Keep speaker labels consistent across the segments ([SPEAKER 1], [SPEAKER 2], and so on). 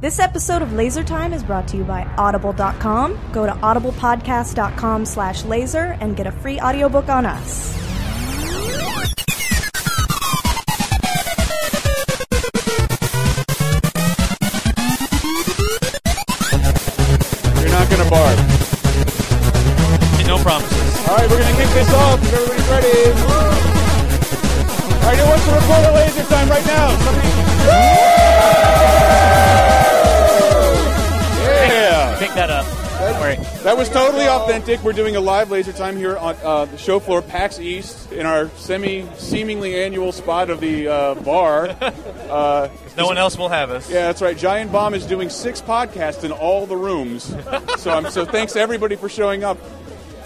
[SPEAKER 1] This episode of Laser Time is brought to you by Audible.com. Go to audiblepodcast.com slash laser and get a free audiobook on us.
[SPEAKER 2] You're not gonna bark.
[SPEAKER 3] No promises.
[SPEAKER 2] All right, we're gonna kick this off. If everybody's ready. All right, who wants to report a laser time right now? Somebody. Yeah,
[SPEAKER 3] Pick that up. Don't worry.
[SPEAKER 2] that was totally authentic. We're doing a live laser time here on uh, the show floor, PAX East, in our semi seemingly annual spot of the uh, bar. Uh,
[SPEAKER 3] No one else will have us.
[SPEAKER 2] Yeah, that's right. Giant Bomb is doing six podcasts in all the rooms. so I'm so thanks everybody for showing up.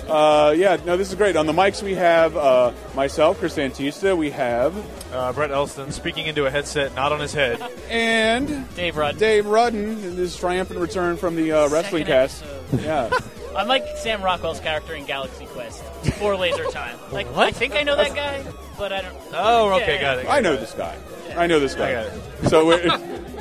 [SPEAKER 2] Uh, yeah, no, this is great. On the mics we have uh, myself, Chris Antista. We have
[SPEAKER 3] Uh, Brett Elston speaking into a headset, not on his head.
[SPEAKER 2] and
[SPEAKER 4] Dave Rudd.
[SPEAKER 2] Dave Rudden in his triumphant return from the uh, wrestling cast. Yeah,
[SPEAKER 4] I'm like Sam Rockwell's character in Galaxy Quest before Laser Time. Like I think I know that guy, but I don't.
[SPEAKER 3] Oh,
[SPEAKER 4] Yeah,
[SPEAKER 3] okay,
[SPEAKER 4] yeah.
[SPEAKER 3] got it.
[SPEAKER 2] I know this guy. I know this
[SPEAKER 3] I
[SPEAKER 2] guy.
[SPEAKER 3] got
[SPEAKER 2] So. We're,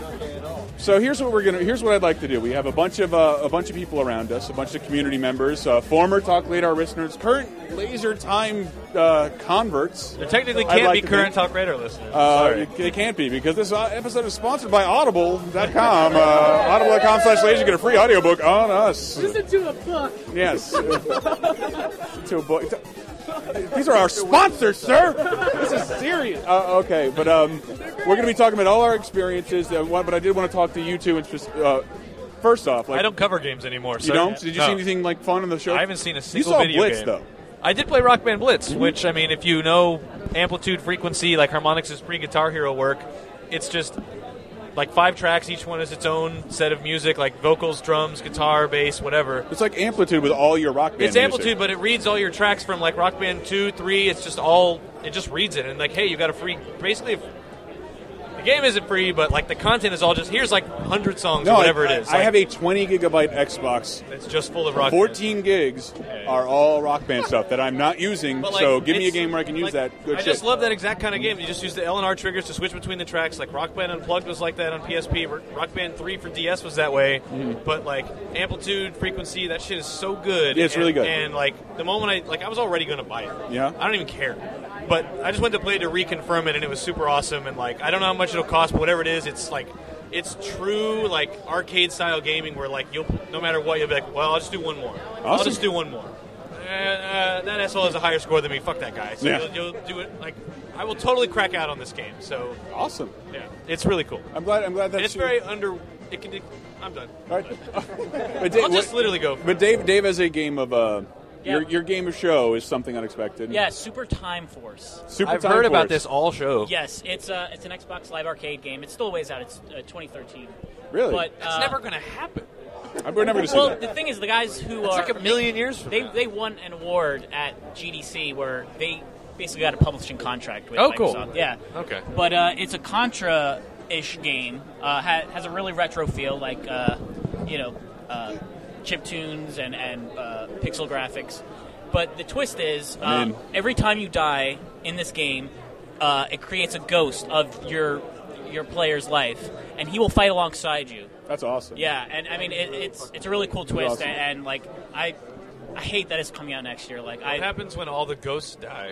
[SPEAKER 2] So here's what we're gonna. Here's what I'd like to do. We have a bunch of uh, a bunch of people around us, a bunch of community members, uh, former Talk Radar listeners, current Laser Time uh, converts.
[SPEAKER 3] There technically
[SPEAKER 2] I'd
[SPEAKER 3] can't
[SPEAKER 2] like
[SPEAKER 3] be
[SPEAKER 2] to
[SPEAKER 3] current
[SPEAKER 2] be-
[SPEAKER 3] Talk Radar listeners.
[SPEAKER 2] Uh,
[SPEAKER 3] Sorry.
[SPEAKER 2] It, it can't be because this uh, episode is sponsored by Audible.com. Uh, Audible.com slash laser. Get a free audiobook on us. Listen to a book. Yes. to a book. These are our sponsors, sir. This is serious. Uh, okay, but um, we're going to be talking about all our experiences. Uh, what- but I did want to talk to you two. And just, uh, first off, like
[SPEAKER 3] I don't cover games anymore. So
[SPEAKER 2] you don't. Did you
[SPEAKER 3] No.
[SPEAKER 2] see anything like fun on the show?
[SPEAKER 3] I haven't seen a
[SPEAKER 2] You
[SPEAKER 3] single
[SPEAKER 2] saw
[SPEAKER 3] video
[SPEAKER 2] Blitz
[SPEAKER 3] game.
[SPEAKER 2] though.
[SPEAKER 3] I did play Rock Band Blitz, which I mean, if you know amplitude, frequency, like harmonics is pre Guitar Hero work, it's just like five tracks. Each one is its own set of music, like vocals, drums, guitar, bass, whatever.
[SPEAKER 2] It's like amplitude with all your rock band.
[SPEAKER 3] It's
[SPEAKER 2] music.
[SPEAKER 3] amplitude, but it reads all your tracks from like Rock Band two, three. It's just all it just reads it, and like, hey, you got a free. Basically, if, the game isn't free, but like the content is all just here's like hundred songs
[SPEAKER 2] No,
[SPEAKER 3] or whatever
[SPEAKER 2] I,
[SPEAKER 3] it is.
[SPEAKER 2] I
[SPEAKER 3] Like,
[SPEAKER 2] have a 20 gigabyte Xbox
[SPEAKER 3] it's just full of rock. Band.
[SPEAKER 2] 14 gigs are all Rock Band stuff that I'm not using.
[SPEAKER 3] But, like,
[SPEAKER 2] so give me a
[SPEAKER 3] it's-
[SPEAKER 2] game where I can use
[SPEAKER 3] like,
[SPEAKER 2] that. Good
[SPEAKER 3] I
[SPEAKER 2] shit.
[SPEAKER 3] just love that exact kind of game. You just use the L and R triggers to switch between the tracks. Like Rock Band Unplugged was like that on PSP. R- Rock Band Three for DS was that way.
[SPEAKER 2] Mm-hmm.
[SPEAKER 3] But like amplitude, frequency, that shit is so good.
[SPEAKER 2] Yeah, it's
[SPEAKER 3] And-
[SPEAKER 2] really good.
[SPEAKER 3] And like the moment I like, I was already going to buy it.
[SPEAKER 2] Yeah.
[SPEAKER 3] I don't even care. But I just went to play to reconfirm it, and it was super awesome. And like, I don't know how much it'll cost, but whatever it is, it's like. It's true, like arcade style gaming, where like you'll no matter what you'll be like, well, I'll just do one more. I'll
[SPEAKER 2] Awesome.
[SPEAKER 3] just do one more. Uh, uh, that asshole has a higher score than me. Fuck that guy. So
[SPEAKER 2] Yeah.
[SPEAKER 3] you'll, you'll do it. Like I will totally crack out on this game. So
[SPEAKER 2] awesome.
[SPEAKER 3] yeah, it's really cool.
[SPEAKER 2] I'm glad. I'm glad that's
[SPEAKER 3] And it's very under. It can. It, I'm done.
[SPEAKER 2] All right. but Dave,
[SPEAKER 3] I'll just
[SPEAKER 2] what-
[SPEAKER 3] literally go. For
[SPEAKER 2] But Dave, Dave has a game of. Uh,
[SPEAKER 4] Yeah.
[SPEAKER 2] Your, your game of show is something unexpected.
[SPEAKER 4] Yeah, Super Time Force.
[SPEAKER 2] Super
[SPEAKER 5] I've
[SPEAKER 2] Time
[SPEAKER 5] heard about
[SPEAKER 2] Force.
[SPEAKER 5] this all show.
[SPEAKER 4] Yes, it's uh, it's an Xbox Live Arcade game. It's still a ways out. It's uh, 2013.
[SPEAKER 2] Really?
[SPEAKER 4] But
[SPEAKER 3] It's
[SPEAKER 4] uh,
[SPEAKER 3] never gonna happen.
[SPEAKER 2] I- We're never going to see
[SPEAKER 4] well,
[SPEAKER 2] that.
[SPEAKER 4] the thing is, the guys who
[SPEAKER 5] It's
[SPEAKER 4] are
[SPEAKER 5] like a million years from
[SPEAKER 4] they
[SPEAKER 5] now.
[SPEAKER 4] they won an award at GDC where they basically got a publishing contract with
[SPEAKER 5] Oh,
[SPEAKER 4] Microsoft.
[SPEAKER 5] cool.
[SPEAKER 4] Yeah.
[SPEAKER 5] Okay.
[SPEAKER 4] But uh, it's a Contra ish game. Uh, ha- has a really retro feel, like uh, you know, uh, chip tunes and and uh, pixel graphics. But the twist is,
[SPEAKER 2] I'm
[SPEAKER 4] um,
[SPEAKER 2] in.
[SPEAKER 4] every time you die in this game, uh, it creates a ghost of your your player's life, and he will fight alongside you.
[SPEAKER 2] That's awesome.
[SPEAKER 4] Yeah, and I mean it, it's it's a really cool twist,
[SPEAKER 2] awesome.
[SPEAKER 4] and, and like I I hate that it's coming out next year. Like
[SPEAKER 3] It
[SPEAKER 4] I
[SPEAKER 3] happens when all the ghosts die.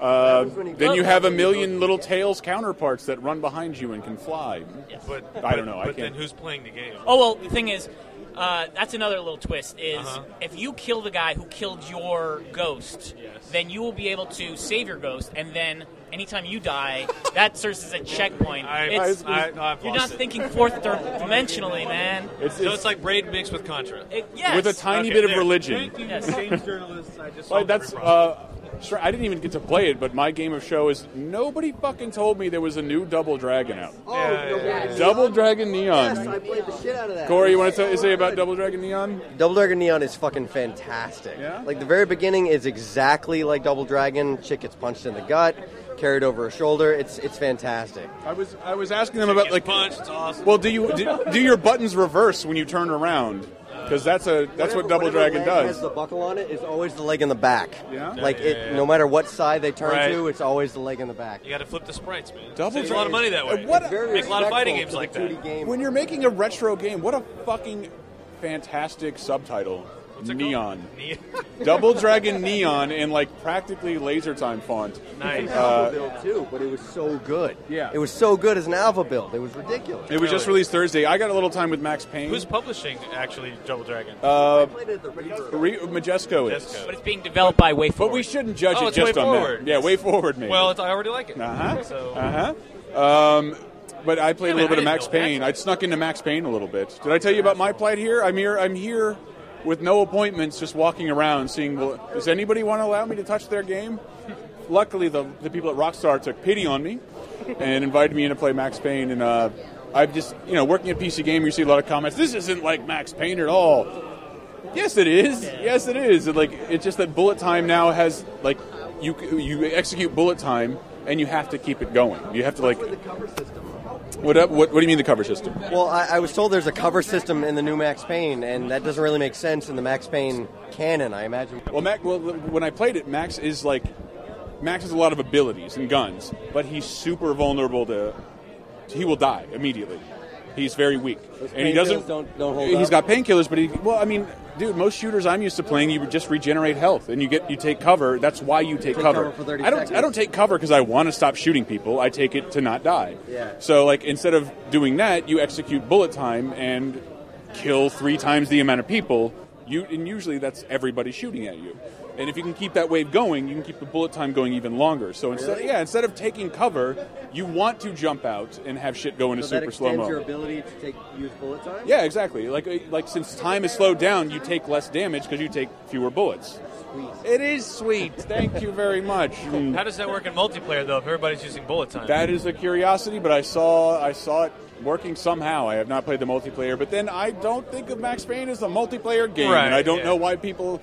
[SPEAKER 2] Uh, Then you have a million little tails counterparts that run behind you and can fly.
[SPEAKER 3] But
[SPEAKER 2] I don't know, I
[SPEAKER 3] But then
[SPEAKER 2] can't-
[SPEAKER 3] who's playing the game?
[SPEAKER 4] oh well, the thing is, uh, that's another little twist is
[SPEAKER 3] Uh-huh.
[SPEAKER 4] if you kill the guy who killed your ghost,
[SPEAKER 3] Yes.
[SPEAKER 4] then you will be able to save your ghost, and then anytime you die, that serves as a checkpoint.
[SPEAKER 3] I-
[SPEAKER 4] It's-
[SPEAKER 3] I- I've
[SPEAKER 4] you're
[SPEAKER 3] lost
[SPEAKER 4] not
[SPEAKER 3] it.
[SPEAKER 4] thinking fourth dim- dimensionally, man.
[SPEAKER 2] It's,
[SPEAKER 3] So it's like braid mixed with Contra.
[SPEAKER 4] It- yes.
[SPEAKER 2] with a tiny
[SPEAKER 3] Okay,
[SPEAKER 2] bit of
[SPEAKER 3] there.
[SPEAKER 2] religion.
[SPEAKER 4] Yes.
[SPEAKER 3] journalists. I just.
[SPEAKER 2] Well, that's uh, sure. I didn't even get to play it, but my game of show is nobody fucking told me there was a new Double Dragon out.
[SPEAKER 6] Oh,
[SPEAKER 3] Yeah,
[SPEAKER 6] Double
[SPEAKER 3] yeah,
[SPEAKER 2] Double
[SPEAKER 6] Dragon Neon?
[SPEAKER 2] Dragon
[SPEAKER 6] Yes,
[SPEAKER 2] Neon.
[SPEAKER 6] I played the shit out of that.
[SPEAKER 2] Corey, you want to say about Double Dragon Neon?
[SPEAKER 6] Double Dragon Neon is fucking fantastic.
[SPEAKER 2] Yeah?
[SPEAKER 6] Like the very beginning is exactly like Double Dragon. Chick gets punched in the gut, carried over her shoulder. It's it's fantastic.
[SPEAKER 2] I was I was asking them about like
[SPEAKER 3] punched. It's awesome.
[SPEAKER 2] Well, do you do, do your buttons reverse when you turn around? because that's a that's what Double Dragon does.
[SPEAKER 6] Has the buckle on it is always the leg in the back.
[SPEAKER 2] Yeah?
[SPEAKER 6] Like
[SPEAKER 3] Yeah,
[SPEAKER 6] it,
[SPEAKER 3] yeah, yeah.
[SPEAKER 6] no matter what side they turn
[SPEAKER 3] Right.
[SPEAKER 6] to, it's always the leg in the back.
[SPEAKER 3] You got to flip the sprites, man.
[SPEAKER 2] Double
[SPEAKER 3] Saves a lot of
[SPEAKER 2] Dragon-
[SPEAKER 3] money that way.
[SPEAKER 2] And what-
[SPEAKER 6] It's very
[SPEAKER 3] Make a lot of fighting games
[SPEAKER 6] respectful
[SPEAKER 3] like
[SPEAKER 6] to the 2D
[SPEAKER 3] that.
[SPEAKER 6] game.
[SPEAKER 2] When you're making a retro game, what a fucking fantastic subtitle.
[SPEAKER 3] What's it called?
[SPEAKER 2] Neon.
[SPEAKER 3] Neon.
[SPEAKER 2] Double Dragon Neon in like practically laser time font.
[SPEAKER 3] nice.
[SPEAKER 6] alpha build too, but it was so good.
[SPEAKER 2] Uh, Yeah.
[SPEAKER 6] it was so good as an alpha build. It was ridiculous.
[SPEAKER 2] It was just
[SPEAKER 3] Really?
[SPEAKER 2] released Thursday. I got a little time with Max Payne. Uh,
[SPEAKER 3] Who's publishing actually Double Dragon?
[SPEAKER 6] I played it at the Reverb.
[SPEAKER 2] Re- Majesco is.
[SPEAKER 3] Majesco.
[SPEAKER 4] But it's being developed by WayForward.
[SPEAKER 2] But we shouldn't judge
[SPEAKER 3] Oh,
[SPEAKER 2] it
[SPEAKER 3] it's
[SPEAKER 2] just
[SPEAKER 3] Way
[SPEAKER 2] on
[SPEAKER 3] Forward.
[SPEAKER 2] that. Yeah, way forward, maybe.
[SPEAKER 3] well, it's, I already like it.
[SPEAKER 2] uh huh.
[SPEAKER 3] So
[SPEAKER 2] Uh huh. Um, but I played
[SPEAKER 3] Damn
[SPEAKER 2] a little
[SPEAKER 3] it,
[SPEAKER 2] bit of
[SPEAKER 3] I
[SPEAKER 2] Max
[SPEAKER 3] didn't know that.
[SPEAKER 2] Payne. I snuck into Max Payne a little bit. Did I tell you about my plight here? I'm here. I'm here with no appointments, just walking around, seeing. Well, does anybody want to allow me to touch their game? Luckily, the the people at Rockstar took pity on me and invited me in to play Max Payne. And uh, I've just, you know, working at PC Gamer, you see a lot of comments. This isn't like Max Payne at all. Yes, it is. Yes, it is. It, like it's just that bullet time now has like you you execute bullet time and you have to keep it going. You have to like
[SPEAKER 6] The cover system.
[SPEAKER 2] what up? What, what do you mean the cover system?
[SPEAKER 6] Well, I, I was told there's a cover system in the new Max Payne, and that doesn't really make sense in the Max Payne canon. I imagine.
[SPEAKER 2] Well, Mac. Well, when I played it, Max is like Max has a lot of abilities and guns, but he's super vulnerable to. He will die immediately. He's very weak, and he
[SPEAKER 6] painkillers
[SPEAKER 2] doesn't.
[SPEAKER 6] don't- don't hold
[SPEAKER 2] He's
[SPEAKER 6] up?
[SPEAKER 2] got painkillers, but he. Well, I mean, dude, most shooters I'm used to playing, you just regenerate health, and you get you take cover. That's why you take,
[SPEAKER 6] cover for 30
[SPEAKER 2] I don't. I
[SPEAKER 6] seconds.
[SPEAKER 2] don't take cover because I want to stop shooting people. I take it to not die.
[SPEAKER 6] Yeah.
[SPEAKER 2] So like instead of doing that, you execute bullet time and kill three times the amount of people. You and usually that's everybody shooting at you. And if you can keep that wave going, you can keep the bullet time going even longer. So instead, yeah, instead of taking cover, you want to jump out and have shit go into
[SPEAKER 6] So
[SPEAKER 2] super
[SPEAKER 6] that extends
[SPEAKER 2] slow mo.
[SPEAKER 6] your ability to take use bullet time.
[SPEAKER 2] Yeah, exactly. Like uh, like since time is slowed down, you take less damage because you take fewer bullets.
[SPEAKER 6] Sweet.
[SPEAKER 2] It is sweet. Thank you very much.
[SPEAKER 3] how does that work in multiplayer though? If everybody's using bullet time,
[SPEAKER 2] That is a curiosity, but I saw I saw it working somehow. I have not played the multiplayer, but then I don't think of Max Payne as a multiplayer game,
[SPEAKER 3] Right,
[SPEAKER 2] and I don't
[SPEAKER 3] yeah.
[SPEAKER 2] know why people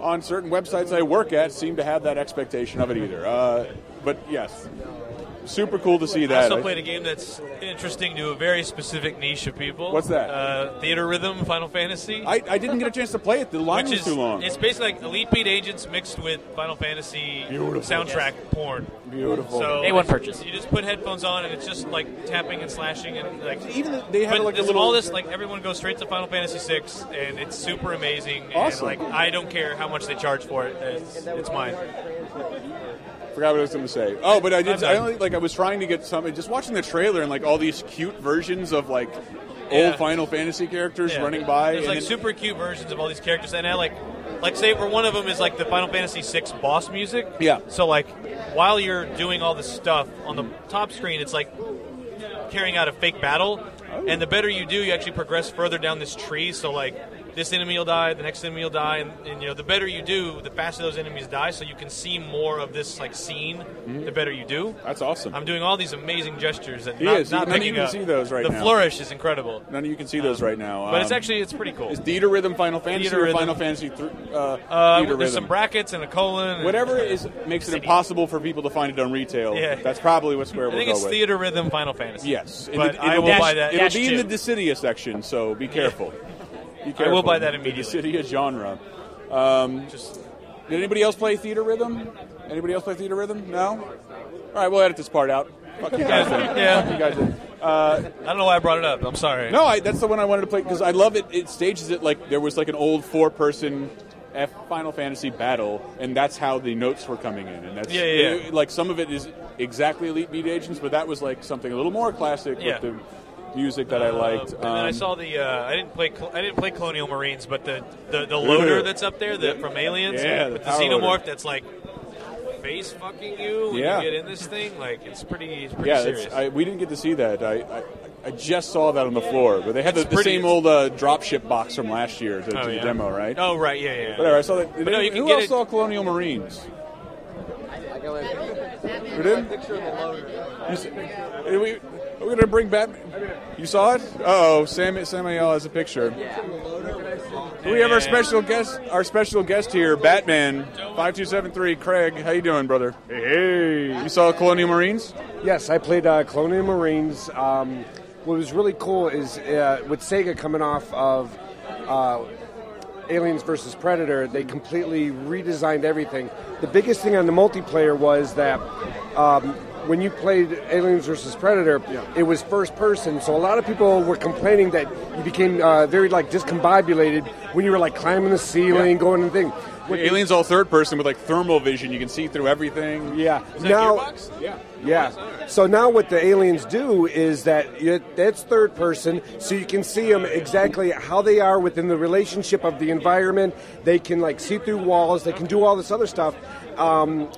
[SPEAKER 2] on certain websites I work at seem to have that expectation of it either. Uh, but yes, super cool to see
[SPEAKER 3] I
[SPEAKER 2] that.
[SPEAKER 3] also played a game that's interesting to a very specific niche of people.
[SPEAKER 2] What's that?
[SPEAKER 3] Uh, Theater Rhythm, Final Fantasy.
[SPEAKER 2] I, I didn't get a chance to play it. The line
[SPEAKER 3] which
[SPEAKER 2] was
[SPEAKER 3] is
[SPEAKER 2] too long.
[SPEAKER 3] It's basically like Elite Beat Agents mixed with Final Fantasy
[SPEAKER 2] Beautiful.
[SPEAKER 3] soundtrack porn.
[SPEAKER 2] Beautiful.
[SPEAKER 3] So
[SPEAKER 4] Day one purchase.
[SPEAKER 3] You just put headphones on and it's just like tapping and slashing and like
[SPEAKER 2] Even the- they had
[SPEAKER 3] But
[SPEAKER 2] like a
[SPEAKER 3] this-
[SPEAKER 2] little.
[SPEAKER 3] all this like everyone goes straight to Final Fantasy VI and it's super amazing.
[SPEAKER 2] Awesome.
[SPEAKER 3] And like I don't care how much they charge for it. It's, it's mine.
[SPEAKER 2] forgot what I was going to say. Oh, but I
[SPEAKER 3] I'm
[SPEAKER 2] did.
[SPEAKER 3] done.
[SPEAKER 2] I only like I was trying to get something. Just watching the trailer and like all these cute versions of like
[SPEAKER 3] Yeah.
[SPEAKER 2] old Final Fantasy characters
[SPEAKER 3] Yeah.
[SPEAKER 2] running by.
[SPEAKER 3] There's
[SPEAKER 2] and
[SPEAKER 3] like
[SPEAKER 2] then-
[SPEAKER 3] super cute versions of all these characters, and I like, like say for one of them is like the Final Fantasy VI boss music.
[SPEAKER 2] Yeah.
[SPEAKER 3] So like, while you're doing all this stuff on the top screen, it's like carrying out a fake battle, and the better you do, you actually progress further down this tree. So like, this enemy will die, the next enemy will die, and, and you know the better you do, the faster those enemies die. So you can see more of this like scene. The better you do.
[SPEAKER 2] That's awesome.
[SPEAKER 3] I'm doing all these amazing gestures that
[SPEAKER 2] He
[SPEAKER 3] not,
[SPEAKER 2] is.
[SPEAKER 3] not
[SPEAKER 2] None of
[SPEAKER 3] picking
[SPEAKER 2] you can
[SPEAKER 3] up.
[SPEAKER 2] see those right
[SPEAKER 3] the
[SPEAKER 2] now.
[SPEAKER 3] flourish is incredible.
[SPEAKER 2] None of you can see those right now.
[SPEAKER 3] But it's
[SPEAKER 2] Um,
[SPEAKER 3] actually it's pretty cool.
[SPEAKER 2] is theater rhythm Final Fantasy
[SPEAKER 3] Theater
[SPEAKER 2] or
[SPEAKER 3] Rhythm.
[SPEAKER 2] Final Fantasy thr uh,
[SPEAKER 3] Uh,
[SPEAKER 2] theater
[SPEAKER 3] there's
[SPEAKER 2] rhythm?
[SPEAKER 3] some brackets and a colon. and-
[SPEAKER 2] Whatever is makes it
[SPEAKER 3] City.
[SPEAKER 2] impossible for people to find it on retail.
[SPEAKER 3] Yeah.
[SPEAKER 2] that's probably what Square
[SPEAKER 3] I
[SPEAKER 2] will
[SPEAKER 3] think
[SPEAKER 2] go
[SPEAKER 3] it's
[SPEAKER 2] with.
[SPEAKER 3] theater rhythm Final Fantasy.
[SPEAKER 2] Yes,
[SPEAKER 3] but
[SPEAKER 2] it,
[SPEAKER 3] I will
[SPEAKER 2] it'll-
[SPEAKER 3] buy that.
[SPEAKER 2] It'll
[SPEAKER 4] Dash
[SPEAKER 2] be in
[SPEAKER 4] two.
[SPEAKER 2] the Dissidia section, so be careful. Be careful.
[SPEAKER 3] I will buy that
[SPEAKER 2] The
[SPEAKER 3] immediately.
[SPEAKER 2] Dissidia genre. Um,
[SPEAKER 3] Just
[SPEAKER 2] Did anybody else play Theater Rhythm? Anybody else play Theater Rhythm? No? All right, we'll edit this part out. Fuck you guys. then.
[SPEAKER 3] Yeah.
[SPEAKER 2] Fuck you guys. then.
[SPEAKER 3] I don't know why I brought it up. I'm sorry.
[SPEAKER 2] uh, No, I, that's the one I wanted to play because I love it. It stages it like there was like an old four-person F Final Fantasy battle, and that's how the notes were coming in. And that's
[SPEAKER 3] Yeah, yeah, yeah.
[SPEAKER 2] it- like some of it is exactly Elite Beat Agents, but that was like something a little more classic
[SPEAKER 3] Yeah.
[SPEAKER 2] with the music that I liked.
[SPEAKER 3] Um, and then I
[SPEAKER 2] Um,
[SPEAKER 3] saw the. Uh, I didn't play. Col- I didn't play Colonial Marines, but the the, the loader that's up there, the, from Aliens,
[SPEAKER 2] Yeah, the
[SPEAKER 3] with the
[SPEAKER 2] power
[SPEAKER 3] xenomorph
[SPEAKER 2] loader.
[SPEAKER 3] that's like face fucking you when
[SPEAKER 2] Yeah.
[SPEAKER 3] you get in this thing. Like it's pretty. It's pretty
[SPEAKER 2] yeah,
[SPEAKER 3] serious.
[SPEAKER 2] that's, I, we didn't get to see that. I, I, I just saw that on the floor, but they had the,
[SPEAKER 3] It's
[SPEAKER 2] the
[SPEAKER 3] pretty-
[SPEAKER 2] same old uh, dropship box from last year to,
[SPEAKER 3] Oh,
[SPEAKER 2] to the
[SPEAKER 3] yeah.
[SPEAKER 2] demo, right?
[SPEAKER 3] Oh right, yeah, yeah.
[SPEAKER 2] Whatever, I saw that.
[SPEAKER 3] But no, you can
[SPEAKER 2] who
[SPEAKER 3] get
[SPEAKER 2] else
[SPEAKER 3] it-
[SPEAKER 2] saw Colonial Marines?
[SPEAKER 6] I got a
[SPEAKER 2] Who did?
[SPEAKER 6] picture of the loader.
[SPEAKER 2] You s- are we, are we gonna bring Batman? You saw it? Oh, Sam Samuel has a picture. We have our special guest, our special guest here, Batman five two seven three. Craig, how you doing, brother? Hey, you saw Colonial Marines?
[SPEAKER 5] Yes, I played uh, Colonial Marines. Um, what was really cool is uh, with Sega coming off of uh, Aliens versus Predator, they completely redesigned everything. The biggest thing on the multiplayer was that um, when you played Aliens versus Predator, it was first person. So a lot of people were complaining that you became uh, very like discombobulated when you were like climbing the ceiling, going and thing. What-
[SPEAKER 2] The alien's all third person with like thermal vision. You can see through everything.
[SPEAKER 5] Yeah.
[SPEAKER 2] Is that
[SPEAKER 5] Now-
[SPEAKER 2] Gearbox? Yeah.
[SPEAKER 5] Yeah. So now what the aliens do is that you, that's third person, so you can see them exactly how they are within the relationship of the environment. They can like see through walls. They can do all this other stuff. Um,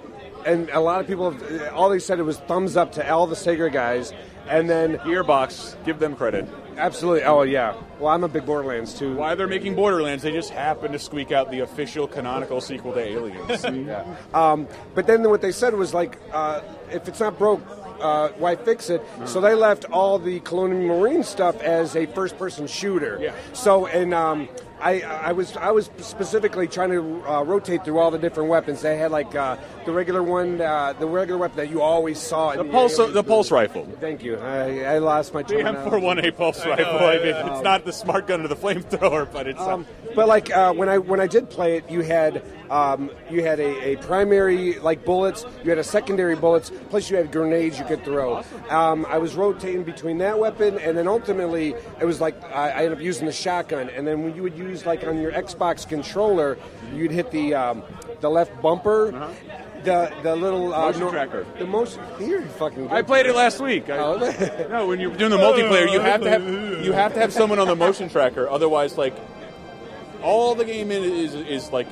[SPEAKER 5] and a lot of people, have, all they said it was thumbs up to all the Sega guys. And then,
[SPEAKER 2] Gearbox, give them credit.
[SPEAKER 5] absolutely, oh yeah. Well, I'm a big Borderlands too.
[SPEAKER 2] Why they're making Borderlands, they just happen to squeak out the official canonical sequel to Aliens.
[SPEAKER 5] Yeah. Um, but then what they said was like, uh, if it's not broke, uh, why fix it? So they left all the Colonial Marine stuff as a first-person shooter.
[SPEAKER 2] Yeah.
[SPEAKER 5] So and um, I, I was I was specifically trying to uh, rotate through all the different weapons. They had like uh, the regular one, uh, the regular weapon that you always saw. in
[SPEAKER 2] the pulse,
[SPEAKER 5] aliens
[SPEAKER 2] the pulse
[SPEAKER 5] movies.
[SPEAKER 2] rifle.
[SPEAKER 5] Thank you. I, I lost my.
[SPEAKER 2] The M41A pulse rifle. I mean, it's not the smart gun or the flamethrower, but it's.
[SPEAKER 5] Um, but like uh, when I when I did play it, you had um, you had a, a primary like bullets, you had a secondary bullets, plus you had grenades you could throw. Um, I was rotating between that weapon, and then ultimately it was like I, I ended up using the shotgun, and then when you would use like on your Xbox controller, you'd hit the um, the left bumper. The, the little uh,
[SPEAKER 2] Uh-huh. Motion tracker.
[SPEAKER 5] The motion here, you fucking.
[SPEAKER 2] I played it last week. I-
[SPEAKER 5] Oh.
[SPEAKER 2] no, when you're doing the multiplayer, you have to have you have to have someone on the motion tracker. Otherwise, like all the game in is is like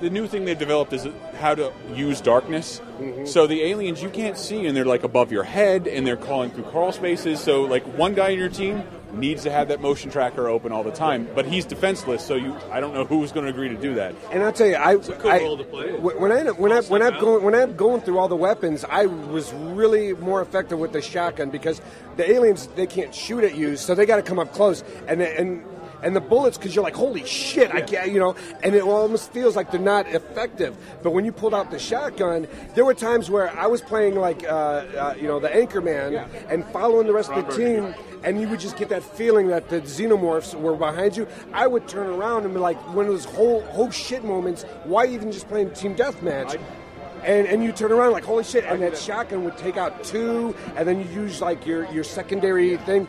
[SPEAKER 2] the new thing they've developed is how to use darkness. So the aliens you can't see, and they're like above your head, and they're calling through crawl spaces. So like one guy in your team needs to have that motion tracker open all the time, but he's defenseless. So you, I don't know who's going to agree to do that.
[SPEAKER 5] And I'll tell you, I,
[SPEAKER 2] cool
[SPEAKER 5] I-
[SPEAKER 2] role to play.
[SPEAKER 5] wh- when I when I when I'm going when I'm going through all the weapons, I was really more effective with the shotgun because the aliens they can't shoot at you, so they got to come up close and and. And the bullets, because you're like, holy shit, I can't, you know, and it almost feels like they're not effective. But when you pulled out the shotgun, there were times where I was playing like, uh, uh, you know, the Anchorman and following the rest of the team, and you would just get that feeling that the xenomorphs were behind you. I would turn around and be like, one of those whole whole shit moments. Why even just playing team deathmatch? And and you turn around like, holy shit! And that shotgun would take out two, and then you use like your your secondary thing,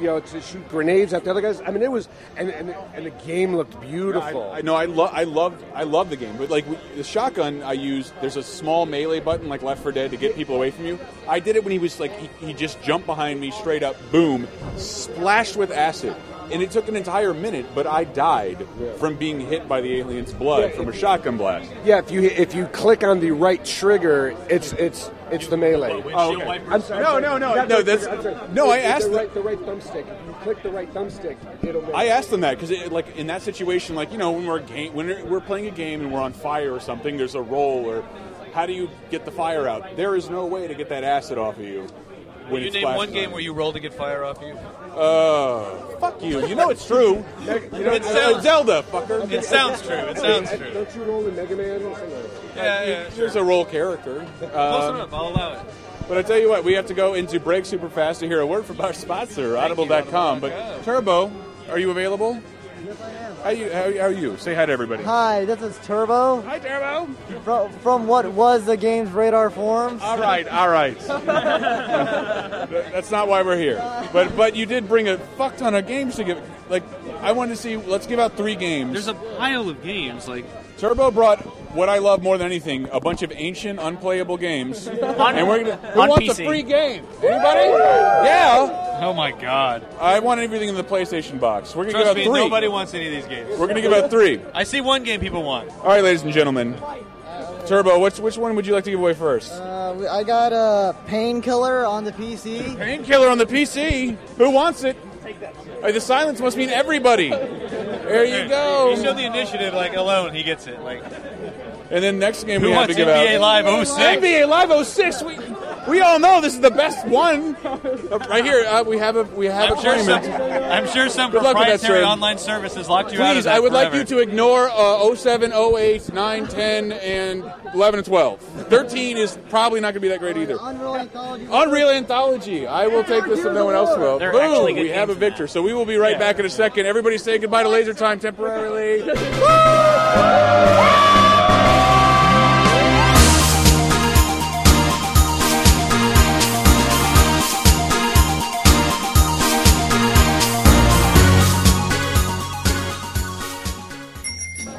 [SPEAKER 5] you know, to shoot grenades at the other guys. I mean, it was and and, and the game looked beautiful.
[SPEAKER 2] I, I know. I love. I love. I love the game. But like we, the shotgun, I use. There's a small melee button, like Left 4 Dead, to get people away from you. I did it when he was like he, he just jumped behind me, straight up, boom, splashed with acid, and it took an entire minute. But I died from being hit by the alien's blood
[SPEAKER 5] Yeah,
[SPEAKER 2] from a
[SPEAKER 5] it-
[SPEAKER 2] shotgun blast.
[SPEAKER 5] yeah, if you if you click on the right trigger, it's it's it's the melee.
[SPEAKER 2] Oh, okay.
[SPEAKER 5] I'm sorry.
[SPEAKER 2] No,
[SPEAKER 5] I'm
[SPEAKER 2] no, no,
[SPEAKER 5] sorry. That's
[SPEAKER 2] no.
[SPEAKER 5] right,
[SPEAKER 2] That's
[SPEAKER 5] I'm sorry.
[SPEAKER 2] no. I
[SPEAKER 5] It's- it's
[SPEAKER 2] asked.
[SPEAKER 5] the
[SPEAKER 2] the-
[SPEAKER 5] right, the right thumbstick. If you click the right thumbstick, it'll. Make
[SPEAKER 2] I asked them that because, like, in that situation, like you know, when we're game, when we're playing a game and we're on fire or something, there's a roll or how do you get the fire out? There is no way to get that acid off of you. When
[SPEAKER 3] you
[SPEAKER 2] it's
[SPEAKER 3] name one
[SPEAKER 2] flashing
[SPEAKER 3] game
[SPEAKER 2] on
[SPEAKER 3] where you roll to get fire off you.
[SPEAKER 2] Uh, fuck you. You know it's true.
[SPEAKER 5] You know,
[SPEAKER 3] It
[SPEAKER 5] I-
[SPEAKER 3] sounds-
[SPEAKER 2] Zelda, fucker.
[SPEAKER 3] It sounds true. It sounds
[SPEAKER 5] Hey,
[SPEAKER 3] true.
[SPEAKER 5] Don't you roll in Mega Man? or something?
[SPEAKER 3] Yeah, yeah. Sure.
[SPEAKER 2] There's a role character.
[SPEAKER 3] Close
[SPEAKER 2] Um,
[SPEAKER 3] enough. I'll allow it.
[SPEAKER 2] but I tell you what, we have to go into break super fast to hear a word from our sponsor, Audible.com. But
[SPEAKER 3] Audible.com.
[SPEAKER 2] Turbo, are you available? Yes, I am. How you? How, how are you? Say hi to everybody.
[SPEAKER 7] Hi, this is Turbo
[SPEAKER 2] Hi, Turbo.
[SPEAKER 7] from, from what was the game's Radar Forums.
[SPEAKER 2] All right, all right. That's not why we're here. But but you did bring a fuck ton of games to give. Like I wanted to see. Let's give out three games.
[SPEAKER 8] There's a pile of games like
[SPEAKER 2] Turbo brought what I love more than anything: a bunch of ancient, unplayable games.
[SPEAKER 4] On,
[SPEAKER 2] And we're gonna. Who
[SPEAKER 4] on
[SPEAKER 2] wants
[SPEAKER 4] PC.
[SPEAKER 2] a free game? Anybody? Yeah.
[SPEAKER 8] oh my god.
[SPEAKER 2] I want everything in the PlayStation box. We're gonna
[SPEAKER 3] Trust me,
[SPEAKER 2] give out three.
[SPEAKER 3] nobody wants any of these games.
[SPEAKER 2] We're gonna give out three.
[SPEAKER 3] I see one game people want.
[SPEAKER 2] All right, ladies and gentlemen. Turbo, which which one would you like to give away first?
[SPEAKER 7] Uh, we- I got a painkiller on the PC.
[SPEAKER 2] Painkiller on the PC. Who wants it? All right, the silence must mean everybody. There you
[SPEAKER 3] He
[SPEAKER 2] go.
[SPEAKER 3] showed the initiative like alone. He gets it. Like
[SPEAKER 2] And then next game
[SPEAKER 3] who
[SPEAKER 2] we have
[SPEAKER 3] wants
[SPEAKER 2] to give
[SPEAKER 3] NBA
[SPEAKER 2] out
[SPEAKER 3] Live 06?
[SPEAKER 2] NBA Live 06. We, We all know this is the best one. Uh, right here, uh, we have a we have a
[SPEAKER 3] I'm sure, some,
[SPEAKER 2] claimant.
[SPEAKER 3] I'm sure some
[SPEAKER 2] Good luck with that,
[SPEAKER 3] proprietary
[SPEAKER 2] sir.
[SPEAKER 3] online service has locked you out of
[SPEAKER 2] Please,
[SPEAKER 3] that
[SPEAKER 2] I would like
[SPEAKER 3] forever.
[SPEAKER 2] you to ignore uh, 07, 08, 9, 10, and 11 and 12. 13 is probably not going to be that great either.
[SPEAKER 9] Unreal Anthology.
[SPEAKER 2] Unreal Anthology. I will take this if no one else will.
[SPEAKER 4] They're actually
[SPEAKER 2] Boom!
[SPEAKER 4] good
[SPEAKER 2] We have a
[SPEAKER 4] games in
[SPEAKER 2] victor.
[SPEAKER 4] that.
[SPEAKER 2] So we will be right back in a second. Everybody say goodbye to Laser Time temporarily.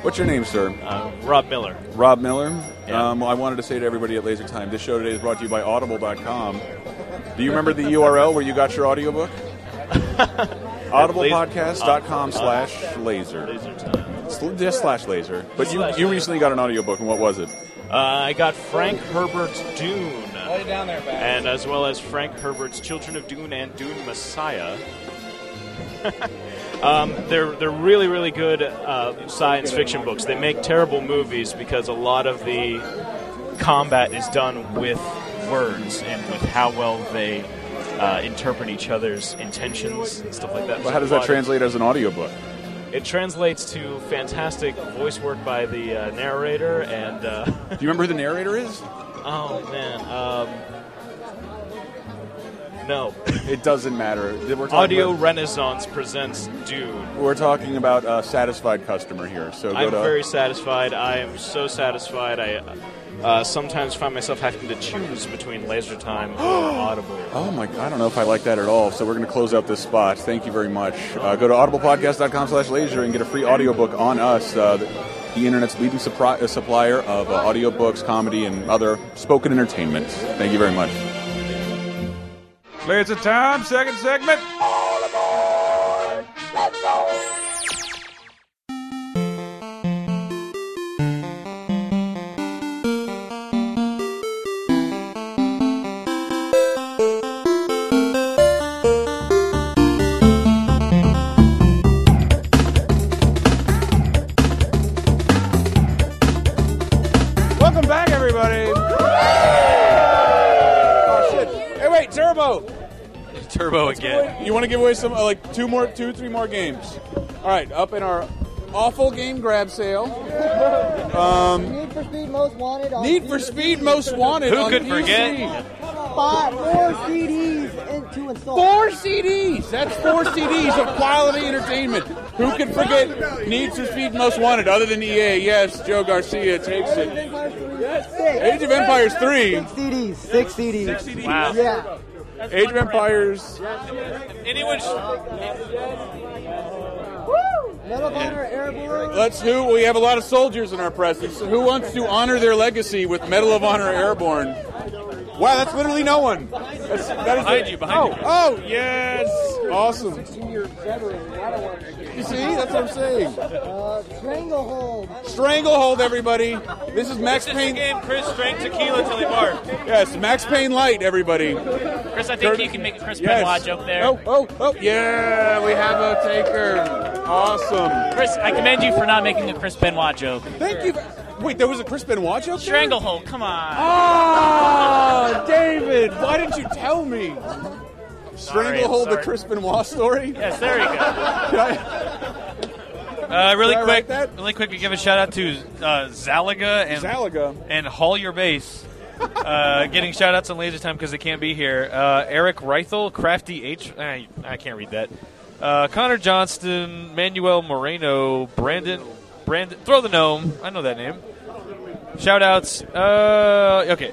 [SPEAKER 2] What's your name, sir?
[SPEAKER 10] Uh, Rob Miller.
[SPEAKER 2] Rob Miller.
[SPEAKER 10] Yeah.
[SPEAKER 2] Um, well, I wanted to say to everybody at Laser Time, this show today is brought to you by Audible.com. Do you remember the URL where you got your audiobook? AudiblePodcast.com slash laser.
[SPEAKER 10] uh, Laser time.
[SPEAKER 2] Sl- Just slash laser. But you, you recently got an audiobook, and what was it?
[SPEAKER 10] Uh, I got Frank Herbert's Dune,
[SPEAKER 9] Put it down there, back.
[SPEAKER 10] and as well as Frank Herbert's Children of Dune and Dune Messiah. um, they're they're really really good uh, science fiction books. They make terrible movies because a lot of the combat is done with words and with how well they uh, interpret each other's intentions and stuff like that.
[SPEAKER 2] Well, how does that
[SPEAKER 10] There's a lot of-
[SPEAKER 2] translate as an audiobook?
[SPEAKER 10] It translates to fantastic voice work by the uh, narrator and. Uh,
[SPEAKER 2] Do you remember who the narrator is?
[SPEAKER 10] oh man. Um, no.
[SPEAKER 2] It doesn't matter. We're talking
[SPEAKER 10] Audio
[SPEAKER 2] About,
[SPEAKER 10] Renaissance presents Dune.
[SPEAKER 2] we're talking about a satisfied customer here. So go
[SPEAKER 10] I'm
[SPEAKER 2] to
[SPEAKER 10] very satisfied. I am so satisfied. I uh, sometimes find myself having to choose between Laser Time or Audible.
[SPEAKER 2] Oh my! I don't know if I like that at all. So we're going to close out this spot. Thank you very much. Uh, go to audiblepodcast.com/laser and get a free audiobook on us. Uh, the, the internet's leading supri- uh, supplier of uh, audiobooks, comedy, and other spoken entertainment. Thank you very much.
[SPEAKER 3] Laser time, second segment.
[SPEAKER 2] Welcome back, everybody. oh shit! Hey, wait, Turbo.
[SPEAKER 3] Turbo again.
[SPEAKER 2] You want to give away some uh, like two more, two, three more games? All right, up in our awful game grab sale.
[SPEAKER 7] Um,
[SPEAKER 2] Um,
[SPEAKER 9] Need for Speed Most Wanted on
[SPEAKER 2] Need for
[SPEAKER 9] CD.
[SPEAKER 2] Speed Most Wanted.
[SPEAKER 3] Who
[SPEAKER 2] on
[SPEAKER 3] could
[SPEAKER 2] PC.
[SPEAKER 3] forget?
[SPEAKER 9] Buy four CDs in, to install.
[SPEAKER 2] Four CDs. That's four CDs of quality entertainment. Who can forget Need for Speed Most Wanted other than EA? Yes, Joe Garcia takes it. Age of Empires 3.
[SPEAKER 9] Six CDs. Six CDs.
[SPEAKER 3] Wow.
[SPEAKER 9] Yeah.
[SPEAKER 2] Age of Empires.
[SPEAKER 3] Anyone?
[SPEAKER 9] Medal of Honor Airborne.
[SPEAKER 2] Let's who we have a lot of soldiers in our presence. Who wants to honor their legacy with Medal of Honor Airborne? Wow, that's literally no one. That's, that is
[SPEAKER 3] Behind you, behind
[SPEAKER 2] oh,
[SPEAKER 3] you.
[SPEAKER 2] Oh, yes. Awesome. You see, that's what I'm saying.
[SPEAKER 9] Uh, Stranglehold.
[SPEAKER 2] Stranglehold, everybody. This is Max
[SPEAKER 3] This is the
[SPEAKER 2] Payne.
[SPEAKER 3] game Chris drank tequila till he barfed.
[SPEAKER 2] Yes, Max Payne Light, everybody.
[SPEAKER 4] Chris, I
[SPEAKER 2] Kurt-
[SPEAKER 4] think you can make a Chris
[SPEAKER 2] Yes.
[SPEAKER 4] Benoit joke there.
[SPEAKER 2] Oh, oh, oh. Yeah, we have a taker. Awesome.
[SPEAKER 4] Chris, I commend you for not making a Chris Benoit joke.
[SPEAKER 2] Thank you. Wait, there was a Chris Benoit joke? there?
[SPEAKER 4] Stranglehold, come on.
[SPEAKER 2] Oh, David, why didn't you tell me? Stranglehold the
[SPEAKER 4] sorry.
[SPEAKER 2] Chris Benoit story?
[SPEAKER 4] Yes, there you go.
[SPEAKER 3] Uh, really
[SPEAKER 2] Did I write
[SPEAKER 3] quick,
[SPEAKER 2] that?
[SPEAKER 3] really quick, we give a shout out to uh, Zalaga and
[SPEAKER 2] Zalaga.
[SPEAKER 3] and Haul Your Base. Uh, getting shout outs on Laser Time because they can't be here. Uh, Eric Reithel, Crafty H. I, I can't read that. Uh, Connor Johnston, Manuel Moreno, Brandon. Brandon. Throw the Gnome. I know that name. Shout outs. Uh, okay.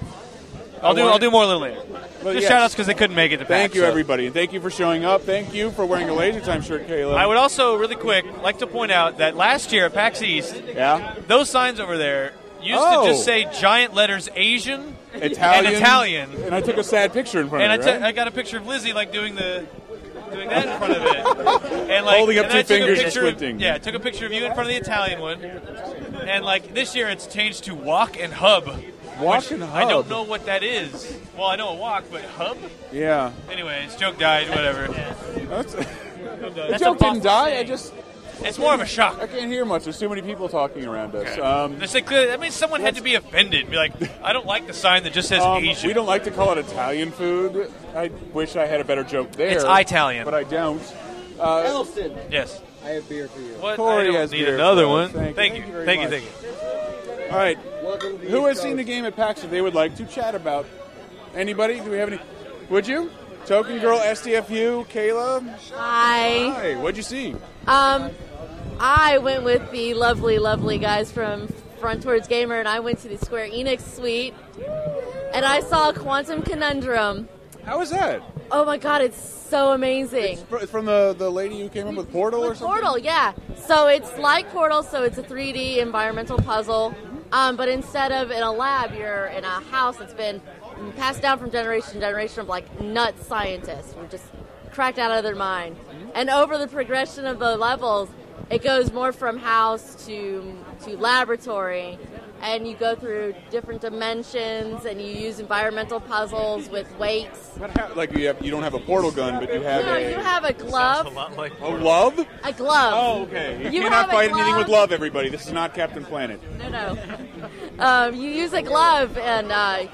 [SPEAKER 3] I'll do,
[SPEAKER 2] want
[SPEAKER 3] I'll
[SPEAKER 2] it-
[SPEAKER 3] do more a little later.
[SPEAKER 2] Well, yes.
[SPEAKER 3] Just shout outs because they couldn't make it to
[SPEAKER 2] Thank
[SPEAKER 3] PAX,
[SPEAKER 2] you,
[SPEAKER 3] so.
[SPEAKER 2] everybody. and Thank you for showing up. Thank you for wearing a Laser Time shirt, Caleb.
[SPEAKER 3] I would also, really quick, like to point out that last year at PAX East,
[SPEAKER 2] yeah?
[SPEAKER 3] those signs over there used
[SPEAKER 2] Oh.
[SPEAKER 3] to just say giant letters Asian
[SPEAKER 2] Italian.
[SPEAKER 3] and Italian.
[SPEAKER 2] And I took a sad picture in front
[SPEAKER 3] And I
[SPEAKER 2] of it,
[SPEAKER 3] took-
[SPEAKER 2] right?
[SPEAKER 3] I got a picture of Lizzie like doing the doing that in front of it, and like
[SPEAKER 2] Holding up
[SPEAKER 3] and
[SPEAKER 2] two
[SPEAKER 3] I took a
[SPEAKER 2] fingers and
[SPEAKER 3] picture of-
[SPEAKER 2] squinting.
[SPEAKER 3] yeah, I took a picture of you in front of the Italian one, and like this year it's changed to walk and hub.
[SPEAKER 2] Walk
[SPEAKER 3] which
[SPEAKER 2] and
[SPEAKER 3] I
[SPEAKER 2] hub.
[SPEAKER 3] don't know what that is. Well, I know a walk, but hub.
[SPEAKER 2] Yeah.
[SPEAKER 3] Anyways, joke died. Whatever.
[SPEAKER 2] That's- the
[SPEAKER 4] That's a
[SPEAKER 2] joke didn't
[SPEAKER 4] Boston
[SPEAKER 2] die. I
[SPEAKER 4] saying.
[SPEAKER 2] just
[SPEAKER 3] It's more of a shock.
[SPEAKER 2] I can't hear much. There's too many people talking around us. Um,
[SPEAKER 3] It's like, clear- that means someone had to be offended. Be like, I don't like the sign that just says
[SPEAKER 2] um,
[SPEAKER 3] Asian.
[SPEAKER 2] we don't like to call it Italian food. I wish I had a better joke there.
[SPEAKER 3] It's Italian.
[SPEAKER 2] but I don't.
[SPEAKER 6] Elston,
[SPEAKER 3] yes.
[SPEAKER 7] I have beer for you.
[SPEAKER 3] What?
[SPEAKER 2] Uh, Corey
[SPEAKER 3] I don't
[SPEAKER 2] has
[SPEAKER 3] need
[SPEAKER 2] beer
[SPEAKER 3] another
[SPEAKER 2] for us.
[SPEAKER 3] one.
[SPEAKER 2] Thank you. Thank you
[SPEAKER 3] Thank you.
[SPEAKER 2] very
[SPEAKER 3] Thank you.
[SPEAKER 2] much.
[SPEAKER 3] Thank you.
[SPEAKER 2] All right.
[SPEAKER 7] Welcome to the
[SPEAKER 2] Who
[SPEAKER 7] East
[SPEAKER 2] has seen the
[SPEAKER 7] Coast.
[SPEAKER 2] game at PAX that they would like to chat about? Anybody? Do we have any? Would you? Token Girl, SDFU, Kayla.
[SPEAKER 11] Hi.
[SPEAKER 2] Hi. What'd you see?
[SPEAKER 11] Um, I went with the lovely, lovely guys from Frontwards Gamer, and I went to the Square Enix suite, and I saw Quantum Conundrum.
[SPEAKER 2] How is that?
[SPEAKER 11] Oh my god, it's so amazing.
[SPEAKER 2] Fr- From the, the lady who came up with Portal or
[SPEAKER 11] With
[SPEAKER 2] something?
[SPEAKER 11] Portal, yeah. So it's like Portal, so it's a 3D environmental puzzle, um, but instead of in a lab, you're in a house that's been passed down from generation to generation of like nuts scientists who are just cracked out of their mind. And over the progression of the levels, it goes more from house to to laboratory, and you go through different dimensions, and you use environmental puzzles with weights.
[SPEAKER 2] What hap- like you, have, you don't have a portal gun, but you have
[SPEAKER 11] No,
[SPEAKER 2] a,
[SPEAKER 11] you have a
[SPEAKER 3] Sounds a
[SPEAKER 11] glove,
[SPEAKER 3] lot like
[SPEAKER 2] a love?
[SPEAKER 11] a glove.
[SPEAKER 2] Oh, okay.
[SPEAKER 11] You
[SPEAKER 2] You,
[SPEAKER 11] have
[SPEAKER 2] cannot
[SPEAKER 11] a
[SPEAKER 2] fight anything
[SPEAKER 11] glove.
[SPEAKER 2] with love, everybody. This is not Captain Planet.
[SPEAKER 11] No, no. Um, you use a glove, and uh,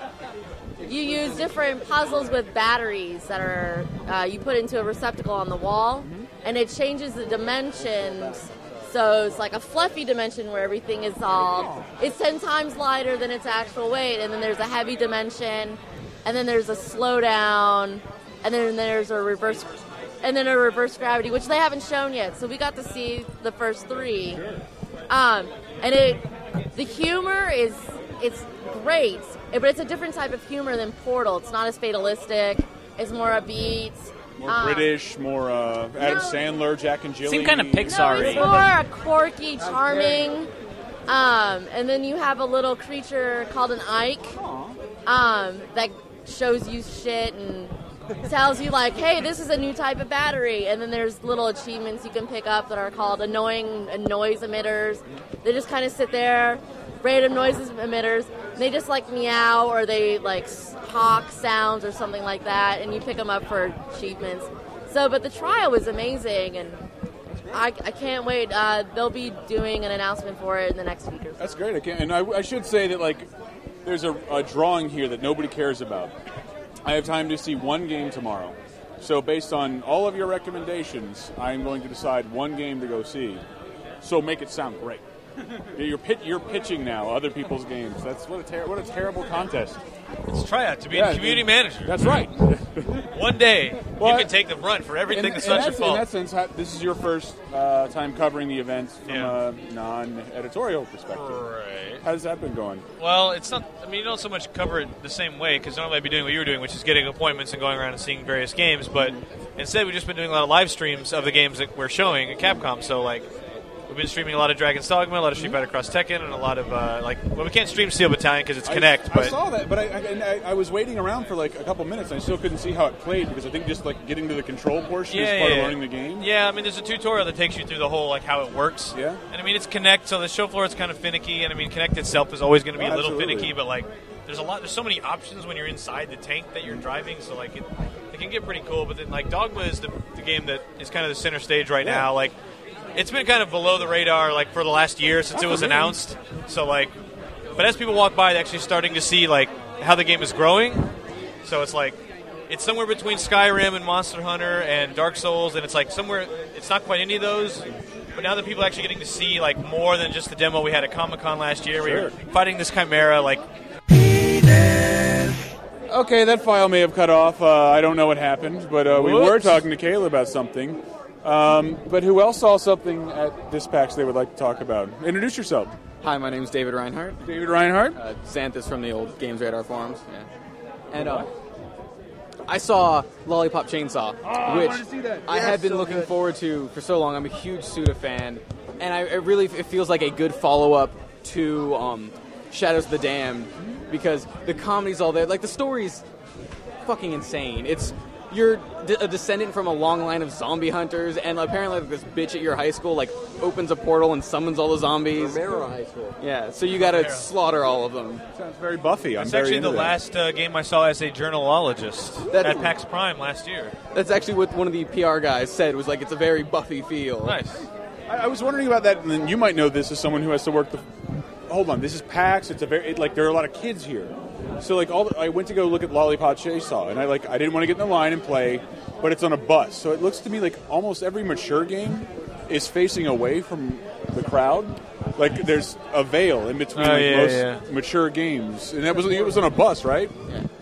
[SPEAKER 11] you use different puzzles with batteries that are uh, you put into a receptacle on the wall, and it changes the dimensions. So it's like a fluffy dimension where everything is all. It's ten times lighter than its actual weight, and then there's a heavy dimension, and then there's a slowdown, and then there's a reverse. And then a reverse gravity, which they haven't shown yet. So we got to see the first three. Um, and it, the humor is it's great, but it's a different type of humor than Portal. It's not as fatalistic. It's more upbeat.
[SPEAKER 2] More
[SPEAKER 11] Um,
[SPEAKER 2] British, more uh, Adam
[SPEAKER 11] no.
[SPEAKER 2] Sandler, Jack and Jill.
[SPEAKER 4] Seem kinda
[SPEAKER 11] No,
[SPEAKER 4] Pixar. Sorry.
[SPEAKER 11] it's more quirky, charming. Um, and then you have a little creature called an Ike um, that shows you shit and tells you like, hey, this is a new type of battery. And then there's little achievements you can pick up that are called annoying uh, noise emitters. They just kind of sit there, random noises emitters. and They just like meow or they like s- hawk sounds or something like that, and you pick them up for achievements. So, but the trial was amazing, and I, I can't wait. Uh, they'll be doing an announcement for it in the next week or so.
[SPEAKER 2] That's great. I can't, and I, I should say that like there's a, a drawing here that nobody cares about. I have time to see one game tomorrow, so based on all of your recommendations, I am going to decide one game to go see. So make it sound great. You're, pit, you're pitching now other people's games. That's what a ter- what a terrible contest.
[SPEAKER 3] it's tryout to be
[SPEAKER 2] Yeah,
[SPEAKER 3] a community
[SPEAKER 2] it-
[SPEAKER 3] manager.
[SPEAKER 2] That's right.
[SPEAKER 3] One day
[SPEAKER 2] Well,
[SPEAKER 3] you can take the brunt for
[SPEAKER 2] In,
[SPEAKER 3] everything
[SPEAKER 2] in
[SPEAKER 3] that's
[SPEAKER 2] that,
[SPEAKER 3] not your
[SPEAKER 2] in
[SPEAKER 3] fault.
[SPEAKER 2] that sense, ha- this is your first uh, time covering the event from
[SPEAKER 3] Yeah.
[SPEAKER 2] a non-editorial perspective.
[SPEAKER 3] Right.
[SPEAKER 2] How's that been going?
[SPEAKER 3] Well, it's not. I mean, you don't so much cover it the same way because normally I'd be doing what you were doing, which is getting appointments and going around and seeing various games. But instead, we've just been doing a lot of live streams of the games that we're showing at Capcom. So like, we've been streaming a lot of Dragon's Dogma, a lot of Street Fighter Cross Tekken, and a lot of uh, like. Well, we can't stream Steel Battalion because it's Connect,
[SPEAKER 2] I,
[SPEAKER 3] but
[SPEAKER 2] I saw that, but I, I, and I, I was waiting around for like a couple minutes, and I still couldn't see how it played because I think just like getting to the control portion is part of learning the game.
[SPEAKER 3] Yeah, I mean, there's a tutorial that takes you through the whole like how it works.
[SPEAKER 2] Yeah.
[SPEAKER 3] And I mean, it's Connect, so the show floor is kind of finicky, and I mean, Connect itself is always going to be
[SPEAKER 2] Oh,
[SPEAKER 3] a little
[SPEAKER 2] absolutely.
[SPEAKER 3] finicky, but like, there's a lot, there's so many options when you're inside the tank that you're driving, so like, it, it can get pretty cool. But then like, Dogma is the, the game that is kind of the center stage right
[SPEAKER 2] Yeah.
[SPEAKER 3] now. Like, it's been kind of below the radar like for the last year since it was announced. So like, but as people walk by, they're actually starting to see like how the game is growing. So it's like it's somewhere between Skyrim and Monster Hunter and Dark Souls, and it's like somewhere it's not quite any of those. But now that people are actually getting to see like more than just the demo we had at Comic Con last year, where
[SPEAKER 2] Sure.
[SPEAKER 3] you're fighting this chimera. Like
[SPEAKER 2] Okay, that file may have cut off. Uh, I don't know what happened, but uh, we were
[SPEAKER 3] Whoops.
[SPEAKER 2] talking to Kayla about something. Um, but who else saw something at this PAX they would like to talk about? Introduce yourself.
[SPEAKER 12] Hi, my name's David Reinhardt.
[SPEAKER 2] David Reinhardt.
[SPEAKER 12] Uh, Xanthus from the old Games Radar forums. Yeah. And uh, I saw Lollipop Chainsaw, which I, have been looking forward to for so long. I'm a huge Suda fan, and I it really it feels like a good follow up to um, Shadows of the Damned because the comedy's all there. Like the story's fucking insane. It's you're d- a descendant from a long line of zombie hunters, and apparently like, this bitch at your high school like opens a portal and summons all the zombies.
[SPEAKER 6] Romero High School.
[SPEAKER 12] Yeah, so you gotta slaughter all of them.
[SPEAKER 2] Sounds very Buffy. I'm
[SPEAKER 3] it's
[SPEAKER 2] very
[SPEAKER 3] actually
[SPEAKER 2] into
[SPEAKER 3] the
[SPEAKER 2] that.
[SPEAKER 3] last uh, game I saw as a journalologist
[SPEAKER 12] That-
[SPEAKER 3] at PAX Prime last year.
[SPEAKER 12] That's actually what one of the PR guys said was like it's a very Buffy feel.
[SPEAKER 3] Nice.
[SPEAKER 2] I, I was wondering about that, and then you might know this as someone who has to work the. Hold on, this is PAX. It's a very it, like there are a lot of kids here, so like all the, I went to go look at Lollipop Chainsaw, and I like I didn't want to get in the line and play, but it's on a bus, so it looks to me like almost every mature game is facing away from the crowd. Like there's a veil in between
[SPEAKER 13] Oh,
[SPEAKER 2] like,
[SPEAKER 13] yeah,
[SPEAKER 2] most
[SPEAKER 13] yeah.
[SPEAKER 2] mature games, and that was it was on a bus, right?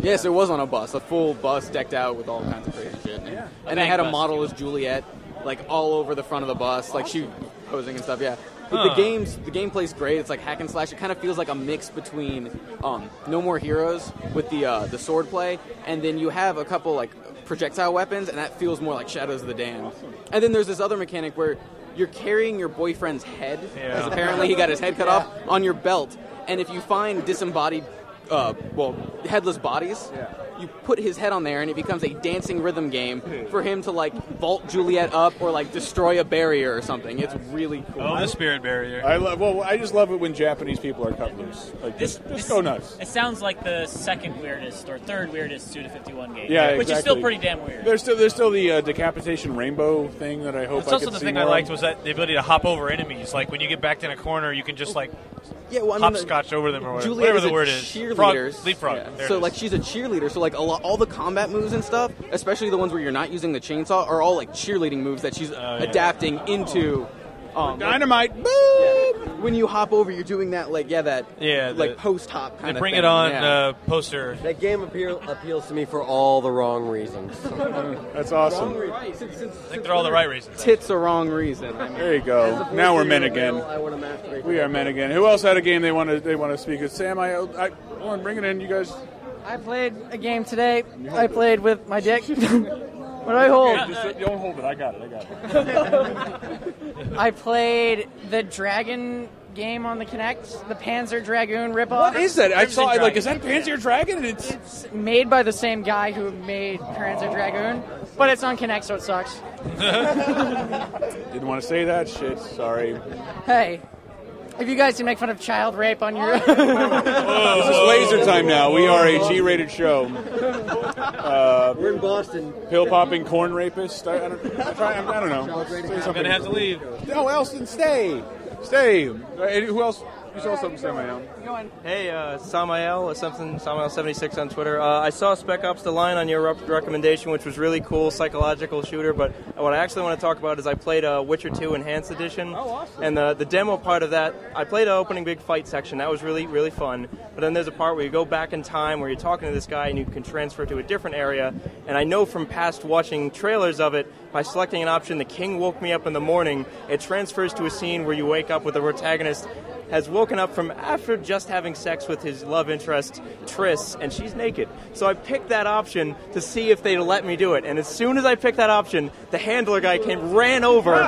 [SPEAKER 12] Yes, it was on a bus, a full bus decked out with all kinds of crazy shit. And, and they
[SPEAKER 2] bank
[SPEAKER 12] had a
[SPEAKER 2] bus,
[SPEAKER 12] model as Juliet, like all over the front of the bus, like she posing and stuff. Yeah, But
[SPEAKER 14] Huh.
[SPEAKER 12] the games, the gameplay's great. It's like hack and slash. It kind of feels like a mix between um, No More Heroes with the uh, the sword play, and then you have a couple like projectile weapons, and that feels more like Shadows of the Dam. And then there's this other mechanic where you're carrying your boyfriend's head,
[SPEAKER 14] Yeah.
[SPEAKER 12] because apparently he got his head cut
[SPEAKER 14] Yeah.
[SPEAKER 12] off on your belt, and if you find disembodied, uh, well, headless bodies, you put his head on there, and it becomes a dancing rhythm game for him to like vault Juliet up or like destroy a barrier or something. It's really cool.
[SPEAKER 13] Oh, the spirit barrier.
[SPEAKER 2] I love. Well, I just love it when Japanese people are cut loose. Like just, just go nuts.
[SPEAKER 4] It sounds like the second weirdest or third weirdest Suda 51 game.
[SPEAKER 2] Yeah,
[SPEAKER 4] which is still
[SPEAKER 2] exactly.
[SPEAKER 4] pretty damn weird.
[SPEAKER 2] There's still there's still the uh, decapitation rainbow thing that I hope.
[SPEAKER 3] That's
[SPEAKER 2] I
[SPEAKER 3] also
[SPEAKER 2] could
[SPEAKER 3] the
[SPEAKER 2] see
[SPEAKER 3] thing
[SPEAKER 2] more
[SPEAKER 3] I
[SPEAKER 2] of.
[SPEAKER 3] liked was that the ability to hop over enemies. Like when you get backed in a corner, you can just like
[SPEAKER 12] Yeah, well, I mean, the-
[SPEAKER 3] hopscotch over them or whatever,
[SPEAKER 12] Juliet
[SPEAKER 3] whatever
[SPEAKER 12] is
[SPEAKER 3] the
[SPEAKER 12] a
[SPEAKER 3] word is. Frog,
[SPEAKER 12] cheerleader.
[SPEAKER 3] leapfrog.
[SPEAKER 12] Yeah.
[SPEAKER 3] There it
[SPEAKER 12] So
[SPEAKER 3] is.
[SPEAKER 12] like she's a cheerleader. So like a lot, all the combat moves and stuff, especially the ones where you're not using the chainsaw, are all like cheerleading moves that
[SPEAKER 3] Oh,
[SPEAKER 12] she's adapting into. Um,
[SPEAKER 2] Dynamite.
[SPEAKER 12] When you hop over, you're doing that like yeah that
[SPEAKER 3] Yeah,
[SPEAKER 12] like
[SPEAKER 9] the-
[SPEAKER 12] post hop
[SPEAKER 3] they
[SPEAKER 12] kind of.
[SPEAKER 3] bring
[SPEAKER 12] thing.
[SPEAKER 3] it on
[SPEAKER 12] Yeah.
[SPEAKER 3] uh, poster.
[SPEAKER 9] That game appeal, appeals to me for all the wrong reasons.
[SPEAKER 2] That's
[SPEAKER 9] awesome.
[SPEAKER 3] I think they're all the right reasons.
[SPEAKER 12] Tits are wrong reason.
[SPEAKER 2] There you go. Now we're men again. We are men again. Who else had a game they want to they want to speak of? Sam, I, I Lauren, bring it in. You guys.
[SPEAKER 15] I played a game today. I played with my dick. what do I hold?
[SPEAKER 2] Okay, just uh, don't hold it. I got it. I got it.
[SPEAKER 15] I played the dragon game on the Kinect, the Panzer Dragoon ripoff.
[SPEAKER 2] What is that? I saw. I, like, is that Panzer Dragon? And it's
[SPEAKER 15] It's made by the same guy who made Panzer Dragoon, but it's on Kinect, so it sucks.
[SPEAKER 2] didn't want to say that shit. Sorry.
[SPEAKER 15] Hey, if you guys can make fun of child rape on your,
[SPEAKER 2] This is laser time now. We are a G-rated show. Uh,
[SPEAKER 9] We're in Boston.
[SPEAKER 2] Pill popping corn rapist. I, I, don't, I, try- I don't know. Say
[SPEAKER 13] I'm
[SPEAKER 2] something.
[SPEAKER 13] gonna have to leave.
[SPEAKER 2] No, Elston, stay. Stay. Uh, and who else? You saw something, Samuel.
[SPEAKER 16] Hey, uh, Samael or something, Samael76 on Twitter. Uh, I saw Spec Ops The Line on your rep- recommendation, which was really cool, psychological shooter. But what I actually want to talk about is I played uh, Witcher 2 Enhanced Edition. Oh, awesome. And the, the demo part of that, I played the opening big fight section. That was really, really fun. But then there's a part where you go back in time where you're talking to this guy and you can transfer to a different area. And I know from past watching trailers of it, by selecting an option, The King Woke Me Up in the Morning, it transfers to a scene where you wake up with the protagonist has woken up from after just having sex with his love interest, Triss, and she's naked. So I picked that option to see if they'd let me do it. And as soon as I picked that option, the handler guy came, ran over. I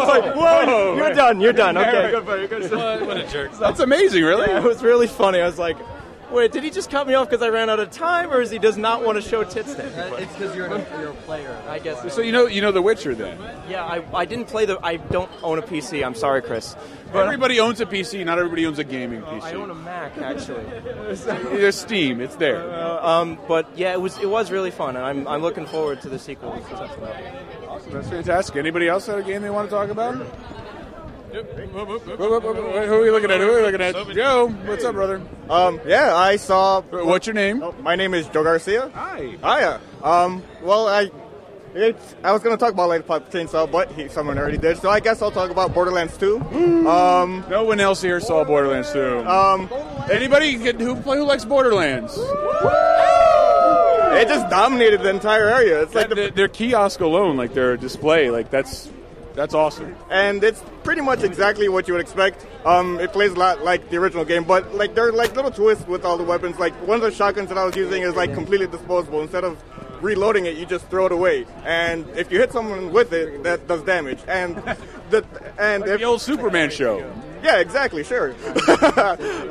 [SPEAKER 16] was like,
[SPEAKER 2] Oh,
[SPEAKER 16] whoa, you're done, you're done. Okay, good for you, good for you."
[SPEAKER 3] What a jerk.
[SPEAKER 2] That's amazing, really?
[SPEAKER 16] Yeah, it was really funny. I was like, wait, did he just cut me off because I ran out of time, or is he does not want to show tits to everybody?
[SPEAKER 9] It's because you're, a- you're a player.
[SPEAKER 16] I guess.
[SPEAKER 2] So you know, you know The Witcher then.
[SPEAKER 16] Yeah, I, I didn't play the. I don't own a PC. I'm sorry, Chris.
[SPEAKER 2] everybody owns a PC. Not everybody owns a gaming PC.
[SPEAKER 16] I own a Mac actually.
[SPEAKER 2] There's Steam. It's there.
[SPEAKER 16] Uh, um, but yeah, it was it was really fun, and I'm, I'm looking forward to the sequel.
[SPEAKER 2] Awesome. That's fantastic. Anybody else had a game they want to talk about? Who are we looking at? Who are we looking at? Joe, what's up, brother?
[SPEAKER 17] Um, yeah, I saw. What's
[SPEAKER 2] your name?
[SPEAKER 17] my name is Joe Garcia.
[SPEAKER 2] Hi.
[SPEAKER 17] Hiya. Um, well, I. It's, I was gonna talk about Lady Pop Chainsaw, but he, someone already did, so I guess I'll talk about Borderlands
[SPEAKER 2] Mm.
[SPEAKER 17] 2. Um,
[SPEAKER 2] no one else here saw Borderlands 2.
[SPEAKER 17] Um,
[SPEAKER 2] anybody get, who play who likes Borderlands?
[SPEAKER 17] It just dominated the entire area. It's
[SPEAKER 2] like the, their kiosk alone, like their display, like that's that's awesome.
[SPEAKER 17] and it's pretty much exactly what you would expect. Um, it plays a lot like the original game, but like there are like little twists with all the weapons. Like one of the shotguns that I was using is like completely disposable. Instead of reloading it, you just throw it away, and if you hit someone with it, that does damage. And the and if,
[SPEAKER 2] The old Superman show.
[SPEAKER 17] yeah, exactly, sure.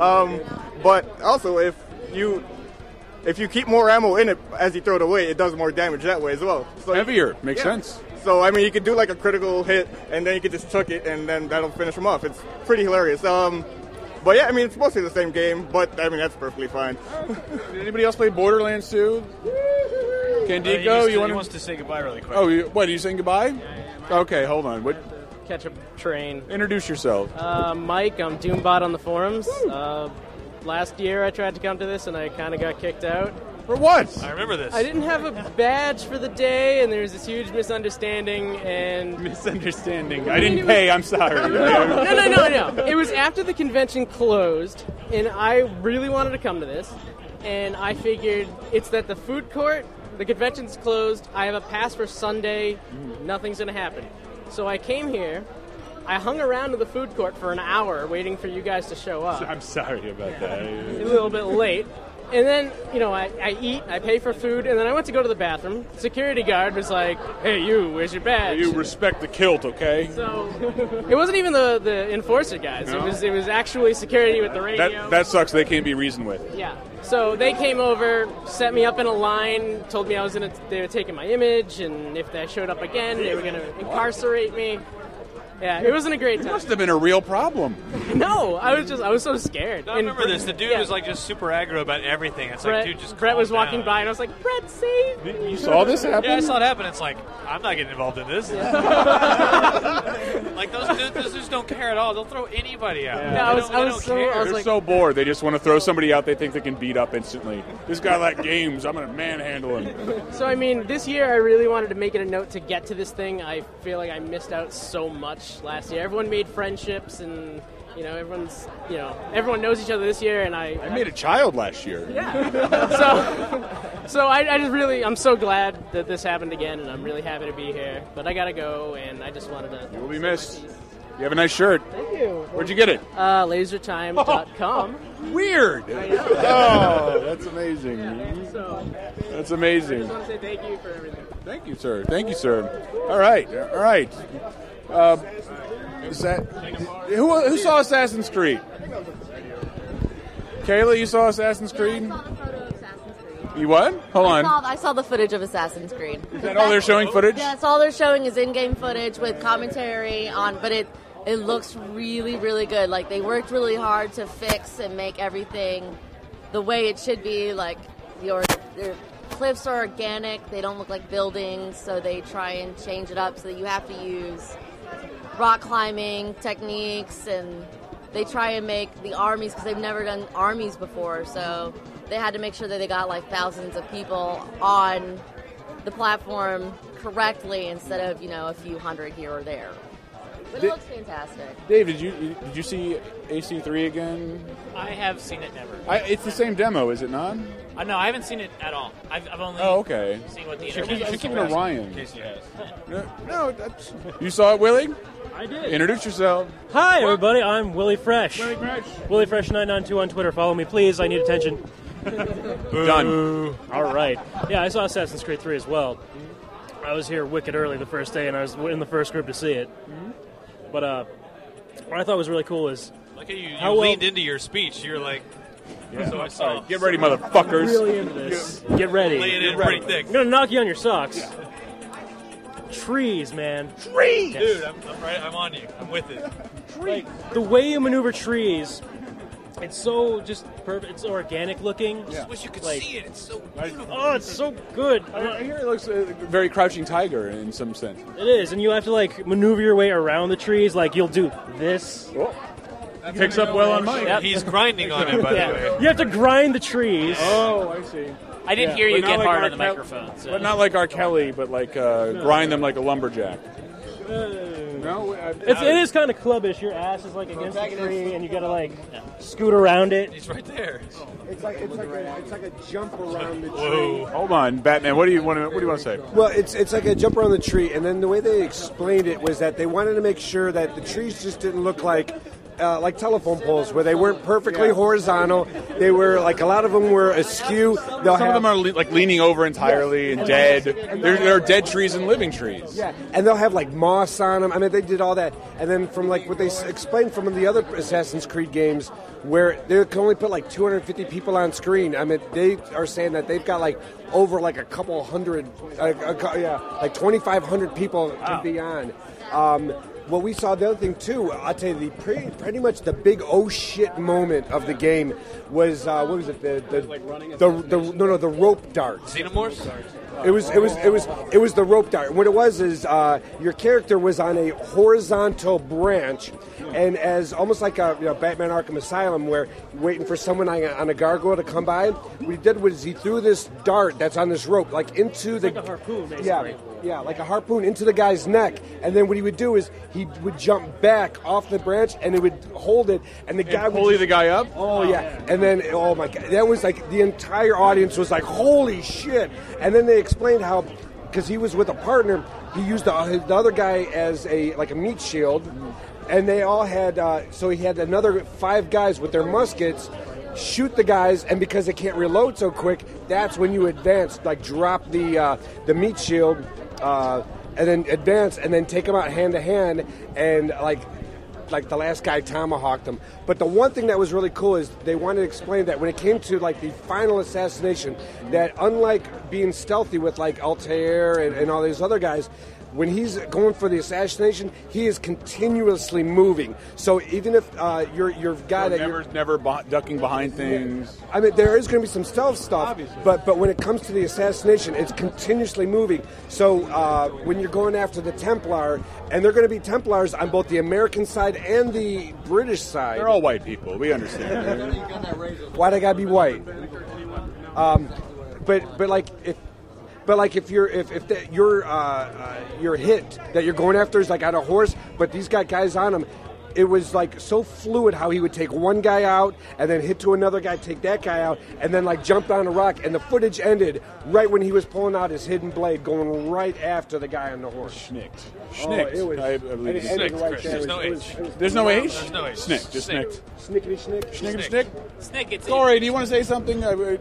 [SPEAKER 17] um, but also, if you if you keep more ammo in it as you throw it away, it does more damage that way as well. So
[SPEAKER 2] Heavier makes sense.
[SPEAKER 17] So I mean, you could do like a critical hit, and then you could just chuck it, and then that'll finish them off. It's pretty hilarious. Um, but yeah, I mean, it's mostly the same game, but I mean, that's perfectly fine.
[SPEAKER 2] Did anybody else play Borderlands 2?
[SPEAKER 3] Uh, he
[SPEAKER 2] Candico,
[SPEAKER 3] just-
[SPEAKER 2] you
[SPEAKER 3] he
[SPEAKER 2] want
[SPEAKER 3] wants to say goodbye really quick.
[SPEAKER 2] Oh, you, what are you saying goodbye? Okay, hold on. What?
[SPEAKER 18] catch a train.
[SPEAKER 2] Introduce yourself.
[SPEAKER 18] Uh, Mike, I'm Doombot on the forums.
[SPEAKER 2] Hmm.
[SPEAKER 18] Uh, last year I tried to come to this and I kind of got kicked out.
[SPEAKER 2] For what?
[SPEAKER 3] I remember this.
[SPEAKER 18] I didn't have a badge for the day, and there was this huge misunderstanding. And
[SPEAKER 2] misunderstanding. I didn't pay. I'm sorry.
[SPEAKER 18] no, no, no, no. It was after the convention closed, and I really wanted to come to this. And I figured it's that the food court, the convention's closed. I have a pass for Sunday.
[SPEAKER 2] Hmm.
[SPEAKER 18] Nothing's gonna happen. So I came here. I hung around to the food court for an hour, waiting for you guys to show up
[SPEAKER 2] I'm sorry about that.
[SPEAKER 18] a little bit late. And then, you know, I, I eat, I pay for food, and then I went to go to the bathroom. Security guard was like, hey, you, where's your badge?
[SPEAKER 2] You respect the kilt, okay?
[SPEAKER 18] So it wasn't even the, the enforcer guys. It
[SPEAKER 2] No.
[SPEAKER 18] was it was actually security with the radio.
[SPEAKER 2] That that sucks. They can't be reasoned with.
[SPEAKER 18] yeah. So they came over, set me up in a line, told me I was gonna they were taking my image, and if I showed up again, they were gonna incarcerate me. Yeah, it wasn't a great
[SPEAKER 2] It
[SPEAKER 18] time.
[SPEAKER 2] must have been a real problem.
[SPEAKER 18] No, I was just I was so scared.
[SPEAKER 3] I remember this. The dude was like just super aggro about everything. It's
[SPEAKER 18] Brett,
[SPEAKER 3] like, dude, just
[SPEAKER 18] Brett
[SPEAKER 3] calm
[SPEAKER 18] was walking
[SPEAKER 3] down.
[SPEAKER 18] by, and I was like, Brett, save me.
[SPEAKER 2] You saw this happen?
[SPEAKER 3] Yeah, I saw it happen. It's like I'm not getting involved in this. like those dudes, those dudes don't care at all. They'll throw anybody out.
[SPEAKER 18] No, I was, I was so, I was
[SPEAKER 2] They're
[SPEAKER 18] like,
[SPEAKER 2] so bored. They just want to throw somebody out they think they can beat up instantly. This guy like games. I'm gonna manhandle him.
[SPEAKER 18] so I mean, this year I really wanted to make it a note to get to this thing. I feel like I missed out so much last year. Everyone made friendships, and you know, everyone's, you know, everyone knows each other this year, and I,
[SPEAKER 2] I made a child last year.
[SPEAKER 18] so, so I, I just really, I'm so glad that this happened again, and I'm really happy to be here. But I gotta go, and I just wanted to.
[SPEAKER 2] You'll be missed. You have a nice shirt.
[SPEAKER 18] Thank you.
[SPEAKER 2] Where'd you get it?
[SPEAKER 18] Uh, lasertime.com.
[SPEAKER 2] Weird. Oh, that's amazing. That's
[SPEAKER 18] I
[SPEAKER 2] amazing.
[SPEAKER 18] just want to say thank you for everything.
[SPEAKER 2] Thank you, sir. Thank you, sir. All right. All right. Uh, is that who, who saw Assassin's Creed? Kayla, you saw Assassin's Creed. You what? Hold
[SPEAKER 11] I
[SPEAKER 2] on.
[SPEAKER 11] saw, I saw the footage of Assassin's Creed. Is
[SPEAKER 2] that all they're showing footage?
[SPEAKER 11] Yeah, that's all they're showing is in-game footage with commentary on, but it it looks really really good. Like they worked really hard to fix and make everything the way it should be. Like your your cliffs are organic; they don't look like buildings, so they try and change it up so that you have to use rock climbing techniques and they try and make the armies because they've never done armies before so they had to make sure that they got like thousands of people on the platform correctly instead of you know a few hundred here or there but it
[SPEAKER 2] Did-
[SPEAKER 11] looks fantastic
[SPEAKER 2] Dave, did you did you see AC3 again?
[SPEAKER 4] I have seen it never.
[SPEAKER 2] I, it's the same demo, is it not?
[SPEAKER 4] Uh, no, I haven't seen it at all. I've, I've only
[SPEAKER 2] Oh, okay.
[SPEAKER 4] seen what the
[SPEAKER 2] Should keep-
[SPEAKER 4] internet has
[SPEAKER 2] should keep
[SPEAKER 4] told
[SPEAKER 2] it to
[SPEAKER 4] us.
[SPEAKER 2] Ryan. No, no that's, you saw it, Willie?
[SPEAKER 9] I did.
[SPEAKER 2] Introduce yourself.
[SPEAKER 9] Hi, everybody. I'm Willie Fresh.
[SPEAKER 2] Willie Fresh.
[SPEAKER 9] Willie Fresh 992 on Twitter. Follow me, please. I need attention.
[SPEAKER 2] Done.
[SPEAKER 9] All right. Yeah, I saw Assassin's Creed 3 as well. I was here wicked early the first day, and I was in the first group to see it. But uh, what I thought was really cool is
[SPEAKER 3] Look at you. You
[SPEAKER 9] How well- Oh,
[SPEAKER 3] leaned into your speech. You're like, so I saw.
[SPEAKER 2] Get ready, motherfuckers.
[SPEAKER 9] Really into this. Get ready.
[SPEAKER 3] Lay it in
[SPEAKER 9] Get ready.
[SPEAKER 3] pretty thick.
[SPEAKER 9] I'm gonna knock you on your socks. Trees, man. Trees.
[SPEAKER 3] Dude, I'm, I'm right. I'm on you. I'm with it.
[SPEAKER 9] the way you maneuver trees, it's so just perfect. It's organic looking.
[SPEAKER 3] Just wish you could
[SPEAKER 9] Like-
[SPEAKER 3] see it. It's so beautiful.
[SPEAKER 9] Oh, it's so good.
[SPEAKER 2] I, I hear it looks uh, very Crouching Tiger in some sense.
[SPEAKER 9] It is, and you have to like maneuver your way around the trees. Like you'll do this.
[SPEAKER 5] Oh.
[SPEAKER 2] Picks up well on mine.
[SPEAKER 9] Yep.
[SPEAKER 3] He's grinding on it, by
[SPEAKER 9] Yeah.
[SPEAKER 3] the way.
[SPEAKER 9] You have to grind the trees.
[SPEAKER 2] Oh, I see.
[SPEAKER 4] I didn't
[SPEAKER 2] Yeah.
[SPEAKER 4] hear
[SPEAKER 2] But
[SPEAKER 4] you
[SPEAKER 2] not
[SPEAKER 4] get
[SPEAKER 2] like
[SPEAKER 4] hard
[SPEAKER 2] R.
[SPEAKER 4] on the
[SPEAKER 2] Kelly-
[SPEAKER 4] microphone. So.
[SPEAKER 2] But not like R. Kelly, but like uh, grind them like a lumberjack. No,
[SPEAKER 9] It's, it is kind of clubbish. Your ass is like against the tree, and you gotta like scoot around it.
[SPEAKER 3] He's right there.
[SPEAKER 5] It's like it's like a, it's like a jump around the tree.
[SPEAKER 2] Hold on, Batman. What do you want to? What do you want to say?
[SPEAKER 5] Well, it's it's like a jump around the tree, and then the way they explained it was that they wanted to make sure that the trees just didn't look like. Uh, like telephone poles, where they weren't perfectly horizontal. They were like a lot of them were askew. They'll
[SPEAKER 2] Some of
[SPEAKER 5] have-
[SPEAKER 2] them are le- like leaning over entirely and dead. There, there are dead trees and living trees.
[SPEAKER 5] Yeah, and they'll have like moss on them. I mean, they did all that, and then from like what they s- explained from the other Assassin's Creed games, where they can only put like 250 people on screen. I mean, they are saying that they've got like over like a couple hundred, like, a, cou- yeah, like 2,500 people
[SPEAKER 14] Wow.
[SPEAKER 5] to be on. Um, well, we saw the other thing too. I'll tell you, the pretty, pretty much the big oh shit moment of the game was uh, what was it? The the, the, the no no the rope dart.
[SPEAKER 3] Xenomorphs?
[SPEAKER 5] It was it was it was it was the rope dart. What it was is uh, your character was on a horizontal branch, and as almost like a you know, Batman Arkham Asylum, where you're waiting for someone on a, on a gargoyle to come by. What he did was he threw this dart that's on this rope like into the
[SPEAKER 9] like a harpoon, basically.
[SPEAKER 5] yeah yeah like a harpoon into the guy's neck, and then what he would do is he would jump back off the branch and he would hold it, and the guy would
[SPEAKER 2] pulley the guy up.
[SPEAKER 5] Oh yeah, and then oh my god, that was like the entire audience was like, "Holy shit!" And then they explained how, because he was with a partner, he used the, the other guy as a like a meat shield, and they all had. Uh, so he had another five guys with their muskets shoot the guys, and because they can't reload so quick, that's when you advance, like drop the uh, the meat shield. Uh, and then advance, and then take them out hand to hand, and like like the last guy tomahawked him. But the one thing that was really cool is they wanted to explain that when it came to like the final assassination, that unlike being stealthy with like Altair and, and all these other guys, when he's going for the assassination, he is continuously moving. So even if uh, your your guy that
[SPEAKER 2] never
[SPEAKER 5] you're,
[SPEAKER 2] never beh- ducking behind things.
[SPEAKER 5] I mean, there is going to be some stealth stuff, but but when it comes to the assassination, it's continuously moving. So uh, when you're going after the Templar, and they're going to be Templars on both the American side and the British side.
[SPEAKER 2] They're all white people. We understand.
[SPEAKER 5] Why would I gotta be white? Um, but but like if but like if you're if if that your uh, uh, your hit that you're going after is like on a horse, but these got guys on him. It was like so fluid how he would take one guy out and then hit to another guy, take that guy out, and then like jump on a rock. And the footage ended right when he was pulling out his hidden blade, going right after the guy on the horse.
[SPEAKER 2] Schnicked.
[SPEAKER 5] Oh, it was,
[SPEAKER 2] Schnicked. I- I believe
[SPEAKER 5] and it
[SPEAKER 2] it's
[SPEAKER 5] ended
[SPEAKER 2] schnicked,
[SPEAKER 5] right
[SPEAKER 2] Chris.
[SPEAKER 5] there.
[SPEAKER 2] There's
[SPEAKER 5] It
[SPEAKER 2] no
[SPEAKER 5] was- it was-
[SPEAKER 2] H.
[SPEAKER 5] it was-
[SPEAKER 2] There's no H? There's no H. Snick, just Snicked.
[SPEAKER 5] Snickety snick.
[SPEAKER 2] Snickety snick.
[SPEAKER 4] Snick. It's
[SPEAKER 2] Corey, do you want to say something? I- I-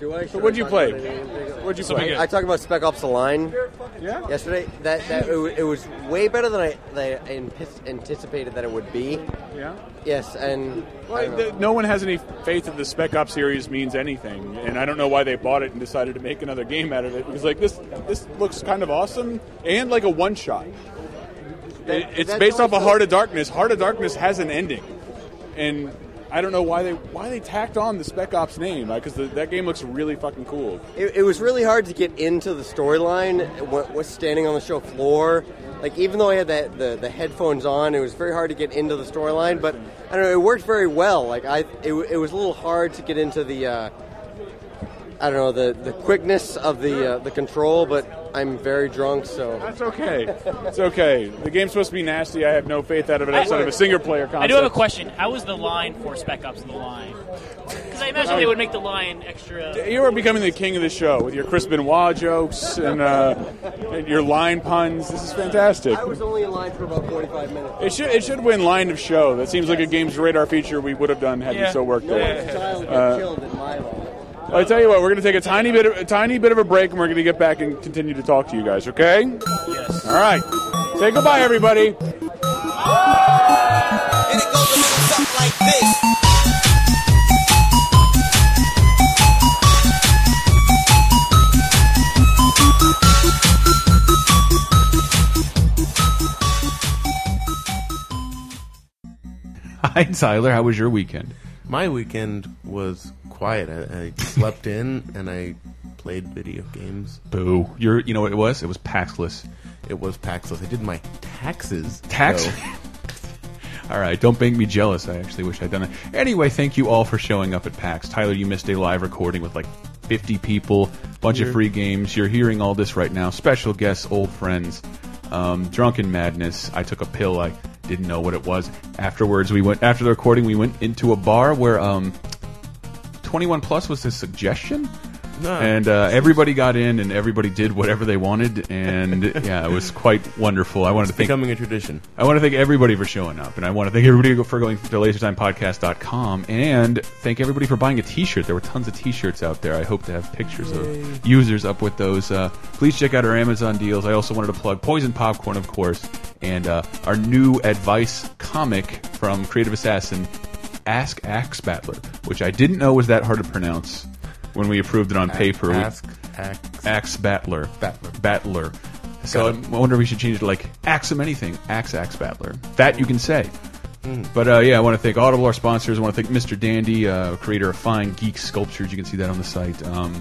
[SPEAKER 2] So what'd you play? What'd you play?
[SPEAKER 6] I, I talked about Spec Ops: The Line
[SPEAKER 2] Yeah.
[SPEAKER 6] yesterday. That that it, wa- it was way better than I, than I antis- anticipated that it would be.
[SPEAKER 2] Yeah.
[SPEAKER 6] Yes, and I
[SPEAKER 2] Well,
[SPEAKER 6] don't
[SPEAKER 2] the, no one has any faith that the Spec Ops series means anything, and I don't know why they bought it and decided to make another game out of it. Because like this, this looks kind of awesome and like a one shot. It, it's
[SPEAKER 6] that's
[SPEAKER 2] based off
[SPEAKER 6] always
[SPEAKER 2] of
[SPEAKER 6] the-
[SPEAKER 2] Heart of Darkness. Heart of Darkness has an ending, and I don't know why they why they tacked on the Spec Ops name because that game looks really fucking cool.
[SPEAKER 6] It, it was really hard to get into the storyline. What was standing on the show floor, like even though I had that the, the headphones on, it was very hard to get into the storyline. But I don't know, it worked very well. Like I, it, w- it was a little hard to get into the, uh, I don't know, the, the quickness of the uh, the control. But I'm very drunk, so
[SPEAKER 2] That's okay. It's okay. The game's supposed to be nasty. I have no faith out of it
[SPEAKER 4] I-
[SPEAKER 2] outside of a single player concept.
[SPEAKER 4] I do have a question. How was the line for Spec Ops the line? Because I imagine they would make the line extra.
[SPEAKER 2] You are becoming the king of the show with your Chris Benoit jokes and, uh, and your line puns. This is fantastic.
[SPEAKER 6] I was only in line for about 45 minutes.
[SPEAKER 2] It should it should win line of show. That seems like a game's radar feature we would have done had
[SPEAKER 6] Yeah.
[SPEAKER 2] we so worked Uh,
[SPEAKER 6] No
[SPEAKER 2] on
[SPEAKER 6] one's
[SPEAKER 2] it.
[SPEAKER 6] child got killed in my line.
[SPEAKER 2] well, I tell you what, we're going to take a tiny bit of, a tiny bit of a break, and we're going to get back and continue to talk to you guys. Okay? Yes. All right. Say goodbye, everybody.
[SPEAKER 14] Hi, Tyler. How was your weekend?
[SPEAKER 19] My weekend was quiet. I, I slept in and I played video games.
[SPEAKER 14] Boo. You're, you know what it was? It was Paxless.
[SPEAKER 19] It was Paxless. I did my taxes.
[SPEAKER 14] Tax.
[SPEAKER 19] so-
[SPEAKER 14] all right. Don't make me jealous. I actually wish I'd done that. Anyway, thank you all for showing up at PAX. Tyler, you missed a live recording with like 50 people, bunch of
[SPEAKER 19] Yeah.
[SPEAKER 14] free games. You're hearing all this right now. Special guests, old friends, um, drunken madness. I took a pill. I didn't know what it was. Afterwards, we went after the recording. We went into a bar where um, 21 plus was his suggestion.
[SPEAKER 19] No.
[SPEAKER 14] And uh, everybody got in, and everybody did whatever they wanted, and yeah, it was quite wonderful. I wanted to thank
[SPEAKER 19] becoming a tradition.
[SPEAKER 14] I want to thank everybody for showing up, and I want to thank everybody for going to LaserTimePodcast.com, and thank everybody for buying a T-shirt. There were tons of T-shirts out there. I hope to have pictures of users up with those. Uh, please check out our Amazon deals. I also wanted to plug Poison Popcorn, of course, and uh, our new advice comic from Creative Assassin, Ask Axe Battler, which I didn't know was that hard to pronounce when we approved it on paper. We-
[SPEAKER 19] Ask Axe.
[SPEAKER 14] Axe Battler. Battler. Battler. So I wonder if we should change it to like Axe him anything. Axe Axe Battler. That you can say. But uh, yeah, I want to thank Audible, our sponsors. I want to thank Mr. Dandy, uh, creator of fine geek sculptures. You can see that on the site. Um,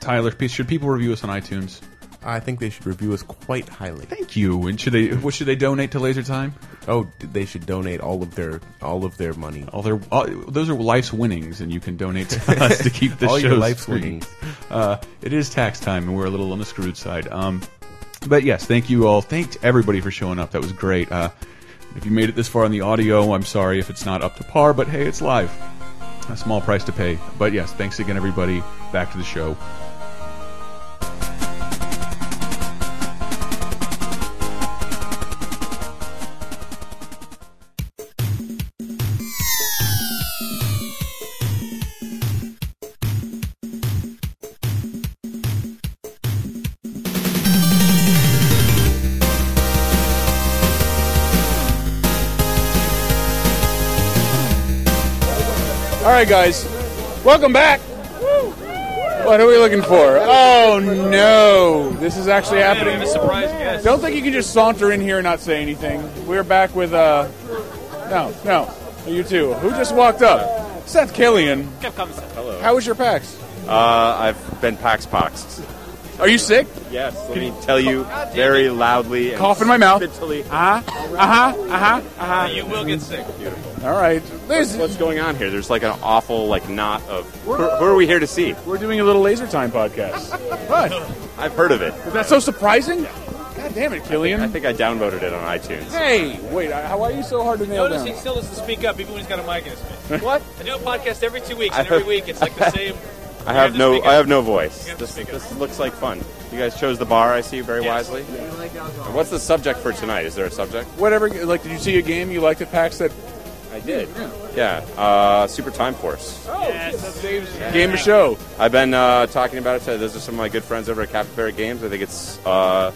[SPEAKER 14] Tyler, pe- should people review us on iTunes?
[SPEAKER 19] I think they should review us quite highly.
[SPEAKER 14] Thank you. And should they? What should they donate to Laser Time?
[SPEAKER 19] Oh, they should donate all of their all of their money.
[SPEAKER 14] All their all, those are life's winnings, and you can donate to us to keep the
[SPEAKER 19] All
[SPEAKER 14] show
[SPEAKER 19] your life's
[SPEAKER 14] free.
[SPEAKER 19] winnings.
[SPEAKER 14] Uh, it is tax time, and we're a little on the screwed side. Um, but yes, thank you all. Thank everybody for showing up. That was great. Uh, if you made it this far on the audio, I'm sorry if it's not up to par, but hey, it's live. A small price to pay. But yes, thanks again, everybody. Back to the show.
[SPEAKER 2] All right, guys, welcome back. What are we looking for? Oh no, this is
[SPEAKER 20] Oh,
[SPEAKER 2] actually happening. Don't think you can just saunter in here and not say anything. We're back with uh, no, no, you too. Who just walked up? Seth Killian.
[SPEAKER 20] Hello.
[SPEAKER 2] How was your PAX?
[SPEAKER 20] Uh, I've been pax poxed.
[SPEAKER 2] Are you sick?
[SPEAKER 20] Yes. Let me tell you very loudly. And
[SPEAKER 2] Cough in my mouth.
[SPEAKER 20] spitefully-
[SPEAKER 2] Uh huh. Uh huh. Uh huh. Uh huh.
[SPEAKER 20] You will get sick. Beautiful.
[SPEAKER 2] All right.
[SPEAKER 20] What's, what's going on here? There's like an awful like knot of. Who, who are we here to see?
[SPEAKER 2] We're doing a little laser time podcast. uh-huh. What?
[SPEAKER 20] I've heard of it.
[SPEAKER 2] Is that so surprising? God damn it, Killian.
[SPEAKER 20] I think I downloaded it on iTunes.
[SPEAKER 2] Hey, wait. I- How are you so hard to nail
[SPEAKER 3] Notice
[SPEAKER 2] down?
[SPEAKER 3] he still doesn't speak up, even when he's got a mic in his face.
[SPEAKER 2] What?
[SPEAKER 3] I do a podcast every two weeks,
[SPEAKER 20] I
[SPEAKER 3] and every
[SPEAKER 20] have-
[SPEAKER 3] week it's like the same.
[SPEAKER 20] I have
[SPEAKER 3] to
[SPEAKER 20] no.
[SPEAKER 3] speak up.
[SPEAKER 20] I have no voice.
[SPEAKER 3] You have to
[SPEAKER 20] This,
[SPEAKER 3] speak up.
[SPEAKER 20] this looks like fun. You guys chose the bar. I see very
[SPEAKER 3] Yes.
[SPEAKER 20] wisely. And What's the subject for tonight? Is there a subject?
[SPEAKER 2] Whatever. Like, did you see a game you liked at PAX that?
[SPEAKER 20] I did. Yeah. Uh, Super Time Force.
[SPEAKER 2] Game of show.
[SPEAKER 20] I've been uh, talking about it today. Those are some of my good friends over at Capybara Games. I think it's uh,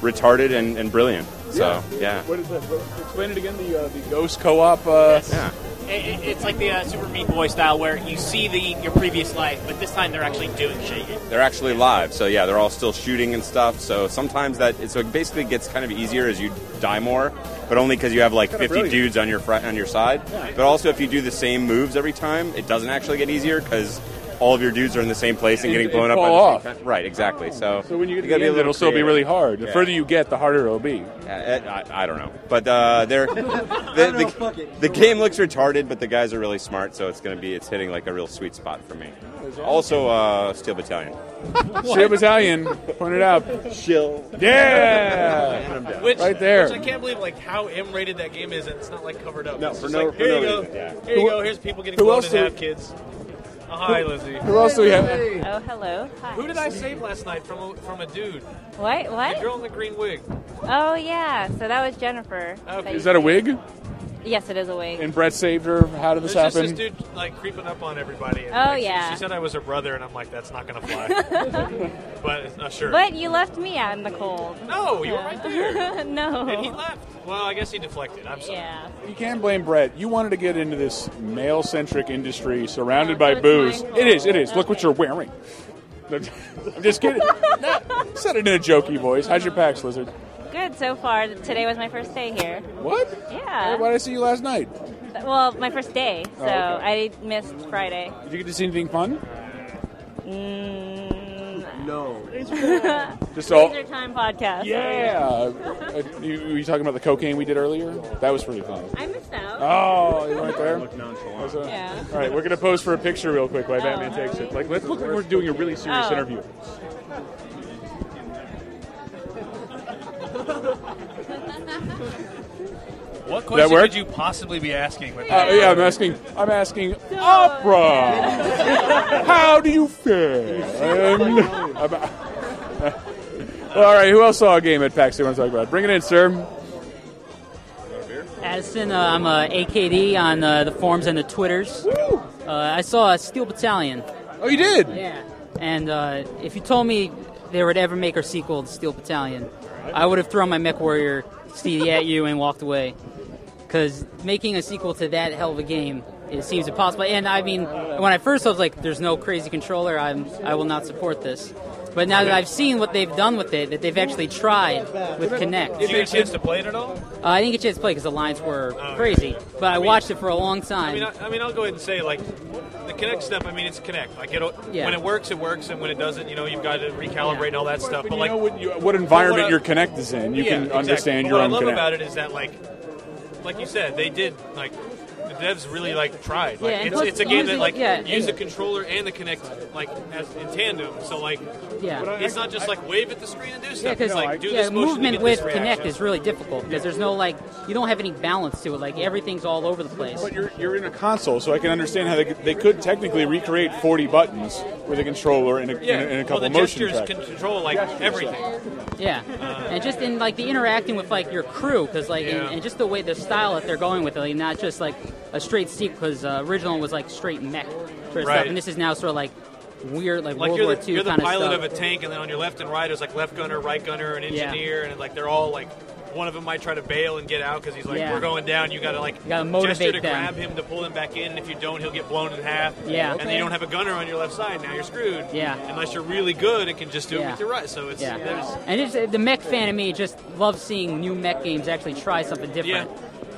[SPEAKER 20] retarded and, and brilliant. So, yeah.
[SPEAKER 2] What is that? Explain it again. The uh, the ghost co-op. Uh,
[SPEAKER 20] Yeah.
[SPEAKER 4] It, it, it's like the uh, Super Meat Boy style, where you see the your previous life, but this time they're actually doing shit.
[SPEAKER 20] They're actually live, so yeah, they're all still shooting and stuff. So sometimes that so it basically gets kind of easier as you die more, but only because you have like
[SPEAKER 2] Kinda
[SPEAKER 20] 50
[SPEAKER 2] brilliant.
[SPEAKER 20] dudes on your fr- on your side.
[SPEAKER 2] Yeah.
[SPEAKER 20] But also if you do the same moves every time, it doesn't actually get easier because all of your dudes are in the same place and
[SPEAKER 2] It-
[SPEAKER 20] getting
[SPEAKER 2] it
[SPEAKER 20] blown up.
[SPEAKER 2] fall
[SPEAKER 20] by the
[SPEAKER 2] off.
[SPEAKER 20] same kind- Right, exactly. So
[SPEAKER 2] So when you get to
[SPEAKER 20] gotta
[SPEAKER 2] the end, it'll still be
[SPEAKER 20] creative.
[SPEAKER 2] really hard. The
[SPEAKER 20] Yeah.
[SPEAKER 2] further you get, the harder it'll be.
[SPEAKER 20] I, I, I don't know, but uh, they're the, the, the game looks retarded, but the guys are really smart, so it's going to be it's hitting like a real sweet spot for me. Also, uh, Steel Battalion.
[SPEAKER 2] Shill Battalion, point it out.
[SPEAKER 20] Shill.
[SPEAKER 2] Yeah.
[SPEAKER 3] Which,
[SPEAKER 2] right there.
[SPEAKER 3] Which I can't believe like how M rated that game is, and it's not like covered up.
[SPEAKER 20] No,
[SPEAKER 3] it's
[SPEAKER 20] for
[SPEAKER 3] just
[SPEAKER 20] no-
[SPEAKER 3] like,
[SPEAKER 20] for
[SPEAKER 3] here
[SPEAKER 20] no
[SPEAKER 3] you go.
[SPEAKER 20] reason, yeah.
[SPEAKER 3] Here you go. Here's people getting
[SPEAKER 2] Who
[SPEAKER 3] blown
[SPEAKER 2] else
[SPEAKER 3] and
[SPEAKER 2] do we-
[SPEAKER 3] have kids. Oh, hi,
[SPEAKER 2] Who-
[SPEAKER 3] Lizzie.
[SPEAKER 2] who else do we have?
[SPEAKER 21] Oh, hello. Hi.
[SPEAKER 3] Who did I save last night from a, from a dude?
[SPEAKER 21] What? What?
[SPEAKER 3] The girl in the green wig.
[SPEAKER 21] Oh, yeah. So that was Jennifer.
[SPEAKER 3] Oh,
[SPEAKER 21] Okay.
[SPEAKER 2] Is that a wig?
[SPEAKER 21] Yes, it is a wig.
[SPEAKER 2] And Brett saved her. How did this
[SPEAKER 3] There's just
[SPEAKER 2] happen?
[SPEAKER 3] this dude like creeping up on everybody. And,
[SPEAKER 21] Oh,
[SPEAKER 3] like, she-
[SPEAKER 21] yeah.
[SPEAKER 3] She, said I was her brother, and I'm like, that's not gonna fly. but uh, sure.
[SPEAKER 21] But you left me out in the cold.
[SPEAKER 3] No, you were right there.
[SPEAKER 21] no.
[SPEAKER 3] And he left. Well, I guess he deflected. I'm sorry.
[SPEAKER 21] Yeah.
[SPEAKER 2] You can't blame Brett. You wanted to get into this male centric industry surrounded by
[SPEAKER 21] so it's
[SPEAKER 2] booze.
[SPEAKER 21] my fault.
[SPEAKER 2] It is, it is. Look what you're wearing. I'm just kidding. Said it in a jokey voice. How's your PAX, Lizard?
[SPEAKER 21] Good so far. Today was my first day here.
[SPEAKER 2] What?
[SPEAKER 21] Yeah.
[SPEAKER 2] Why did I see you last night?
[SPEAKER 21] Well, my first day, so
[SPEAKER 2] Oh, okay.
[SPEAKER 21] I missed Friday.
[SPEAKER 2] Did you get to see anything fun?
[SPEAKER 21] Mm, No.
[SPEAKER 2] Just all-
[SPEAKER 21] Laser time podcast.
[SPEAKER 2] Yeah. Uh, you, were you talking about the cocaine we did earlier? That was pretty fun.
[SPEAKER 21] I missed out.
[SPEAKER 2] Oh, you weren't there?
[SPEAKER 20] nonchalant.
[SPEAKER 21] Yeah.
[SPEAKER 2] All right, we're going to pose for a picture real quick while Batman takes it. Like, let's look like we're doing a really serious
[SPEAKER 21] Oh.
[SPEAKER 2] interview.
[SPEAKER 3] What
[SPEAKER 2] question
[SPEAKER 3] question
[SPEAKER 2] work?
[SPEAKER 3] could you possibly be asking? With
[SPEAKER 2] Uh, yeah, I'm asking. I'm asking opera. How do you fare? Um, I'm- Well, all right. Who else saw a game at PAX? They want to talk about. Bring it in, sir.
[SPEAKER 22] Addison, uh, I'm uh, AKD on uh, the forums and the Twitters. Uh, I saw a Steel Battalion.
[SPEAKER 2] Oh, you did?
[SPEAKER 22] Yeah. And uh, if you told me they would ever make a sequel to Steel Battalion, I would have thrown my Mech Warrior CD at you and walked away. Because making a sequel to that hell of a game, it seems impossible. And I mean, when I first was like, "There's no crazy controller," I'm I will not support this. But now that I've seen what they've done with it, that they've actually tried with Kinect.
[SPEAKER 3] Did you get a chance to play it at all? Oh,
[SPEAKER 22] Uh, I didn't get a chance to play because the lines were
[SPEAKER 3] okay.
[SPEAKER 22] crazy, but I,
[SPEAKER 3] I mean-
[SPEAKER 22] watched it for a long
[SPEAKER 3] I
[SPEAKER 22] time.
[SPEAKER 3] mean, I, I mean, I'll go ahead and say like the Kinect stuff. I mean, it's Kinect. Like it,
[SPEAKER 2] Yeah.
[SPEAKER 3] when it works, it works, and when it doesn't, you know, you've got to recalibrate and all that stuff. But,
[SPEAKER 2] you
[SPEAKER 3] like,
[SPEAKER 2] know what, you-
[SPEAKER 3] but
[SPEAKER 2] what environment
[SPEAKER 3] I-
[SPEAKER 2] your Kinect is in, you
[SPEAKER 3] Yeah,
[SPEAKER 2] can
[SPEAKER 3] exactly.
[SPEAKER 2] understand
[SPEAKER 3] But
[SPEAKER 2] your
[SPEAKER 3] what
[SPEAKER 2] own.
[SPEAKER 3] I love
[SPEAKER 2] Kinect.
[SPEAKER 3] about it is that, like, like you said, they did like the devs really like tried. Like,
[SPEAKER 1] Yeah, and
[SPEAKER 3] it's,
[SPEAKER 1] plus
[SPEAKER 3] it's a game
[SPEAKER 1] using-
[SPEAKER 3] that like
[SPEAKER 1] yeah,
[SPEAKER 3] use the
[SPEAKER 1] and-
[SPEAKER 3] controller and the Kinect like as in tandem. So like,
[SPEAKER 22] Yeah. But I-
[SPEAKER 3] it's not just like wave at the screen and do stuff.
[SPEAKER 22] Yeah, because
[SPEAKER 3] it's like do
[SPEAKER 22] yeah,
[SPEAKER 3] this motion to
[SPEAKER 22] movement
[SPEAKER 3] get
[SPEAKER 22] with
[SPEAKER 3] this reaction.
[SPEAKER 22] Connect is really difficult because there's no like you don't have any balance to it. Like everything's all over the place. But
[SPEAKER 2] you're, you're in a console, so I can understand how they could, they could technically recreate 40 buttons with a controller and a,
[SPEAKER 22] Yeah,
[SPEAKER 2] and a, and a
[SPEAKER 22] well,
[SPEAKER 2] couple
[SPEAKER 22] the
[SPEAKER 2] motion
[SPEAKER 22] gestures
[SPEAKER 2] tracks.
[SPEAKER 3] can control like everything.
[SPEAKER 22] Yeah, and just in like the interacting with like your crew, because like
[SPEAKER 3] Yeah.
[SPEAKER 22] and, and just the way the style that they're going with it, like, not just like a straight sequel. Because uh, original was like straight mech sort of stuff,
[SPEAKER 3] Right.
[SPEAKER 22] and this is now sort of like weird like,
[SPEAKER 3] Like
[SPEAKER 22] World
[SPEAKER 3] you're
[SPEAKER 22] War
[SPEAKER 3] the,
[SPEAKER 22] II
[SPEAKER 3] you're the
[SPEAKER 22] kind
[SPEAKER 3] pilot
[SPEAKER 22] stuff.
[SPEAKER 3] of a tank, and then on your left and right is like left gunner, right gunner, and
[SPEAKER 22] Yeah.
[SPEAKER 3] engineer, and like they're all like one of them might try to bail and get out because he's like
[SPEAKER 22] Yeah.
[SPEAKER 3] we're going down. You got to like
[SPEAKER 22] You gotta motivate
[SPEAKER 3] gesture to
[SPEAKER 22] them.
[SPEAKER 3] grab him to pull him back in. and If you don't, he'll get blown in half.
[SPEAKER 22] Yeah.
[SPEAKER 3] and then
[SPEAKER 22] Okay.
[SPEAKER 3] you don't have a gunner on your left side. Now you're screwed.
[SPEAKER 22] Yeah.
[SPEAKER 3] unless you're really good and can just do it
[SPEAKER 22] Yeah.
[SPEAKER 3] with your right. So it's
[SPEAKER 22] yeah,
[SPEAKER 3] there's
[SPEAKER 22] and it's, uh, the mech fan in me just loves seeing new mech games actually try something different.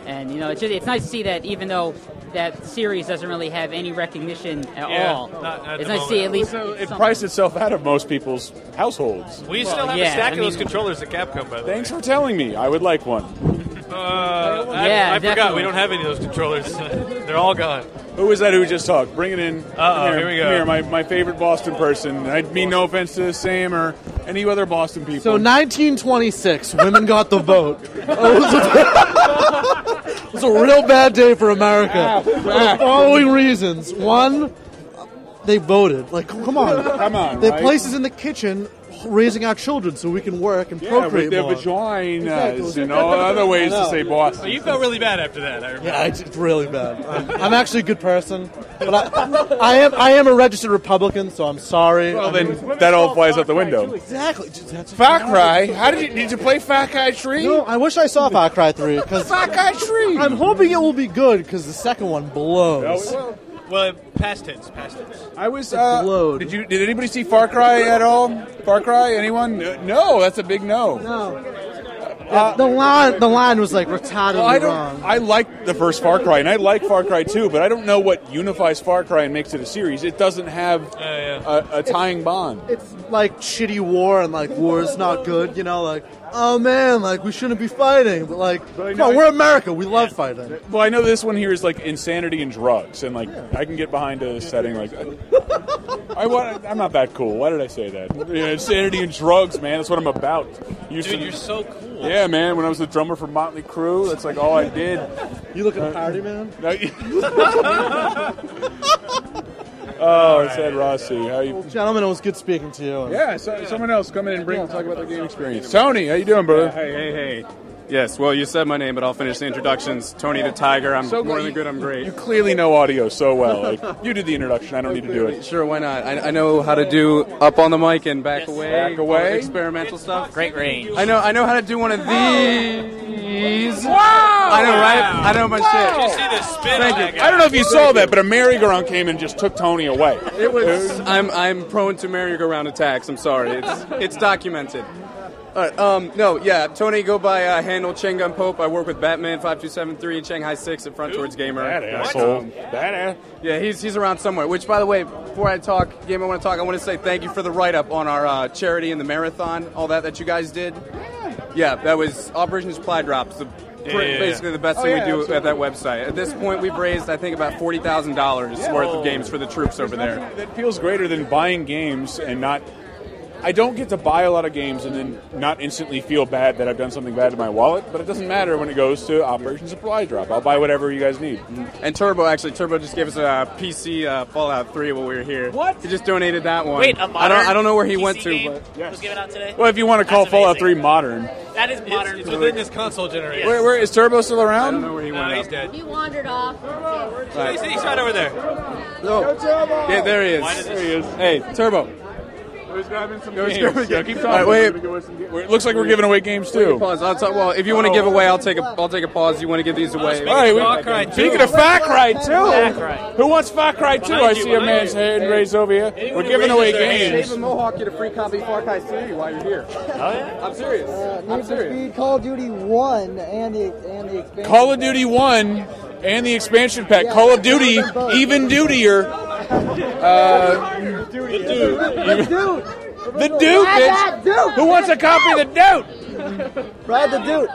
[SPEAKER 22] And you know, it's just, it's nice to see that even though that series doesn't really have any recognition at
[SPEAKER 3] Yeah,
[SPEAKER 22] all,
[SPEAKER 3] not at
[SPEAKER 22] it's
[SPEAKER 3] the
[SPEAKER 22] nice to see at
[SPEAKER 3] moment.
[SPEAKER 22] least
[SPEAKER 3] So
[SPEAKER 2] It
[SPEAKER 22] something.
[SPEAKER 2] priced itself out of most people's households.
[SPEAKER 3] we still have
[SPEAKER 22] yeah,
[SPEAKER 3] a stack
[SPEAKER 22] I
[SPEAKER 3] of those
[SPEAKER 22] mean-
[SPEAKER 3] controllers at Capcom. By the
[SPEAKER 2] Thanks for telling me. I would like one.
[SPEAKER 3] way, uh, I,
[SPEAKER 22] Yeah,
[SPEAKER 3] I forgot
[SPEAKER 22] definitely.
[SPEAKER 3] we don't have any of those controllers. They're all gone.
[SPEAKER 2] Who was that who just talked? Bring it in.
[SPEAKER 3] Uh-oh,
[SPEAKER 2] Come
[SPEAKER 3] here we go.
[SPEAKER 2] Come here, my, my favorite Boston person. I mean no offense to Sam or any other Boston people.
[SPEAKER 1] So 1926, women got the vote. Oh, it, was a, it was a real bad day for America. For the following reasons: one, they voted. Like, come on,
[SPEAKER 2] Come on,
[SPEAKER 1] Their
[SPEAKER 2] right?
[SPEAKER 1] places in the kitchen raising our children so we can work and
[SPEAKER 2] yeah,
[SPEAKER 1] procreate
[SPEAKER 2] with their
[SPEAKER 1] more.
[SPEAKER 2] vaginas
[SPEAKER 1] Exactly.
[SPEAKER 2] and all other ways
[SPEAKER 1] I
[SPEAKER 2] to
[SPEAKER 1] know.
[SPEAKER 2] say Boston.
[SPEAKER 3] But you felt really bad after that. I remember.
[SPEAKER 1] Yeah, it's it's really bad. I'm, I'm actually a good person, but I, I am I am a registered Republican, so I'm sorry.
[SPEAKER 2] Well,
[SPEAKER 1] I
[SPEAKER 2] then
[SPEAKER 1] mean-
[SPEAKER 2] that all flies out the window.
[SPEAKER 1] Exactly. That's
[SPEAKER 2] Far Cry. How did you did you play Far Cry Three?
[SPEAKER 1] No, I wish I saw Far Cry 3 because
[SPEAKER 2] Far Cry 3.
[SPEAKER 1] I'm hoping it will be good because the second one blows.
[SPEAKER 3] Well, past tense, past tense.
[SPEAKER 2] I was. Uh, did you? Did anybody see Far Cry at all? Far Cry? Anyone? Uh, No, that's a big no. Uh,
[SPEAKER 1] No. the line the line was like retardedly
[SPEAKER 2] Well, I
[SPEAKER 1] wrong.
[SPEAKER 2] don't. I like the first Far Cry, and I like Far Cry 2, but I don't know what unifies Far Cry and makes it a series. It doesn't have a, a tying bond.
[SPEAKER 1] It's like shitty war and like war is not good, you know, like oh man, like we shouldn't be fighting, but like come on, we're America, we love fighting.
[SPEAKER 2] Well, I know this one here is like insanity and drugs, and like I can get behind a setting like that. I want. I'm not that cool. Why did I say that? Yeah, insanity and drugs, man. That's what I'm about. Used
[SPEAKER 3] Dude,
[SPEAKER 2] to-
[SPEAKER 3] you're so cool.
[SPEAKER 2] Yeah, man. When I was the drummer for Motley Crue, that's like all I did. Uh,
[SPEAKER 1] You look at party Uh, man.
[SPEAKER 2] Oh, it's Ed Rossi. How you?
[SPEAKER 1] Gentlemen, it was good speaking to you.
[SPEAKER 2] Yeah, so, someone else come in and bring talk about their game experience. Tony, how you doing, brother?
[SPEAKER 23] hey, hey, hey. Yes, well, you said my name, but I'll finish the introductions. Tony the Tiger. I'm
[SPEAKER 2] So
[SPEAKER 23] more
[SPEAKER 2] good.
[SPEAKER 23] than good. I'm great.
[SPEAKER 2] You clearly know audio so well. Like, you did the introduction. I don't need to do it.
[SPEAKER 23] Sure, why not? I, I know how to do up on the mic and back away.
[SPEAKER 2] Back away.
[SPEAKER 23] Experimental stuff.
[SPEAKER 4] Great range.
[SPEAKER 23] I know. I know how to do one of these.
[SPEAKER 4] Wow!
[SPEAKER 23] I know, right? I know my shit.
[SPEAKER 3] Did you see the spin?
[SPEAKER 23] Thank
[SPEAKER 3] on
[SPEAKER 23] you.
[SPEAKER 3] that guy?
[SPEAKER 2] I don't know if you saw that, but a merry-go-round came and just took Tony away.
[SPEAKER 23] It was. I'm I'm prone to merry-go-round attacks. I'm sorry. It's it's documented. All right. Um. No. Yeah. Tony, go by uh, handle Chengun Pope. I work with Batman five two seven three and Shanghai six at Front Towards Gamer.
[SPEAKER 2] That
[SPEAKER 23] Dot
[SPEAKER 2] asshole.
[SPEAKER 23] com.
[SPEAKER 2] That ass.
[SPEAKER 23] Yeah. He's he's around somewhere. Which, by the way, before I talk, game I want to talk. I want to say thank you for the write-up on our uh, charity and the marathon, all that that you guys did. Yeah. That was Operation Supply Drops. The, Yeah, yeah, yeah. Basically, the best Oh, thing we yeah, do at that absolutely. website. At this point, we've raised, I think, about forty thousand dollars
[SPEAKER 2] Yeah.
[SPEAKER 23] worth of games for the troops over there.
[SPEAKER 2] That feels greater than buying games and not. I don't get to buy a lot of games and then not instantly feel bad that I've done something bad to my wallet, but it doesn't matter when it goes to Operation Supply Drop. I'll buy whatever you guys need.
[SPEAKER 23] And Turbo, actually, Turbo just gave us a PC uh, Fallout 3 while we were here. What? He just donated that one.
[SPEAKER 4] Wait, a
[SPEAKER 23] I
[SPEAKER 4] modern
[SPEAKER 23] don't, I don't know where he
[SPEAKER 4] PC
[SPEAKER 23] went to,
[SPEAKER 4] game
[SPEAKER 23] but
[SPEAKER 4] was given out today.
[SPEAKER 2] Well, if you want to call
[SPEAKER 4] That's
[SPEAKER 2] Fallout
[SPEAKER 4] amazing.
[SPEAKER 2] 3 modern.
[SPEAKER 4] That is modern.
[SPEAKER 3] It's within this console generation.
[SPEAKER 2] Where, where is Turbo still around? I don't
[SPEAKER 23] know where he
[SPEAKER 3] No, he's dead.
[SPEAKER 11] He wandered off.
[SPEAKER 3] He's, he's right over there.
[SPEAKER 23] No. Yeah, there he
[SPEAKER 3] Why does
[SPEAKER 23] is.
[SPEAKER 3] it-
[SPEAKER 23] Hey, Turbo.
[SPEAKER 2] Who's grabbing some
[SPEAKER 23] Go, go, go.
[SPEAKER 2] Yeah, keep talking.
[SPEAKER 23] All right, wait.
[SPEAKER 2] It looks like we're giving away games
[SPEAKER 23] Wait,
[SPEAKER 2] too.
[SPEAKER 23] Pause. I'll talk, well, if you want to give away, I'll take a I'll take a pause. You want to give these away?
[SPEAKER 2] All right, we- speaking of Far Cry 2, who wants Far Cry 2? I
[SPEAKER 23] Behind you,
[SPEAKER 2] see a
[SPEAKER 23] behind
[SPEAKER 2] man's
[SPEAKER 23] you.
[SPEAKER 2] hand
[SPEAKER 23] Hey.
[SPEAKER 2] raised over here. We're giving away games. Oh,
[SPEAKER 19] Shave a mohawk, get a free copy of Far Cry 3 while you're here. I'm serious.
[SPEAKER 7] Uh, Need
[SPEAKER 19] I'm
[SPEAKER 7] for
[SPEAKER 19] serious.
[SPEAKER 7] Speed, Call of Duty One, and the and the expansion.
[SPEAKER 2] Call of Duty 1 and the expansion pack. Call of Duty, even dutier. Uh, the Duke. The
[SPEAKER 7] Duke.
[SPEAKER 2] The Duke,
[SPEAKER 7] Ride that
[SPEAKER 2] bitch.
[SPEAKER 7] Duke.
[SPEAKER 2] Who wants a copy of the Duke?
[SPEAKER 7] Ride the dude.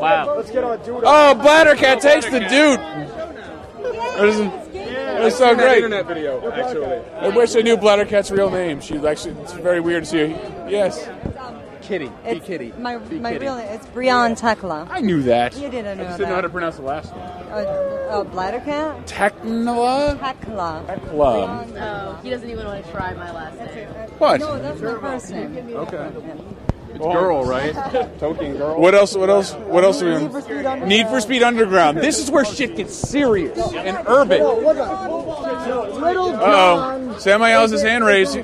[SPEAKER 7] Wow. Let's get on dude.
[SPEAKER 2] Oh, Bladdercat takes the Dude. That's so
[SPEAKER 23] I've seen that
[SPEAKER 2] great.
[SPEAKER 23] internet video, actually.
[SPEAKER 2] I wish I knew Bladdercat's real name. She's actually, it's very weird to see her. Yes.
[SPEAKER 23] Kitty. Be Kitty.
[SPEAKER 8] My, my
[SPEAKER 23] kitty.
[SPEAKER 8] real name it's Brian Tekla.
[SPEAKER 2] I knew that.
[SPEAKER 8] You didn't know
[SPEAKER 23] I just
[SPEAKER 8] that.
[SPEAKER 23] didn't know how to pronounce the last name.
[SPEAKER 8] uh, uh, bladder cat.
[SPEAKER 2] Tekla.
[SPEAKER 8] Tekla.
[SPEAKER 2] Tekla.
[SPEAKER 11] Oh, he doesn't even want to try my last name.
[SPEAKER 2] What?
[SPEAKER 8] No, that's my first name.
[SPEAKER 23] Okay. It's girl, right? Token girl.
[SPEAKER 2] What else? What else? What else are we
[SPEAKER 8] Need for Speed Underground.
[SPEAKER 2] on? Need for Speed Underground. This is where shit gets serious and urban.
[SPEAKER 7] Whoa, what the- Little John.
[SPEAKER 2] Uh-oh. Samuel has his hand raised.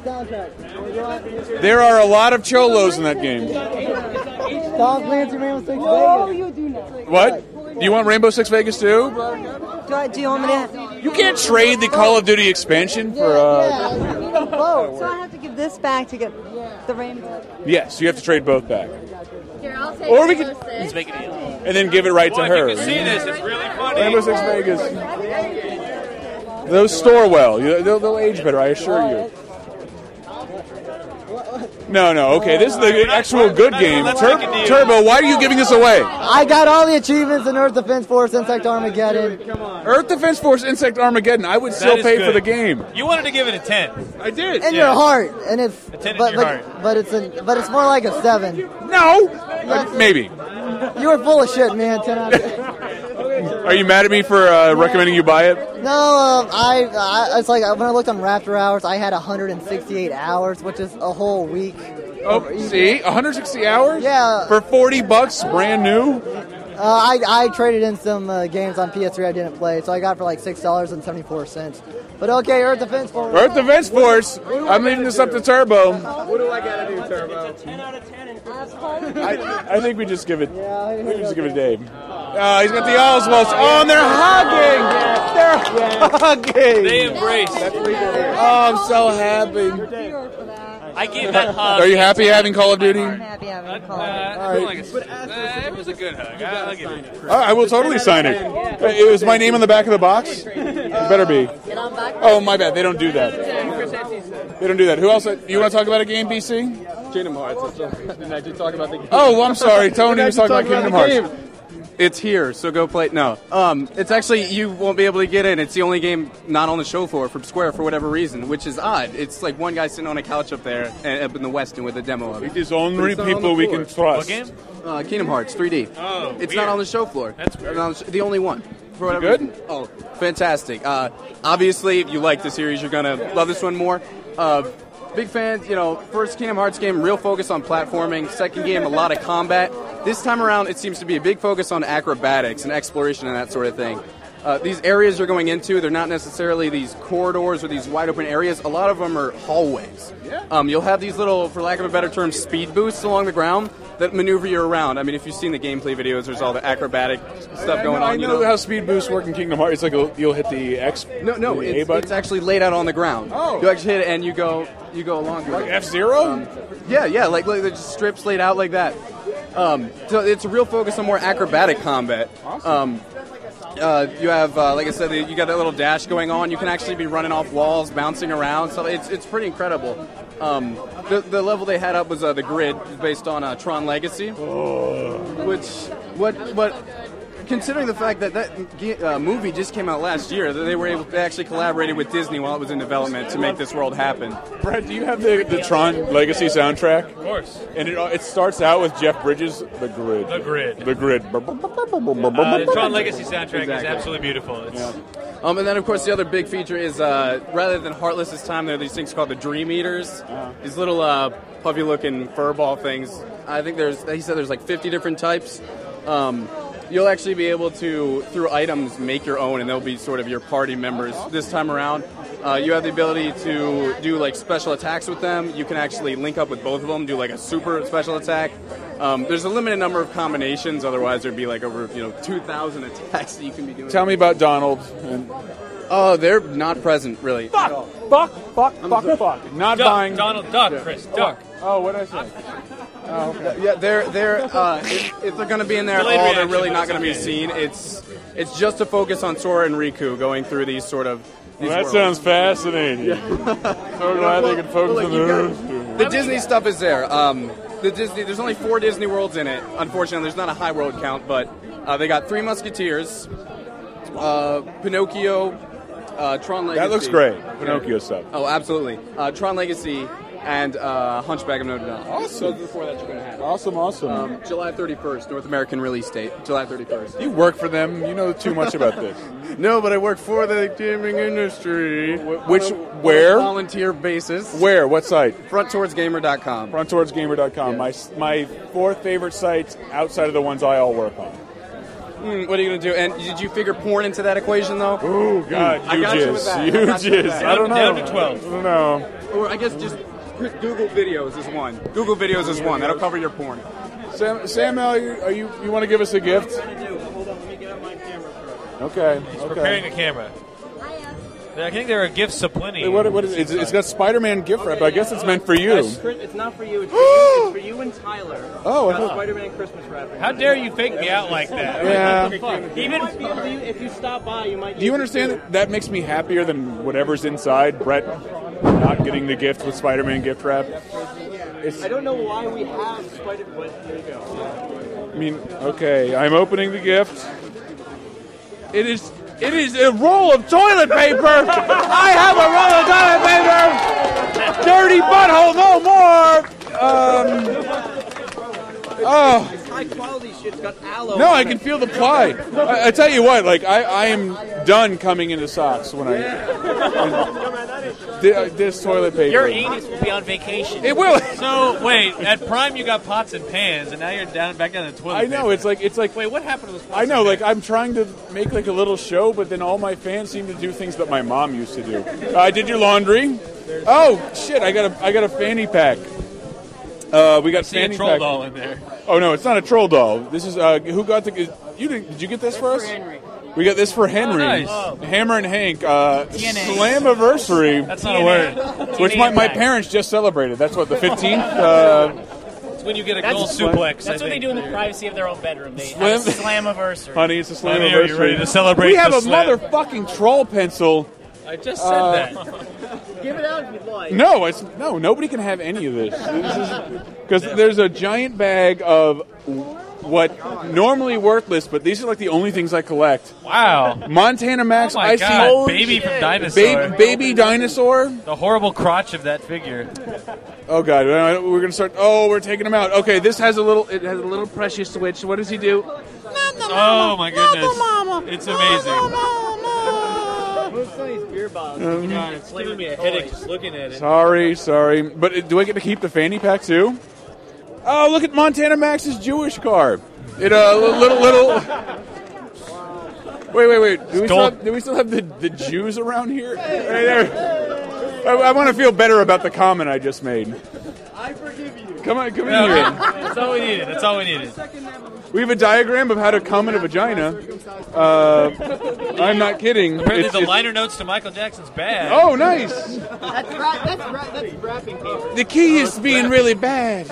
[SPEAKER 2] There are a lot of cholos in that game.
[SPEAKER 7] Tom Clancy Ramos takes Vegas.
[SPEAKER 8] you do not.
[SPEAKER 2] What? Do you want Rainbow Six Vegas too?
[SPEAKER 8] Do, I, do you want me to?
[SPEAKER 2] You can't trade the Call of Duty expansion for. Uh...
[SPEAKER 8] I need them both. So I have to give this back to get the rainbow.
[SPEAKER 2] Yes, you have to trade both back,
[SPEAKER 11] Here, I'll take
[SPEAKER 2] Or we
[SPEAKER 11] Rainbow Six.
[SPEAKER 4] Let's make a deal.
[SPEAKER 2] and then give it right to her.
[SPEAKER 4] it's really funny.
[SPEAKER 2] Rainbow Six Vegas. Those store well. You- They'll, they'll age better, I assure you. No, no. Okay, this is the actual good game. Tur- Turbo, why are you giving this away?
[SPEAKER 7] I got all the achievements in Earth Defense Force Insect Armageddon. Come on.
[SPEAKER 2] Earth Defense Force Insect Armageddon. I would
[SPEAKER 7] That
[SPEAKER 2] still
[SPEAKER 7] is
[SPEAKER 2] pay for
[SPEAKER 7] good.
[SPEAKER 2] the game.
[SPEAKER 3] You wanted to give it a ten.
[SPEAKER 2] I did.
[SPEAKER 7] In your heart, and it's
[SPEAKER 3] ten in
[SPEAKER 7] but
[SPEAKER 3] your
[SPEAKER 7] but, but it's a, but it's more like a seven.
[SPEAKER 2] No, maybe.
[SPEAKER 7] you were full of shit, man. Ten out of ten.
[SPEAKER 2] Are you mad at me for uh, recommending you buy it?
[SPEAKER 7] No, uh, I, I it's like when I looked on Raptor hours, I had 168 hours, which is a whole week.
[SPEAKER 2] Oh, see, 160 hours.
[SPEAKER 7] Yeah.
[SPEAKER 2] For 40 bucks, brand new.
[SPEAKER 7] Uh, I I traded in some uh, games on PS3 I didn't play, so I got it for like six dollars and seventy four cents. But okay, Earth Defense Force.
[SPEAKER 2] Earth Defense Force. I'm leaving this up to Turbo.
[SPEAKER 23] What do I gotta do, Turbo?
[SPEAKER 2] I think we just give it. We just give it to Dave. Uh, he's got the Oswalds. Oh, and they're hugging. They're hugging.
[SPEAKER 3] They embrace.
[SPEAKER 2] Oh, I'm so happy.
[SPEAKER 4] I gave that hug.
[SPEAKER 2] Are you happy having Call of Duty?
[SPEAKER 8] Happy having a call.
[SPEAKER 3] it was a good hug. I- I'll give it.
[SPEAKER 2] Oh, I will totally sign it. Uh, It was my name on the back of the box. It better be. Oh, my bad. They don't do that. They don't do that. Who else? You want to talk about a game, BC?
[SPEAKER 23] Kingdom Hearts. Didn't I just talk about the game?
[SPEAKER 2] Oh, well, I'm sorry. Tony was
[SPEAKER 23] Didn't
[SPEAKER 2] talking
[SPEAKER 23] I
[SPEAKER 2] about Kingdom
[SPEAKER 23] just talk
[SPEAKER 2] Hearts.
[SPEAKER 23] the game? It's here, so go play. it. No, um, it's actually you won't be able to get in. It's the only game not on the show floor from Square for whatever reason, which is odd. It's like one guy sitting on a couch up there uh, up in the Westin with a demo of it.
[SPEAKER 2] It is only
[SPEAKER 23] But it's not on
[SPEAKER 2] people
[SPEAKER 23] the
[SPEAKER 2] we
[SPEAKER 23] floor.
[SPEAKER 2] can trust. What game?
[SPEAKER 23] Uh, Kingdom Hearts 3D.
[SPEAKER 2] Oh,
[SPEAKER 23] it's
[SPEAKER 2] weird.
[SPEAKER 23] not on the show floor. That's the, the only one. For
[SPEAKER 2] Is it
[SPEAKER 23] whatever
[SPEAKER 2] good?
[SPEAKER 23] reason. Oh, fantastic! Uh, obviously, if you like the series, you're gonna love this one more. Uh, big fans, you know. First Kingdom Hearts game, real focus on platforming. Second game, a lot of combat. This time around, it seems to be a big focus on acrobatics and exploration and that sort of thing. Uh, these areas you're going into, they're not necessarily these corridors or these wide open areas. A lot of them are hallways. Um, you'll have these little, for lack of a better term, speed boosts along the ground that maneuver you around. I mean, if you've seen the gameplay videos, there's all the acrobatic stuff going
[SPEAKER 2] I
[SPEAKER 23] on.
[SPEAKER 2] know
[SPEAKER 23] you know?
[SPEAKER 2] how speed boosts work in Kingdom Hearts. It's like you'll- you'll hit the X.
[SPEAKER 23] No, no,
[SPEAKER 2] the A
[SPEAKER 23] it's,
[SPEAKER 2] button.
[SPEAKER 23] it's actually laid out on the ground.
[SPEAKER 2] Oh.
[SPEAKER 23] you actually hit it and you go, you go along. Um,
[SPEAKER 2] Like F-Zero?
[SPEAKER 23] yeah, yeah, like, like there's just strips laid out like that. Um, so it's a real focus on more acrobatic combat. Um, uh, you have, uh, like I said, you got that little dash going on. You can actually be running off walls, bouncing around. So it's, it's pretty incredible. Um, the, the level they had up was uh, the grid, based on uh, Tron Legacy, which what what. Considering the fact that that ge- uh, movie just came out last year, that they were able, they actually collaborated with Disney while it was in development to make this world happen.
[SPEAKER 2] Brad, do you have the, the Tron Legacy soundtrack? Of
[SPEAKER 3] course.
[SPEAKER 2] And it, it starts out with Jeff Bridges, The Grid. The
[SPEAKER 3] Grid.
[SPEAKER 2] The Grid.
[SPEAKER 3] Uh, the Tron Legacy soundtrack is absolutely beautiful. It's,
[SPEAKER 23] Um, and then, of course, the other big feature is uh, rather than Heartless's time, there are these things called the Dream Eaters. These little uh, puffy looking furball things. I think there's, he said there's like 50 different types. Um, you'll actually be able to, through items, make your own, and they'll be sort of your party members this time around. Uh, you have the ability to do like special attacks with them. You can actually link up with both of them, do like a super special attack. Um, there's a limited number of combinations, otherwise there'd be like over you know 2,000 attacks that you can be doing.
[SPEAKER 2] Tell me about Donald. And
[SPEAKER 23] Oh, they're not present, really. Fuck!
[SPEAKER 2] Fuck! Fuck! Fuck! Fuck! Not
[SPEAKER 23] Duck,
[SPEAKER 2] buying.
[SPEAKER 23] Donald, duck, Chris, duck.
[SPEAKER 2] Oh, what did I say?
[SPEAKER 23] Oh, Yeah, they're they're uh, if, if they're going to be in there at
[SPEAKER 2] Delayed
[SPEAKER 23] all, they're
[SPEAKER 2] reaction,
[SPEAKER 23] really
[SPEAKER 2] but
[SPEAKER 23] not
[SPEAKER 2] it's
[SPEAKER 23] going to be
[SPEAKER 2] okay.
[SPEAKER 23] seen. It's it's just a focus on Sora and Riku going through these sort of these
[SPEAKER 2] that
[SPEAKER 23] worlds.
[SPEAKER 2] sounds fascinating. so glad they could focus
[SPEAKER 23] Well,
[SPEAKER 2] on
[SPEAKER 23] look, you
[SPEAKER 2] the
[SPEAKER 23] got-
[SPEAKER 2] Earth.
[SPEAKER 23] The Disney stuff is there. Um, the Disney, there's only four Disney worlds in it. Unfortunately, there's not a high world count, but uh, they got Three Musketeers, uh, Pinocchio, uh, Tron Legacy.
[SPEAKER 2] That looks great.
[SPEAKER 23] Yeah.
[SPEAKER 2] Pinocchio stuff.
[SPEAKER 23] Oh, absolutely. Uh, Tron Legacy and uh, Hunchback of Notre Dame.
[SPEAKER 2] Awesome.
[SPEAKER 23] Those are the four that you're going to have.
[SPEAKER 2] Awesome, awesome.
[SPEAKER 23] Um, July 31st, North American release date. July 31st.
[SPEAKER 2] You work for them. You know too much about this.
[SPEAKER 23] no, but I work for the gaming industry.
[SPEAKER 2] which- where?
[SPEAKER 23] Volunteer basis.
[SPEAKER 2] Where? What site?
[SPEAKER 23] FrontTowardsGamer.com.
[SPEAKER 2] FrontTowardsGamer.com. My my four favorite sites outside of the ones I all work on.
[SPEAKER 23] Mm, what are you going to do? And did you figure porn into that equation, though?
[SPEAKER 2] Ooh, God,
[SPEAKER 23] I
[SPEAKER 2] you
[SPEAKER 23] got you with
[SPEAKER 2] jizz.
[SPEAKER 23] that.
[SPEAKER 2] You
[SPEAKER 23] I got with
[SPEAKER 2] jizz.
[SPEAKER 23] that.
[SPEAKER 2] I don't Down know. to 12. I don't know.
[SPEAKER 23] Or I guess just quick Google videos is one. Google videos is one. That'll cover your porn.
[SPEAKER 2] Sam, Sam, are you, are you, you want to give us a gift? Okay.
[SPEAKER 3] He's
[SPEAKER 2] okay.
[SPEAKER 3] preparing a camera. I think there are gifts aplenty.
[SPEAKER 2] Hey, What, what is it? It's, it's got Spider-Man gift wrap. I guess it's meant for you.
[SPEAKER 16] It's, Chris- it's not for you. It's for you, it's for you and Tyler.
[SPEAKER 2] Oh, I
[SPEAKER 16] Got
[SPEAKER 2] thought-
[SPEAKER 16] Spider-Man Christmas wrapping.
[SPEAKER 3] How dare you fake me out like that?
[SPEAKER 2] Yeah.
[SPEAKER 16] Even if you stop by, you might.
[SPEAKER 2] Do you understand that that makes me happier than whatever's inside? Brett not getting the gift with Spider-Man gift wrap.
[SPEAKER 16] I don't know why we have Spider. But there you go.
[SPEAKER 2] I mean, okay, I'm opening the gift. It is it is a roll of toilet paper. I have a roll of toilet paper. Dirty butthole, no more. Um, oh
[SPEAKER 16] It's high quality shit. It's got aloe.
[SPEAKER 2] no, I can feel the ply. I, I tell you what, like I, I am done coming into socks when I thi- uh, this toilet paper.
[SPEAKER 4] Your anus will be on vacation.
[SPEAKER 2] It will.
[SPEAKER 3] So wait, at Prime you got pots and pans, and now you're down back down to toilet.
[SPEAKER 2] I know
[SPEAKER 3] paper.
[SPEAKER 2] it's like it's like.
[SPEAKER 3] Wait, what happened to those? Pots
[SPEAKER 2] I know,
[SPEAKER 3] and
[SPEAKER 2] like I'm trying to make like a little show, but then all my fans seem to do things that my mom used to do. Uh, I did your laundry. Oh shit! I got a I got a fanny pack. Uh, we got
[SPEAKER 3] I see a
[SPEAKER 2] fanny
[SPEAKER 3] troll
[SPEAKER 2] pack.
[SPEAKER 3] doll in there.
[SPEAKER 2] Oh no, it's not a troll doll. This is uh, who got the you did, did you get this for us? We got this for Henry.
[SPEAKER 3] nice. Oh.
[SPEAKER 2] Hammer and Hank uh,
[SPEAKER 3] DNA.
[SPEAKER 2] Slammiversary.
[SPEAKER 3] That's not a word.
[SPEAKER 2] Which my,
[SPEAKER 3] DNA
[SPEAKER 2] my
[SPEAKER 3] pack.
[SPEAKER 2] parents just celebrated. That's what the 15th. Uh,
[SPEAKER 3] It's when you get a
[SPEAKER 4] That's-
[SPEAKER 3] goal suplex.
[SPEAKER 4] That's
[SPEAKER 3] I
[SPEAKER 4] what they
[SPEAKER 3] think.
[SPEAKER 4] do in the privacy of their own bedroom. They have a
[SPEAKER 2] Slam-
[SPEAKER 4] slammiversary.
[SPEAKER 2] Honey, it's a slam
[SPEAKER 3] Honey, are you ready to celebrate
[SPEAKER 2] We have
[SPEAKER 3] the
[SPEAKER 2] a
[SPEAKER 3] slam?
[SPEAKER 2] motherfucking troll pencil.
[SPEAKER 3] I just said
[SPEAKER 2] Uh,
[SPEAKER 3] that.
[SPEAKER 4] Give it out if you'd like.
[SPEAKER 2] No, it's no. Nobody can have any of this. Because there's a giant bag of what normally worthless, but these are like the only things I collect.
[SPEAKER 3] Wow.
[SPEAKER 2] Montana Max
[SPEAKER 3] Oh my
[SPEAKER 2] Icy
[SPEAKER 3] God,
[SPEAKER 2] Holy
[SPEAKER 3] baby from
[SPEAKER 2] shit.
[SPEAKER 3] Dinosaur.
[SPEAKER 2] Ba- baby dinosaur.
[SPEAKER 3] The horrible crotch of that figure.
[SPEAKER 2] Oh god, I don't- we're gonna start. Oh, we're taking him out. Okay, this has a little. It has a little pressure switch. What does he do?
[SPEAKER 3] Oh my goodness. It's amazing.
[SPEAKER 4] Most of these beer bottles.
[SPEAKER 2] Um,
[SPEAKER 4] God, it's giving me a headache just looking at it.
[SPEAKER 2] Sorry, sorry. But uh, do I get to keep the fanny pack too? Oh, look at Montana Max's Jewish car. It uh, li- little little. Wait, wait, wait. Do we still
[SPEAKER 3] Stole-
[SPEAKER 2] have, do we still have the, the Jews around here? Right there. I, I want to feel better about the comment I just made.
[SPEAKER 4] I forgive you.
[SPEAKER 2] Come on, come in here.
[SPEAKER 3] That's all we needed. That's all we needed.
[SPEAKER 2] We have a diagram of how to come in a vagina. Uh, I'm not kidding.
[SPEAKER 3] Apparently,
[SPEAKER 2] It's-
[SPEAKER 3] the
[SPEAKER 2] it's-
[SPEAKER 3] liner notes to Michael Jackson's bag.
[SPEAKER 2] Oh, nice.
[SPEAKER 4] That's right. That's right. That's wrapping paper.
[SPEAKER 2] The key is being really bad.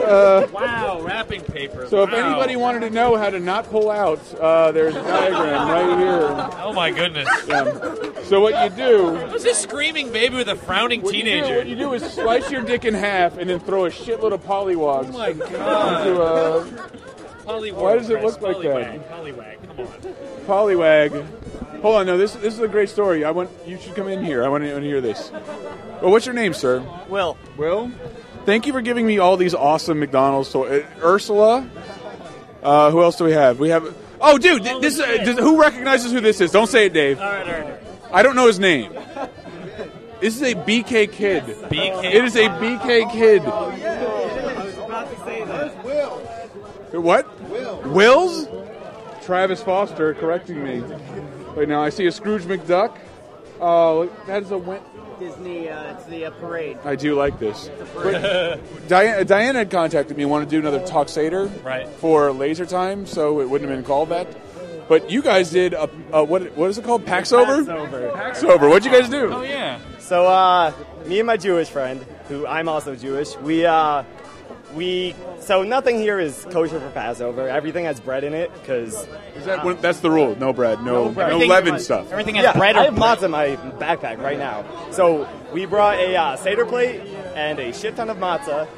[SPEAKER 2] Uh,
[SPEAKER 4] wow, wrapping paper.
[SPEAKER 2] So if
[SPEAKER 4] Wow.
[SPEAKER 2] anybody wanted to know how to not pull out, uh, there's a diagram right here.
[SPEAKER 3] Oh my goodness.
[SPEAKER 2] Yeah. So what you do,
[SPEAKER 3] Who's this screaming baby with a frowning
[SPEAKER 2] what you do-
[SPEAKER 3] teenager?
[SPEAKER 2] what you do is slice your dick in half and then throw a shitload of pollywogs. Oh my
[SPEAKER 3] God.
[SPEAKER 2] Into, uh,
[SPEAKER 4] Polywag.
[SPEAKER 2] Why does it look
[SPEAKER 4] Chris,
[SPEAKER 2] like that?
[SPEAKER 4] Polywag. Polywag.
[SPEAKER 2] Pollywag.
[SPEAKER 4] Come on.
[SPEAKER 2] Hold on, no. This this is a great story. I want you should come in here. I want to hear this. Well, what's your name, sir?
[SPEAKER 4] Will.
[SPEAKER 2] Will. Thank you for giving me all these awesome McDonald's. So, uh, Ursula. Uh, who else do we have? We have. Oh, dude, th- this is uh, does, who recognizes who this is? Don't say it, Dave.
[SPEAKER 4] All right, all right.
[SPEAKER 2] I don't know his name. This is a BK kid.
[SPEAKER 3] BK.
[SPEAKER 2] It is a BK kid.
[SPEAKER 4] I was about to say that. Will.
[SPEAKER 2] What? Wills? Travis Foster correcting me. Wait, now I see a Scrooge McDuck. Oh, that is a win.
[SPEAKER 4] Disney. Uh, it's the uh, parade.
[SPEAKER 2] I do like this.
[SPEAKER 4] parade.
[SPEAKER 2] Diana, Diana had contacted me, wanted to do another Toxator
[SPEAKER 3] Right.
[SPEAKER 2] for Laser Time, so it wouldn't have been called that. But you guys did a, a what? What is it called? Paxover.
[SPEAKER 12] Paxover.
[SPEAKER 2] Paxover. What'd you guys do?
[SPEAKER 3] Oh yeah.
[SPEAKER 12] So uh, me and my Jewish friend, who I'm also Jewish, we uh,
[SPEAKER 24] we so nothing here is kosher for Passover. Everything has bread in it because
[SPEAKER 2] Is that when- that's the rule. No bread. No, no,
[SPEAKER 24] Everything-
[SPEAKER 2] leaven stuff.
[SPEAKER 24] Yeah, I have matzah in my backpack right now. So we brought a uh, seder plate and a shit ton of matzah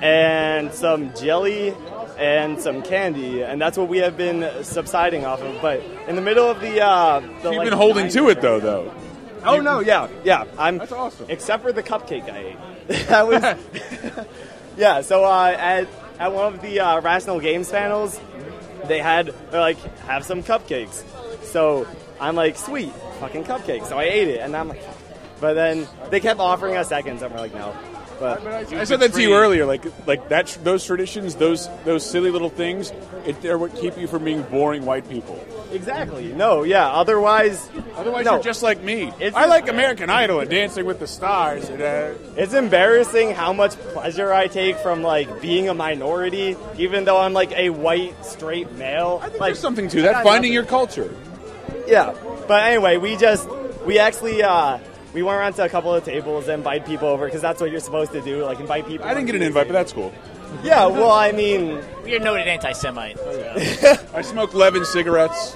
[SPEAKER 24] and some jelly and some candy, and that's what we have been subsiding off of. But in the middle of the, uh, the
[SPEAKER 2] You've
[SPEAKER 24] like,
[SPEAKER 2] been holding to it though, though.
[SPEAKER 24] Oh no, yeah, yeah. I'm that's awesome. Except for the cupcake I ate. that was yeah. So uh, at at one of the uh, Rational Games panels, they had they're like have some cupcakes. So I'm like sweet fucking cupcakes. So I ate it, and I'm like, but then they kept offering us seconds, and we're like no. But
[SPEAKER 2] I said that to you earlier, like like that tr- those traditions, those those silly little things, it, they're what keep you from being boring white people.
[SPEAKER 24] Exactly. No, Oh, yeah. Otherwise,
[SPEAKER 2] otherwise
[SPEAKER 24] no.
[SPEAKER 2] you're just like me. I like American Idol and Dancing with the Stars. And, uh,
[SPEAKER 24] It's embarrassing how much pleasure I take from like being a minority, even though I'm like a white straight male. I think like,
[SPEAKER 2] there's something to that. Finding your culture.
[SPEAKER 24] yeah. But anyway, we just we actually uh, we went around to a couple of tables and invite people over because that's what you're supposed to do. Like invite people.
[SPEAKER 2] I didn't get an invite, but that's cool.
[SPEAKER 24] Yeah. Well, I mean,
[SPEAKER 4] You're a noted anti-Semite.
[SPEAKER 2] I smoked eleven cigarettes.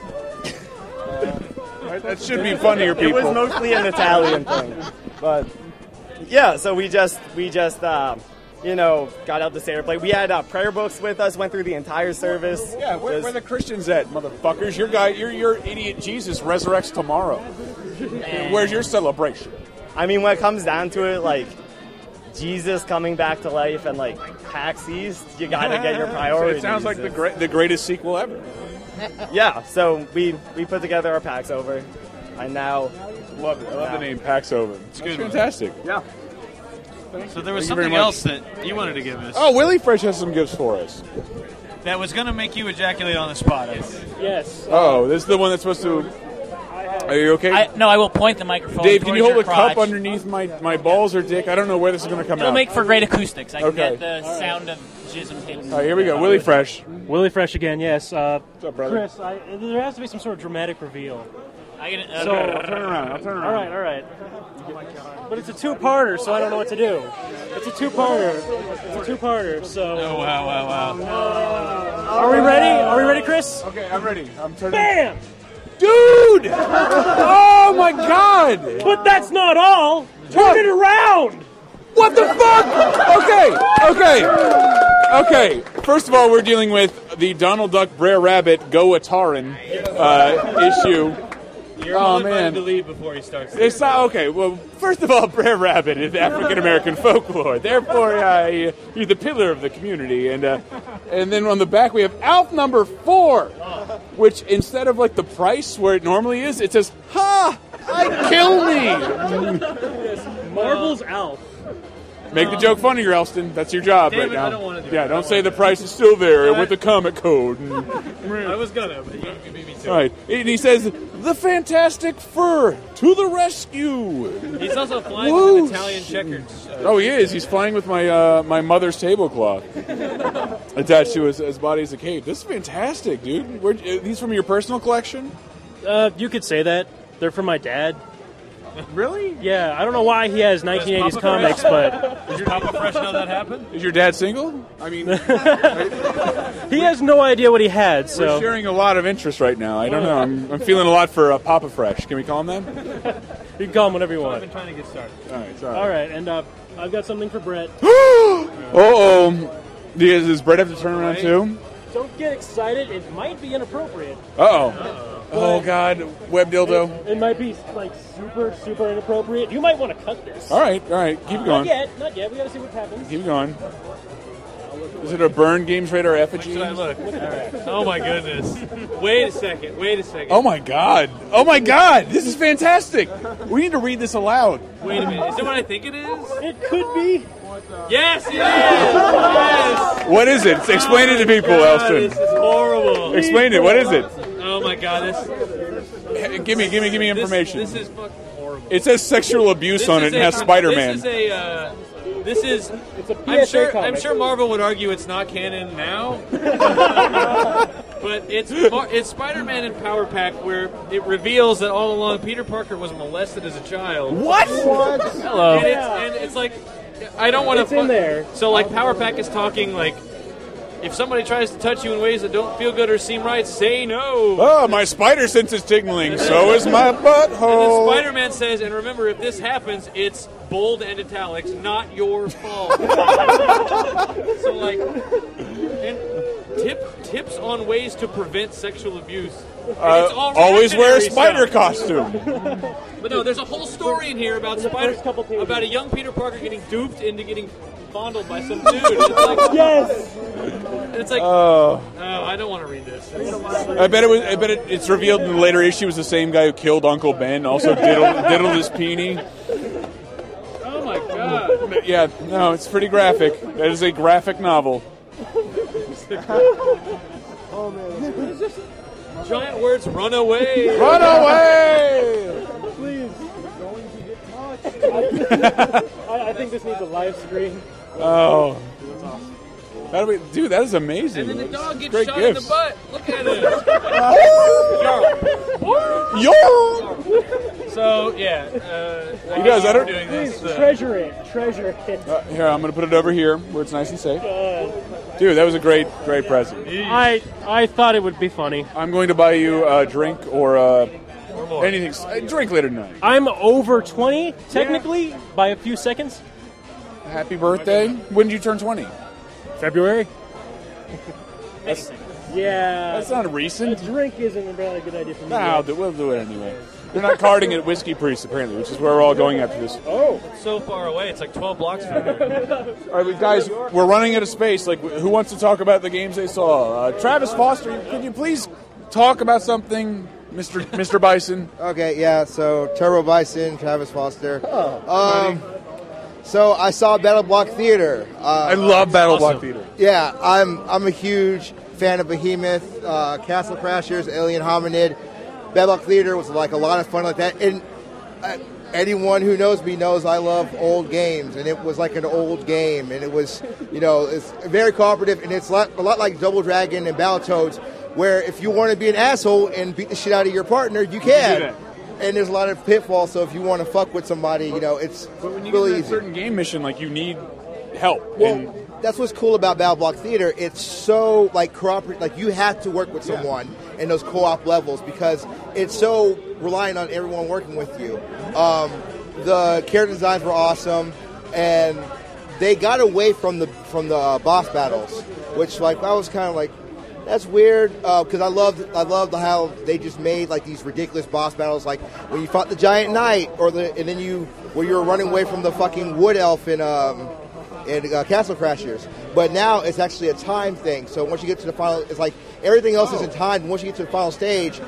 [SPEAKER 2] that should be funnier people.
[SPEAKER 24] It was mostly an Italian thing, but yeah. So we just we just um, you know got out the Seder plate. We had uh, prayer books with us. Went through the entire service.
[SPEAKER 2] Yeah, where,
[SPEAKER 24] Just-
[SPEAKER 2] where the Christians at, motherfuckers? Your guy, your your idiot Jesus resurrects tomorrow. Where's your celebration?
[SPEAKER 24] I mean, when it comes down to it, like Jesus coming back to life and like Pax East, you gotta get your priorities.
[SPEAKER 2] It sounds like the great, the greatest sequel ever.
[SPEAKER 24] Yeah, so we we put together our packs over, and now love
[SPEAKER 2] I love the name Paxover. It's
[SPEAKER 24] good.
[SPEAKER 2] fantastic.
[SPEAKER 24] Yeah.
[SPEAKER 3] So there was
[SPEAKER 2] Thank you very
[SPEAKER 3] something
[SPEAKER 2] much.
[SPEAKER 3] else that you wanted to give us.
[SPEAKER 2] Oh, Willie Fresh has some gifts for us.
[SPEAKER 3] That was going to make you ejaculate on the spot.
[SPEAKER 9] Yes.
[SPEAKER 2] Oh, this is the one that's supposed to. Are you okay?
[SPEAKER 4] I, no, I will point the microphone.
[SPEAKER 2] Dave, can you
[SPEAKER 4] towards
[SPEAKER 2] hold a
[SPEAKER 4] your
[SPEAKER 2] cup
[SPEAKER 4] crotch.
[SPEAKER 2] underneath my, my balls or dick? I don't know where this is going to come
[SPEAKER 4] It'll
[SPEAKER 2] out.
[SPEAKER 4] make for great acoustics. I can
[SPEAKER 2] Okay.
[SPEAKER 4] get the sound of jism hitting.
[SPEAKER 2] All right, here we go. Willie Fresh.
[SPEAKER 9] Willie Fresh again. Yes. Uh, What's
[SPEAKER 2] up,
[SPEAKER 9] brother? Chris, I, there has to be some sort of dramatic reveal.
[SPEAKER 4] I can,
[SPEAKER 9] So
[SPEAKER 2] I'll turn around, I'll turn around.
[SPEAKER 9] All right, all right. But it's a two-parter, so I don't know what to do. It's a two-parter. It's a two-parter. So. Oh
[SPEAKER 3] wow! Wow!
[SPEAKER 9] Wow! Are we ready? Are we ready, Chris?
[SPEAKER 2] Okay, I'm ready. I'm turning.
[SPEAKER 9] Bam!
[SPEAKER 2] Dude! oh my God!
[SPEAKER 9] But that's not all. Turn it around.
[SPEAKER 2] What the fuck? Okay, okay, okay. First of all, we're dealing with the Donald Duck, Brer Rabbit, Go Atarin uh, issue.
[SPEAKER 3] You're
[SPEAKER 2] Oh,
[SPEAKER 3] only
[SPEAKER 2] man.
[SPEAKER 3] invited to leave before he starts.
[SPEAKER 2] It's not okay. Well, first of all, Brer Rabbit is African American folklore. Therefore, uh, you're the pillar of the community. And uh, and then on the back we have Alf number four, which instead of like the price where it normally is, it says "Ha, I kill me."
[SPEAKER 9] Marvel's Alf.
[SPEAKER 2] Make the joke funnier, Elston. That's your job
[SPEAKER 9] Uh-huh. David,
[SPEAKER 2] right now.
[SPEAKER 9] I don't wanna do
[SPEAKER 2] yeah,
[SPEAKER 9] it.
[SPEAKER 2] don't say the price is still there with the comic code. And,
[SPEAKER 3] I was gonna, but you beat me
[SPEAKER 2] all right, and he says the fantastic fur to the rescue.
[SPEAKER 3] He's also flying
[SPEAKER 2] Whoosh.
[SPEAKER 3] with an Italian checkers. uh,
[SPEAKER 2] Oh, he is. He's flying with my uh, my mother's tablecloth attached to his, his body as a cape. This is fantastic, dude. Where, he's from your personal collection.
[SPEAKER 9] Uh, you could say that. They're from my dad.
[SPEAKER 2] Really?
[SPEAKER 9] Yeah. I don't know why he has 1980s
[SPEAKER 3] Papa
[SPEAKER 9] comics,
[SPEAKER 3] Fresh-
[SPEAKER 9] but
[SPEAKER 3] Does your Papa Fresh know that happened?
[SPEAKER 2] Is your dad single? I mean,
[SPEAKER 9] he has no idea what he had. So.
[SPEAKER 2] We're sharing a lot of interest right now. I don't know. I'm, I'm feeling a lot for uh, Papa Fresh. Can we call him that?
[SPEAKER 9] You can call him whenever you want.
[SPEAKER 3] been trying to get started.
[SPEAKER 2] All right, sorry.
[SPEAKER 9] All right, and uh, I've got something for Brett.
[SPEAKER 2] Oh, does does Brett have to turn around too?
[SPEAKER 9] Don't get excited; it might be inappropriate.
[SPEAKER 2] Uh-oh. Oh God, web dildo.
[SPEAKER 9] It, it might be like super, super inappropriate. You might want to cut this.
[SPEAKER 2] All right, all right, keep
[SPEAKER 9] Not
[SPEAKER 2] going.
[SPEAKER 9] yet, not yet. We gotta see what happens.
[SPEAKER 2] Keep going. Is it a burn Games Radar effigy?
[SPEAKER 3] Should I look? All right. Oh my goodness! Wait a second. Wait a second.
[SPEAKER 2] Oh my God! Oh my God! This is fantastic. We need to read this aloud.
[SPEAKER 3] Wait a minute. Is it what I think it is?
[SPEAKER 9] It could be.
[SPEAKER 3] Yes, it is. Yes.
[SPEAKER 2] What is it? Explain it to people,
[SPEAKER 3] This
[SPEAKER 2] Elston.
[SPEAKER 3] is horrible.
[SPEAKER 2] Explain it. What is it?
[SPEAKER 3] Oh my God! This.
[SPEAKER 2] Give me, give me, give me
[SPEAKER 3] This-
[SPEAKER 2] information.
[SPEAKER 3] This, is fucking horrible.
[SPEAKER 2] It says sexual abuse
[SPEAKER 3] This
[SPEAKER 2] on it
[SPEAKER 3] is
[SPEAKER 2] and
[SPEAKER 3] a-
[SPEAKER 2] has Spider Man.
[SPEAKER 3] This is a. Uh, this is. It's a
[SPEAKER 9] PSA
[SPEAKER 3] I'm sure. I'm
[SPEAKER 9] comic.
[SPEAKER 3] sure Marvel would argue it's not canon now. but it's Mar- it's Spider-Man in Power Pack where it reveals that all along Peter Parker was molested as a child.
[SPEAKER 2] What?
[SPEAKER 3] Hello. And it's, and it's like I don't want to.
[SPEAKER 9] It's in there.
[SPEAKER 3] So like Power Pack is talking like, if somebody tries to touch you in ways that don't feel good or seem right, say no.
[SPEAKER 2] Oh, my spider sense is tingling. So is my butthole.
[SPEAKER 3] And then Spider Man says, and remember, if this happens, it's bold and italics, not your fault. so, like, and tip, tips on ways to prevent sexual abuse. And
[SPEAKER 2] Uh,
[SPEAKER 3] it's all
[SPEAKER 2] always wear a spider
[SPEAKER 3] reactionary stuff.
[SPEAKER 2] costume.
[SPEAKER 3] But no, there's a whole story in here about spider, about a young Peter Parker getting duped into getting fondled by some dude. And It's like,
[SPEAKER 2] Yes.
[SPEAKER 3] And it's like,
[SPEAKER 2] Oh.
[SPEAKER 3] oh, I don't want to read this.
[SPEAKER 2] I bet it was. I bet it, it's revealed in the later issue was the same guy who killed Uncle Ben. Also diddled, diddled his peenie.
[SPEAKER 3] Oh my god.
[SPEAKER 2] Yeah, no, it's pretty graphic. That is a graphic novel.
[SPEAKER 3] oh man. Giant words, run away.
[SPEAKER 2] Run away!
[SPEAKER 9] Please, going to get touched. I, I think this needs a live stream.
[SPEAKER 2] Oh. How do we, dude, that is amazing.
[SPEAKER 9] And then the dog
[SPEAKER 3] Get
[SPEAKER 2] Great
[SPEAKER 3] shot in
[SPEAKER 2] gifts.
[SPEAKER 3] the butt. Look at it. Yarr. So yeah, uh,
[SPEAKER 2] You guys, I don't- Uh,
[SPEAKER 3] doing
[SPEAKER 9] Please
[SPEAKER 3] this. uh,
[SPEAKER 9] treasure it. Treasure it. Uh,
[SPEAKER 2] Here, I'm gonna put it over here where it's nice and safe.
[SPEAKER 9] God.
[SPEAKER 2] Dude, that was a great, great present.
[SPEAKER 9] I I thought it would be funny.
[SPEAKER 2] I'm going to buy you a drink or uh, anything. s- a Drink later tonight.
[SPEAKER 9] I'm over 20 technically by a few seconds.
[SPEAKER 2] Happy birthday! When did you turn 20?
[SPEAKER 9] February.
[SPEAKER 2] That's,
[SPEAKER 9] Yeah.
[SPEAKER 2] That's not recent.
[SPEAKER 9] A drink isn't really a good idea for me.
[SPEAKER 2] no, th- we'll do it anyway. They're not carding at Whiskey Priest apparently, which is where we're all going after this.
[SPEAKER 9] Oh,
[SPEAKER 3] so far away. It's like 12 blocks from here.
[SPEAKER 2] All right, we- guys, we're running out of space. Like, who wants to talk about the games they saw? Uh, Travis Foster, could you please talk about something, Mister Mister Bison?
[SPEAKER 25] Okay, yeah. So Turbo Bison, Travis Foster.
[SPEAKER 2] Oh,
[SPEAKER 25] um, so I saw Battle Block Theater. Uh, I
[SPEAKER 2] love Battle Block Awesome. Theater.
[SPEAKER 25] Yeah, I'm I'm a huge fan of Behemoth, uh, Castle Crashers, Alien Hominid. Battle Block Theater was like a lot of fun like that, and uh, anyone who knows me knows I love old games, and it was like an old game, and it was you know it's very cooperative, and it's lot, a lot like Double Dragon and Battletoads, where if you want to be an asshole and beat the shit out of your partner, you can.
[SPEAKER 2] that.
[SPEAKER 25] And there's a lot of pitfalls, so if you want to fuck with somebody, you know it's
[SPEAKER 2] But when you
[SPEAKER 25] really
[SPEAKER 2] get to
[SPEAKER 25] easy.
[SPEAKER 2] that certain game mission, like you need help.
[SPEAKER 25] Well,
[SPEAKER 2] and
[SPEAKER 25] that's what's cool about Battle Block Theater. It's so like cooperative. Like you have to work with
[SPEAKER 2] Yeah.
[SPEAKER 25] someone in those co-op levels because it's so reliant on everyone working with you. Um, the character designs were awesome, and they got away from the from the uh, boss battles, which like I was kind of like. That's weird because I loved I loved how they just made like these ridiculous boss battles, like when you fought the giant knight, or the and then you where you were running away from the fucking wood elf in um, and uh, Castle Crashers. But now it's actually a time thing. So once you get to the final, it's like everything else is in time. Once you get to the final stage,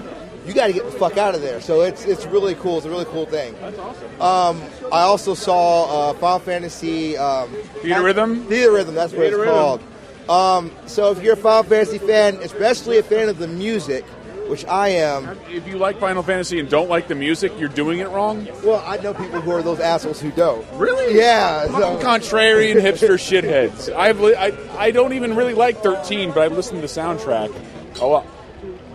[SPEAKER 25] you got to get the fuck out of there. So it's it's really cool. It's a really cool thing. That's awesome. Um, I also saw uh, Final Fantasy um,
[SPEAKER 2] Theater Rhythm.
[SPEAKER 25] Theater Rhythm. That's what
[SPEAKER 2] Theater
[SPEAKER 25] it's
[SPEAKER 2] Rhythm.
[SPEAKER 25] called. Um, so if you're a Final Fantasy fan, especially a fan of the music, which I am.
[SPEAKER 2] If you like Final Fantasy and don't like the music, you're doing it wrong.
[SPEAKER 25] Well, I know people who are those assholes who don't.
[SPEAKER 2] Really?
[SPEAKER 25] Yeah.
[SPEAKER 2] Fucking contrarian hipster shitheads. I've li- I I don't even really like 13, but I've listened to the soundtrack. Oh, uh,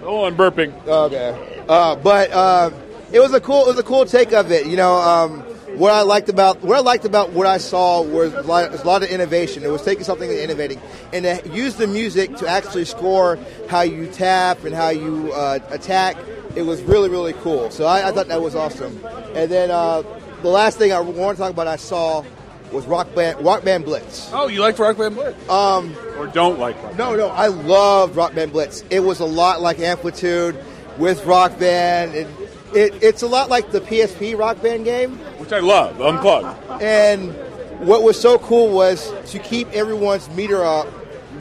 [SPEAKER 2] oh, I'm burping.
[SPEAKER 25] Okay. Uh, but uh, it was a cool it was a cool take of it. You know, um, what I liked about what I liked about what I saw was a lot, was a lot of innovation. It was taking something and innovating, and to use the music to actually score how you tap and how you uh, attack. It was really really cool. So I, I thought that was awesome. And then uh, the last thing I want to talk about I saw was Rock Band Rock Band Blitz.
[SPEAKER 2] Oh, you liked Rock Band Blitz?
[SPEAKER 25] Um,
[SPEAKER 2] or don't like Rock
[SPEAKER 25] No, no, I loved Rock Band Blitz. It was a lot like Amplitude with Rock Band. It, it, it's a lot like the PSP Rock Band game.
[SPEAKER 2] Which I love, Unplugged.
[SPEAKER 25] And what was so cool was to keep everyone's meter up,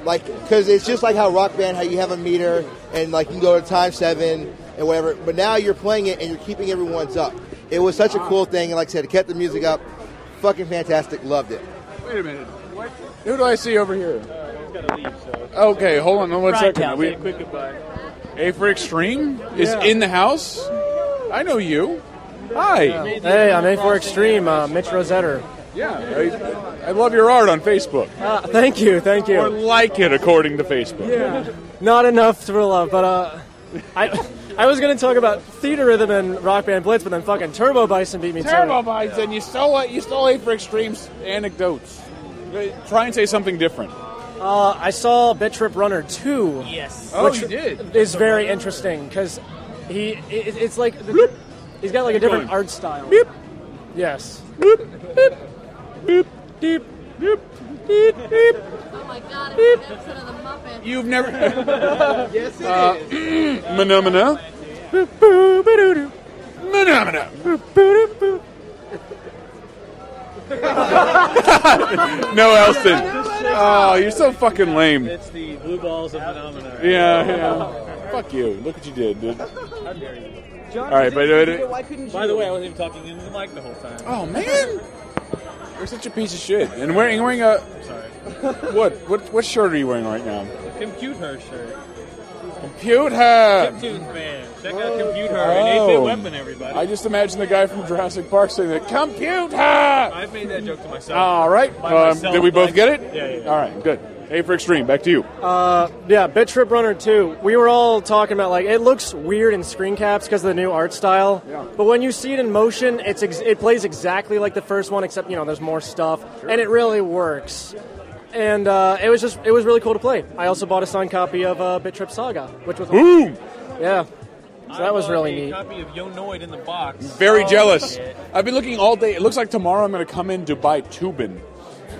[SPEAKER 25] like because it's just like how Rock Band, how you have a meter and like you can go to time seven and whatever. But now you're playing it and you're keeping everyone's up. It was such a cool thing, and like I said, it kept the music up. Fucking fantastic, loved it.
[SPEAKER 2] Wait a minute. What? Who do I see over here? Okay, hold on one
[SPEAKER 9] Right,
[SPEAKER 2] second.
[SPEAKER 9] Cal,
[SPEAKER 2] We-
[SPEAKER 9] say a quick goodbye.
[SPEAKER 2] A for Extreme is
[SPEAKER 9] Yeah.
[SPEAKER 2] in the house. I know you. Hi.
[SPEAKER 9] Hey, I'm A4 Extreme, uh, Mitch Rosetter.
[SPEAKER 2] Yeah, I, I love your art on Facebook.
[SPEAKER 9] Uh, thank you, thank you.
[SPEAKER 2] Or like it according to Facebook.
[SPEAKER 9] Yeah. Not enough to love, but uh,
[SPEAKER 15] I, I was going to talk about Theater Rhythm and Rock Band Blitz, but then fucking Turbo Bison beat me
[SPEAKER 2] Turbo
[SPEAKER 15] to it.
[SPEAKER 2] Bison, you stole it. You stole it for extremes anecdotes. Try and say something different.
[SPEAKER 15] Uh, I saw Bit Trip Runner 2.
[SPEAKER 2] Yes. Oh,
[SPEAKER 15] which
[SPEAKER 2] you did.
[SPEAKER 15] Is very interesting because he it, it's like the, he's got like a different art style. Beep. Yes. Beep. Beep. Beep. Beep. Beep. Beep. Beep.
[SPEAKER 11] Oh my god, it's an episode of the Muppets.
[SPEAKER 2] You've never.
[SPEAKER 11] yes, it
[SPEAKER 2] Uh, Phenomena. Phenomena. no, Elston. Oh, you're so fucking lame.
[SPEAKER 9] It's the blue balls of phenomena.
[SPEAKER 2] Yeah, yeah. Fuck you. Look what you did, dude. All right, but uh,
[SPEAKER 9] why couldn't By the way, I wasn't even talking into the mic the whole time.
[SPEAKER 2] Oh man, you're such a piece of shit. And wearing wearing a
[SPEAKER 9] Sorry.
[SPEAKER 2] what what what shirt are you wearing right now?
[SPEAKER 9] Compute her shirt.
[SPEAKER 2] Compute her.
[SPEAKER 9] Chiptunes band. Check out Compute her.
[SPEAKER 2] Oh.
[SPEAKER 9] An 8-bit weapon, everybody.
[SPEAKER 2] I just imagine the guy from Jurassic Park saying that. Computer.
[SPEAKER 9] I've made that joke to myself.
[SPEAKER 2] All right.
[SPEAKER 9] By
[SPEAKER 2] Um,
[SPEAKER 9] myself,
[SPEAKER 2] did we both
[SPEAKER 9] like-
[SPEAKER 2] get it?
[SPEAKER 9] Yeah, yeah.
[SPEAKER 2] All right. Good. A for extreme. Back to you.
[SPEAKER 15] Uh, yeah, Bit Trip Runner 2. We were all talking about, like, it looks weird in screen caps because of the new art style.
[SPEAKER 2] Yeah.
[SPEAKER 15] But when you see it in motion, it's ex- it plays exactly like the first one, except, you know, there's more stuff. And it really works. And uh, it was just, it was really cool to play. I also bought a signed copy of uh, Bit Trip Saga, which was
[SPEAKER 2] Boom!
[SPEAKER 15] Yeah. So that was
[SPEAKER 9] bought
[SPEAKER 15] really
[SPEAKER 9] a
[SPEAKER 15] neat.
[SPEAKER 9] copy of Yonoid in the box.
[SPEAKER 2] Very
[SPEAKER 9] Oh,
[SPEAKER 2] jealous.
[SPEAKER 9] shit.
[SPEAKER 2] I've been looking all day. It looks like tomorrow I'm going to come in to buy Tubin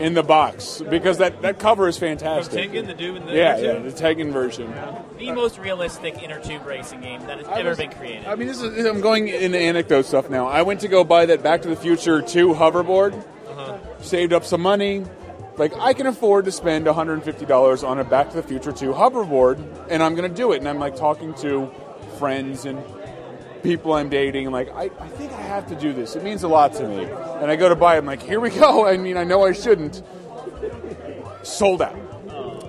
[SPEAKER 2] in the box because that, that cover is fantastic.
[SPEAKER 4] From Tengen, the dude in the
[SPEAKER 2] yeah,
[SPEAKER 4] inner
[SPEAKER 2] yeah,
[SPEAKER 4] tube?
[SPEAKER 2] the Tekken version.
[SPEAKER 4] The most realistic inner tube racing game that has
[SPEAKER 2] I
[SPEAKER 4] ever
[SPEAKER 2] was-
[SPEAKER 4] been created.
[SPEAKER 2] I mean, this is, I'm going into anecdote stuff now. I went to go buy that Back to the Future 2 hoverboard,
[SPEAKER 4] Uh-huh.
[SPEAKER 2] saved up some money. Like, I can afford to spend $150 on a Back to the Future 2 hoverboard, and I'm going to do it. And I'm like talking to friends and people I'm dating. and like, I, I think I have to do this. It means a lot to me. And I go to buy it. I'm like, here we go. I mean, I know I shouldn't. Sold out.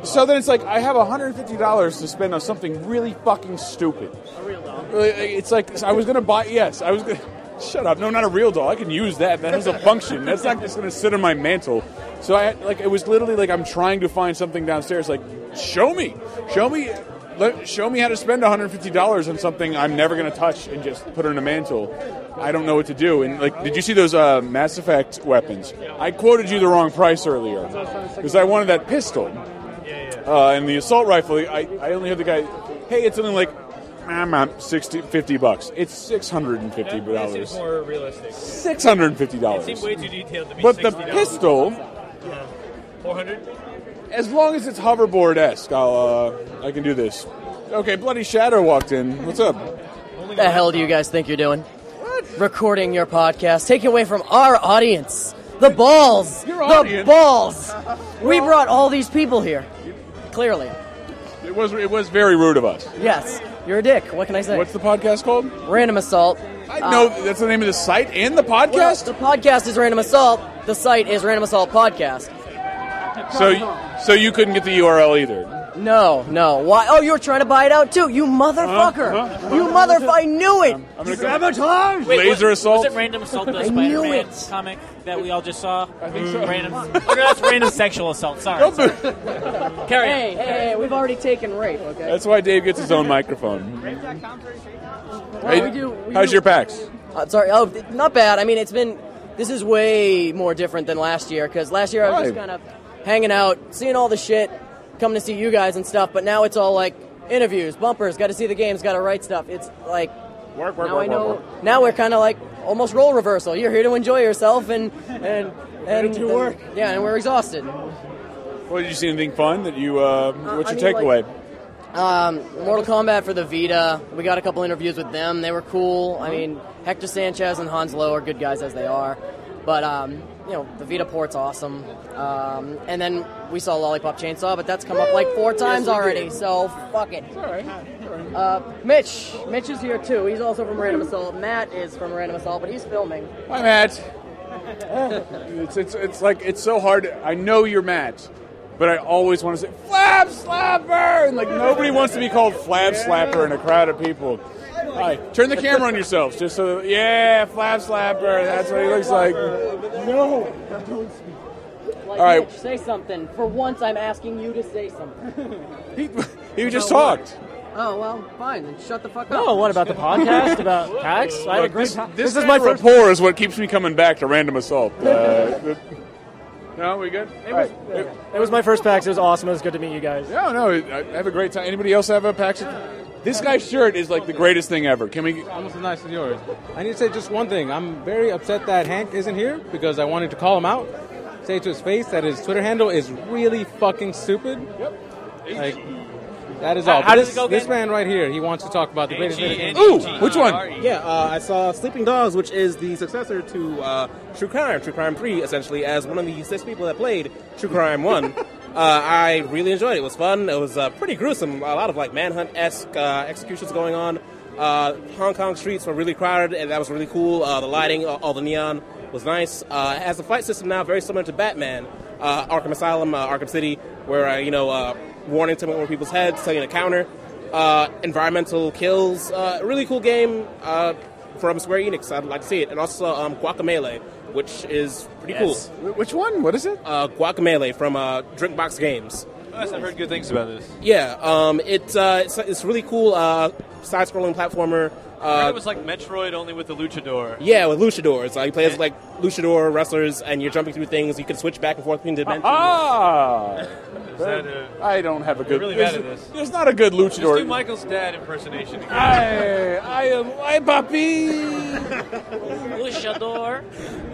[SPEAKER 2] So then it's like, I have $150 to spend on something really fucking stupid. Really, Uh, It's like I was gonna buy. Yes, I was gonna. Shut up! No, not a real doll. I can use that. That has a function. That's not just gonna sit on my mantle. So I like it was literally like I'm trying to find something downstairs. Like, show me, show me, let, show me how to spend 150 dollars on something I'm never gonna touch and just put on a mantle. I don't know what to do. And like, did you see those uh, Mass Effect weapons? I quoted you the wrong price earlier because I wanted that pistol. Uh, and the assault rifle, I, I only had the guy, hey, it's only like, I'm out 60, 50 bucks. It's $650.
[SPEAKER 9] That seems more realistic.
[SPEAKER 2] $650.
[SPEAKER 9] It seemed way too detailed to be
[SPEAKER 2] But the
[SPEAKER 9] $60.
[SPEAKER 2] pistol,
[SPEAKER 9] Yeah. 400
[SPEAKER 2] as long as it's hoverboard esque, I'll, uh, I can do this. Okay, Bloody Shadow walked in. What's up?
[SPEAKER 26] The hell do you guys think you're doing? What? Recording your podcast, taking away from our audience. The balls.
[SPEAKER 2] Your
[SPEAKER 26] the
[SPEAKER 2] audience.
[SPEAKER 26] balls. We brought all these people here. Clearly.
[SPEAKER 2] It was, it was very rude of us.
[SPEAKER 26] Yes. You're a dick. What can I say?
[SPEAKER 2] What's the podcast called?
[SPEAKER 26] Random Assault. Uh,
[SPEAKER 2] I know that's the name of the site and the podcast?
[SPEAKER 26] the podcast is Random Assault. The site is Random Assault Podcast.
[SPEAKER 2] So, so you couldn't get the URL either.
[SPEAKER 26] No, no. Why? Oh, you were trying to buy it out too, you motherfucker!
[SPEAKER 2] Uh-huh.
[SPEAKER 26] you motherfucker! I knew it. Sabotage.
[SPEAKER 4] Wait,
[SPEAKER 2] Laser
[SPEAKER 4] was,
[SPEAKER 2] assault?
[SPEAKER 4] Was it Random Assault, the
[SPEAKER 26] I
[SPEAKER 4] Spider
[SPEAKER 26] knew
[SPEAKER 4] Man
[SPEAKER 26] it.
[SPEAKER 4] comic that we all just saw? I
[SPEAKER 26] think so.
[SPEAKER 4] Random, oh, no, that's Random Sexual Assault. Sorry. sorry. Carry on.
[SPEAKER 26] Hey, hey, hey! We've already taken rape. Okay.
[SPEAKER 2] That's why Dave gets his own microphone.
[SPEAKER 26] Well,
[SPEAKER 2] Hey,
[SPEAKER 26] we do- we
[SPEAKER 2] how's
[SPEAKER 26] do-
[SPEAKER 2] your PAX?
[SPEAKER 26] Uh, sorry. Oh, th- not bad. I mean, it's been. This is way more different than last year because last year I was just
[SPEAKER 2] Right.
[SPEAKER 26] kind of hanging out, seeing all the shit, coming to see you guys and stuff. But now it's all like interviews, bumpers. Got to see the games. Got to write stuff. It's like
[SPEAKER 2] work,
[SPEAKER 26] now
[SPEAKER 2] work,
[SPEAKER 26] I know.
[SPEAKER 2] work,
[SPEAKER 26] Now we're kind of like almost role reversal. You're here to enjoy yourself and and and do work. Yeah, and we're exhausted.
[SPEAKER 2] Well, did you see anything fun that you? Uh, what's
[SPEAKER 26] I
[SPEAKER 2] your
[SPEAKER 26] mean,
[SPEAKER 2] takeaway?
[SPEAKER 26] like- Um, Mortal Kombat for the Vita. We got a couple interviews with them. They were cool.
[SPEAKER 14] Uh-huh.
[SPEAKER 26] I mean, Hector Sanchez and Hans Lo are good guys as they are. But, um, you know, the Vita port's awesome. Um, and then we saw Lollipop Chainsaw, but that's come up like four Yes, times we already, did. so fuck it. Uh, Mitch. Mitch is here too. He's also from Random Assault. Matt is from Random Assault, but he's filming.
[SPEAKER 2] Hi, Matt. It's, it's it's like it's so hard. I know you're Matt, but I always want to say Flap Slapper, and like nobody wants to be called Flap Slapper in a crowd of people. Hi, turn the camera on yourselves, just so. Yeah, Flap Slapper. That's what he looks like. No.
[SPEAKER 26] Like,
[SPEAKER 2] All right.
[SPEAKER 26] Mitch, say something. For once, I'm asking you to say something.
[SPEAKER 2] He just talked.
[SPEAKER 14] Oh well, fine. Then shut the fuck up.
[SPEAKER 9] No, what about the podcast about tax? I had a
[SPEAKER 2] Look,
[SPEAKER 9] great
[SPEAKER 2] this,
[SPEAKER 9] time.
[SPEAKER 2] this
[SPEAKER 9] This is my
[SPEAKER 2] Vanderhoof
[SPEAKER 9] first.
[SPEAKER 2] pour is what keeps me coming back to random assault. Uh, the- no, we good.
[SPEAKER 9] It was, it was my first PAX. It was awesome. It was good to meet you guys.
[SPEAKER 2] no, no, I I have a great time. Anybody else have a PAX? This guy's shirt is like the greatest thing ever. Can we?
[SPEAKER 20] Almost as nice as yours. I need to say just one thing. I'm very upset that Hank isn't here because I wanted to call him out, say to his face that his Twitter handle is really fucking stupid. Yep. Like, that is
[SPEAKER 2] How-
[SPEAKER 20] all.
[SPEAKER 2] how
[SPEAKER 20] But
[SPEAKER 2] does
[SPEAKER 20] this,
[SPEAKER 2] it go
[SPEAKER 20] this
[SPEAKER 2] again?
[SPEAKER 20] man right here, he wants to talk about the greatest video game.
[SPEAKER 27] Yeah, uh, I saw Sleeping Dogs, which is the successor to uh, True Crime, True Crime 3, essentially, as one of the six people that played True Crime 1. uh, I really enjoyed it. It was fun. It was uh, pretty gruesome. A lot of like manhunt esque uh, executions going on. Uh, Hong Kong streets were really crowded, and that was really cool. Uh, the lighting, uh, all the neon was nice. Uh, it has a fight system now very similar to Batman, uh, Arkham Asylum, uh, Arkham City, where uh, you know uh, warnings coming over people's heads, setting a counter, uh, environmental kills. Uh, really cool game uh, from Square Enix. I'd like to see it, and also um, Guacamelee, which is pretty
[SPEAKER 2] Yes.
[SPEAKER 27] cool. Which one? What is it? Uh, Guacamelee from uh, Drinkbox Games.
[SPEAKER 3] I've heard good things about this.
[SPEAKER 27] Yeah, um, it, uh, it's it's really cool uh, side-scrolling platformer.
[SPEAKER 3] Uh,
[SPEAKER 27] Uh,
[SPEAKER 3] it was like Metroid only with the luchador.
[SPEAKER 27] yeah, with luchadors. Uh, you play as like luchador wrestlers, and you're jumping through things. You can switch back and forth between dimensions.
[SPEAKER 2] Ah,
[SPEAKER 27] that
[SPEAKER 2] I don't have a good.
[SPEAKER 27] really
[SPEAKER 2] there's,
[SPEAKER 27] bad at this.
[SPEAKER 2] there's not a good
[SPEAKER 3] Just do
[SPEAKER 2] luchador.
[SPEAKER 3] Michael's dad impersonation. Again.
[SPEAKER 2] I, I am, I puppy.
[SPEAKER 4] Luchador.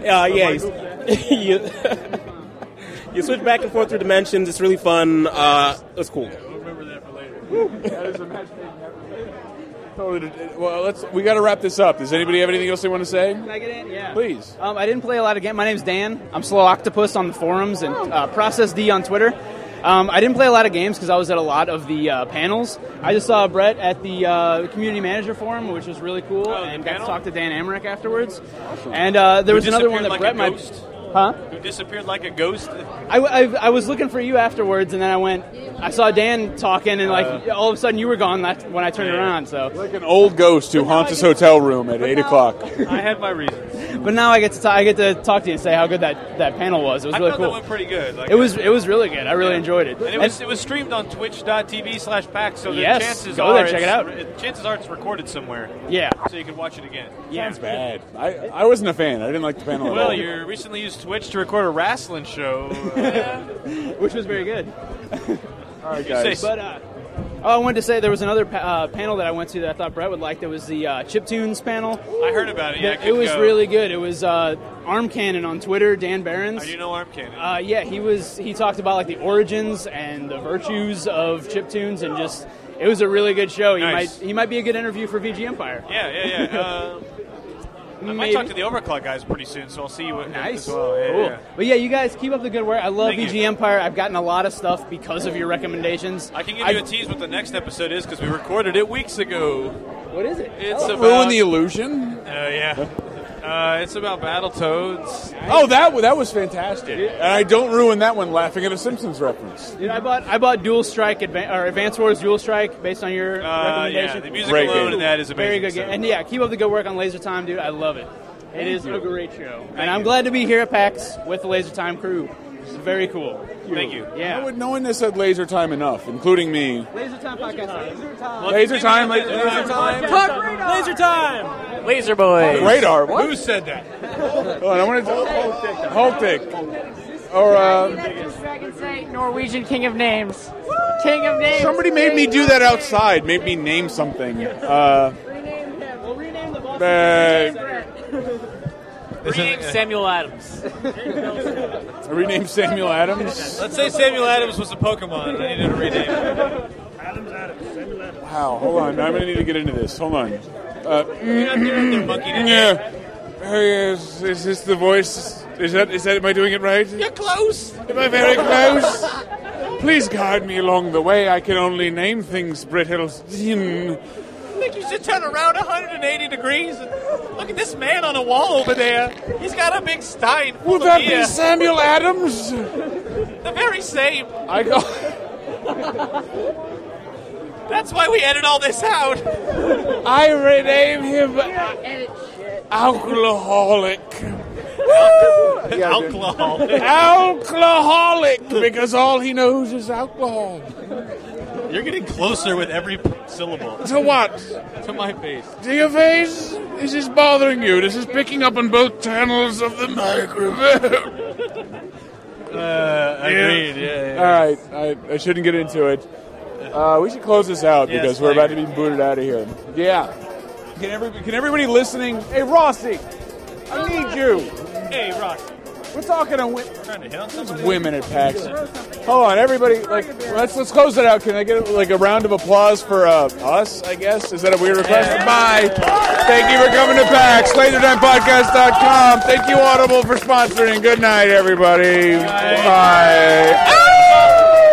[SPEAKER 27] Uh, yeah, you, you, you switch back and forth through dimensions. It's really fun. Uh, it's cool.
[SPEAKER 2] that is a match Totally. Well, let's. We got to wrap this up. Does anybody have anything else they want to say?
[SPEAKER 14] Can I get in? Yeah.
[SPEAKER 2] Please.
[SPEAKER 14] Um, I didn't play a lot of games. My name's Dan. I'm Slow Octopus on the forums and
[SPEAKER 3] Oh.
[SPEAKER 14] uh, Process D on Twitter. Um, I didn't play a lot of games because I was at a lot of the uh, panels. I just saw Brett at the uh, community manager forum, which was really
[SPEAKER 3] Oh,
[SPEAKER 14] cool, and got to talk to Dan Amrick afterwards. And uh, there
[SPEAKER 3] Who
[SPEAKER 14] was another one that Brett
[SPEAKER 3] disappeared like a
[SPEAKER 14] might.
[SPEAKER 3] ghost?
[SPEAKER 14] Huh?
[SPEAKER 3] Who disappeared like a ghost?
[SPEAKER 14] I, I, I was looking for you afterwards, and then I went. I saw Dan talking, and like
[SPEAKER 3] Uh.
[SPEAKER 14] all of a sudden you were gone last, when I turned around. So
[SPEAKER 2] Like an old ghost who haunts his hotel room at eight o'clock.
[SPEAKER 14] I had my reasons. But now I get to t- I get to talk to you and say how good that, that panel was. It was
[SPEAKER 3] I
[SPEAKER 14] really
[SPEAKER 3] thought
[SPEAKER 14] cool.
[SPEAKER 3] that went pretty good. Like,
[SPEAKER 14] it was it was really good. I really
[SPEAKER 3] Yeah.
[SPEAKER 14] enjoyed it.
[SPEAKER 3] And it was it was streamed on twitch.tv slash pack, so the
[SPEAKER 14] Yes,
[SPEAKER 3] chances
[SPEAKER 14] go
[SPEAKER 3] are
[SPEAKER 14] there, check it
[SPEAKER 3] it's-
[SPEAKER 14] out.
[SPEAKER 3] it- chances are it's recorded somewhere.
[SPEAKER 14] Yeah.
[SPEAKER 3] So you can watch it again.
[SPEAKER 2] Sounds bad. I, I wasn't a fan. I didn't like the panel.
[SPEAKER 3] Well,
[SPEAKER 2] at all.
[SPEAKER 3] you recently used Twitch to record a wrestling show, Uh,
[SPEAKER 14] which was very good.
[SPEAKER 2] All right,
[SPEAKER 3] guys.
[SPEAKER 14] But uh, oh, I wanted to say there was another pa- uh, panel that I went to that I thought Brett would like. That was the uh, Chiptunes panel.
[SPEAKER 3] I heard about it. Yeah, I
[SPEAKER 14] That- it
[SPEAKER 3] couldn't
[SPEAKER 14] was
[SPEAKER 3] go.
[SPEAKER 14] really good. It was uh, Arm Cannon on Twitter, Dan Barons.
[SPEAKER 3] I do know Arm Cannon.
[SPEAKER 14] Uh, yeah, he was. He talked about like the origins and the virtues of chiptunes, and just it was a really good show. He
[SPEAKER 3] Nice.
[SPEAKER 14] might he might be a good interview for VG Empire.
[SPEAKER 3] Yeah, yeah, yeah. Uh, I might
[SPEAKER 14] Maybe.
[SPEAKER 3] talk to the Overclock guys pretty soon, so I'll see you.
[SPEAKER 14] Nice,
[SPEAKER 3] As well. Yeah,
[SPEAKER 14] cool.
[SPEAKER 3] yeah.
[SPEAKER 14] But yeah, you guys keep up the good work. I love
[SPEAKER 3] Thank
[SPEAKER 14] VG
[SPEAKER 3] you.
[SPEAKER 14] Empire. I've gotten a lot of stuff because of your recommendations.
[SPEAKER 3] I can give you a tease what the next episode is because we recorded it weeks ago.
[SPEAKER 14] What is it?
[SPEAKER 3] It's
[SPEAKER 2] Don't
[SPEAKER 3] about
[SPEAKER 2] ruin the illusion.
[SPEAKER 3] Uh, yeah. Uh, it's about Battletoads.
[SPEAKER 2] Oh, that wa- that was fantastic. And I don't ruin that one laughing at a Simpsons reference.
[SPEAKER 14] Dude, I bought I bought Dual Strike Advan- or Advance Wars Dual Strike based on your
[SPEAKER 3] Uh, yeah,
[SPEAKER 14] recommendation.
[SPEAKER 3] the music Great alone game. in that is
[SPEAKER 14] Very
[SPEAKER 3] amazing,
[SPEAKER 14] good
[SPEAKER 3] so.
[SPEAKER 14] game. And yeah, keep up the good work on Laser Time, dude. I love it. it is
[SPEAKER 3] you.
[SPEAKER 14] a great show,
[SPEAKER 3] Thank
[SPEAKER 14] and I'm
[SPEAKER 3] you.
[SPEAKER 14] glad to be here at PAX with the Laser Time crew. It's very cool.
[SPEAKER 3] Thank you.
[SPEAKER 14] Yeah.
[SPEAKER 2] No one- no one has said laser time enough, including me.
[SPEAKER 14] Laser Time podcast. Laser Time.
[SPEAKER 2] Laser time, laser, laser time.
[SPEAKER 14] Laser Time.
[SPEAKER 4] Laser Boys.
[SPEAKER 2] Radar, what?
[SPEAKER 3] Who said that?
[SPEAKER 2] Oh, and I wanted to Holtik. Or uh,
[SPEAKER 15] Norwegian King of Names. King of Names.
[SPEAKER 2] somebody made me do that outside. Made me name something. Uh, uh,
[SPEAKER 4] Reading Samuel Adams.
[SPEAKER 2] I renamed Samuel Adams.
[SPEAKER 3] Let's say Samuel Adams was a Pokemon. and I needed to rename it.
[SPEAKER 2] Wow, hold on. I'm gonna need to get into this. Hold on. Uh, mm, yeah. Hey, is, is this the voice? Is that is that? Am I doing it right? You're
[SPEAKER 15] close.
[SPEAKER 2] Am I very close? Please guide me along the way. I can only name things brittle. Hmm.
[SPEAKER 3] I think you should turn around 180 degrees. And look at this man on a wall over there. He's got a big stein. full
[SPEAKER 2] Will
[SPEAKER 3] of
[SPEAKER 2] that be
[SPEAKER 3] beer.
[SPEAKER 2] Samuel Adams?
[SPEAKER 3] The very same.
[SPEAKER 2] I go.
[SPEAKER 3] That's why we edit all this out.
[SPEAKER 2] I rename him uh, alcoholic.
[SPEAKER 3] Alcohol.
[SPEAKER 2] Alcoholic, because all he knows is alcohol.
[SPEAKER 3] You're getting closer with every p- syllable.
[SPEAKER 2] To what?
[SPEAKER 3] To my face.
[SPEAKER 2] To your face? This is bothering you. This is picking up on both channels of the microphone.
[SPEAKER 3] Uh, agreed. Yeah. yeah, yeah.
[SPEAKER 2] All right, I, I shouldn't get into it. Uh, we should close this out
[SPEAKER 9] Yes,
[SPEAKER 2] because we're
[SPEAKER 9] I
[SPEAKER 2] about to be booted out of here. Yeah. Can, every, can everybody listening? Hey, Rossi, I need you.
[SPEAKER 9] Hey, Rock.
[SPEAKER 2] We're talking a win.
[SPEAKER 9] Trying to hit on somebody.
[SPEAKER 2] Women at PAX. Hold on, everybody. Like, let's let's close it out. Can I get like a round of applause for uh, us? I guess is that a weird request? Bye. Thank you for coming to PAX. LaserTimePodcast.com. Thank you, Audible, for sponsoring. Good night, everybody. Bye.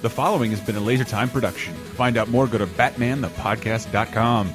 [SPEAKER 28] The following has been a Laser Time production. Find out more, go to BatmanThePodcast.com.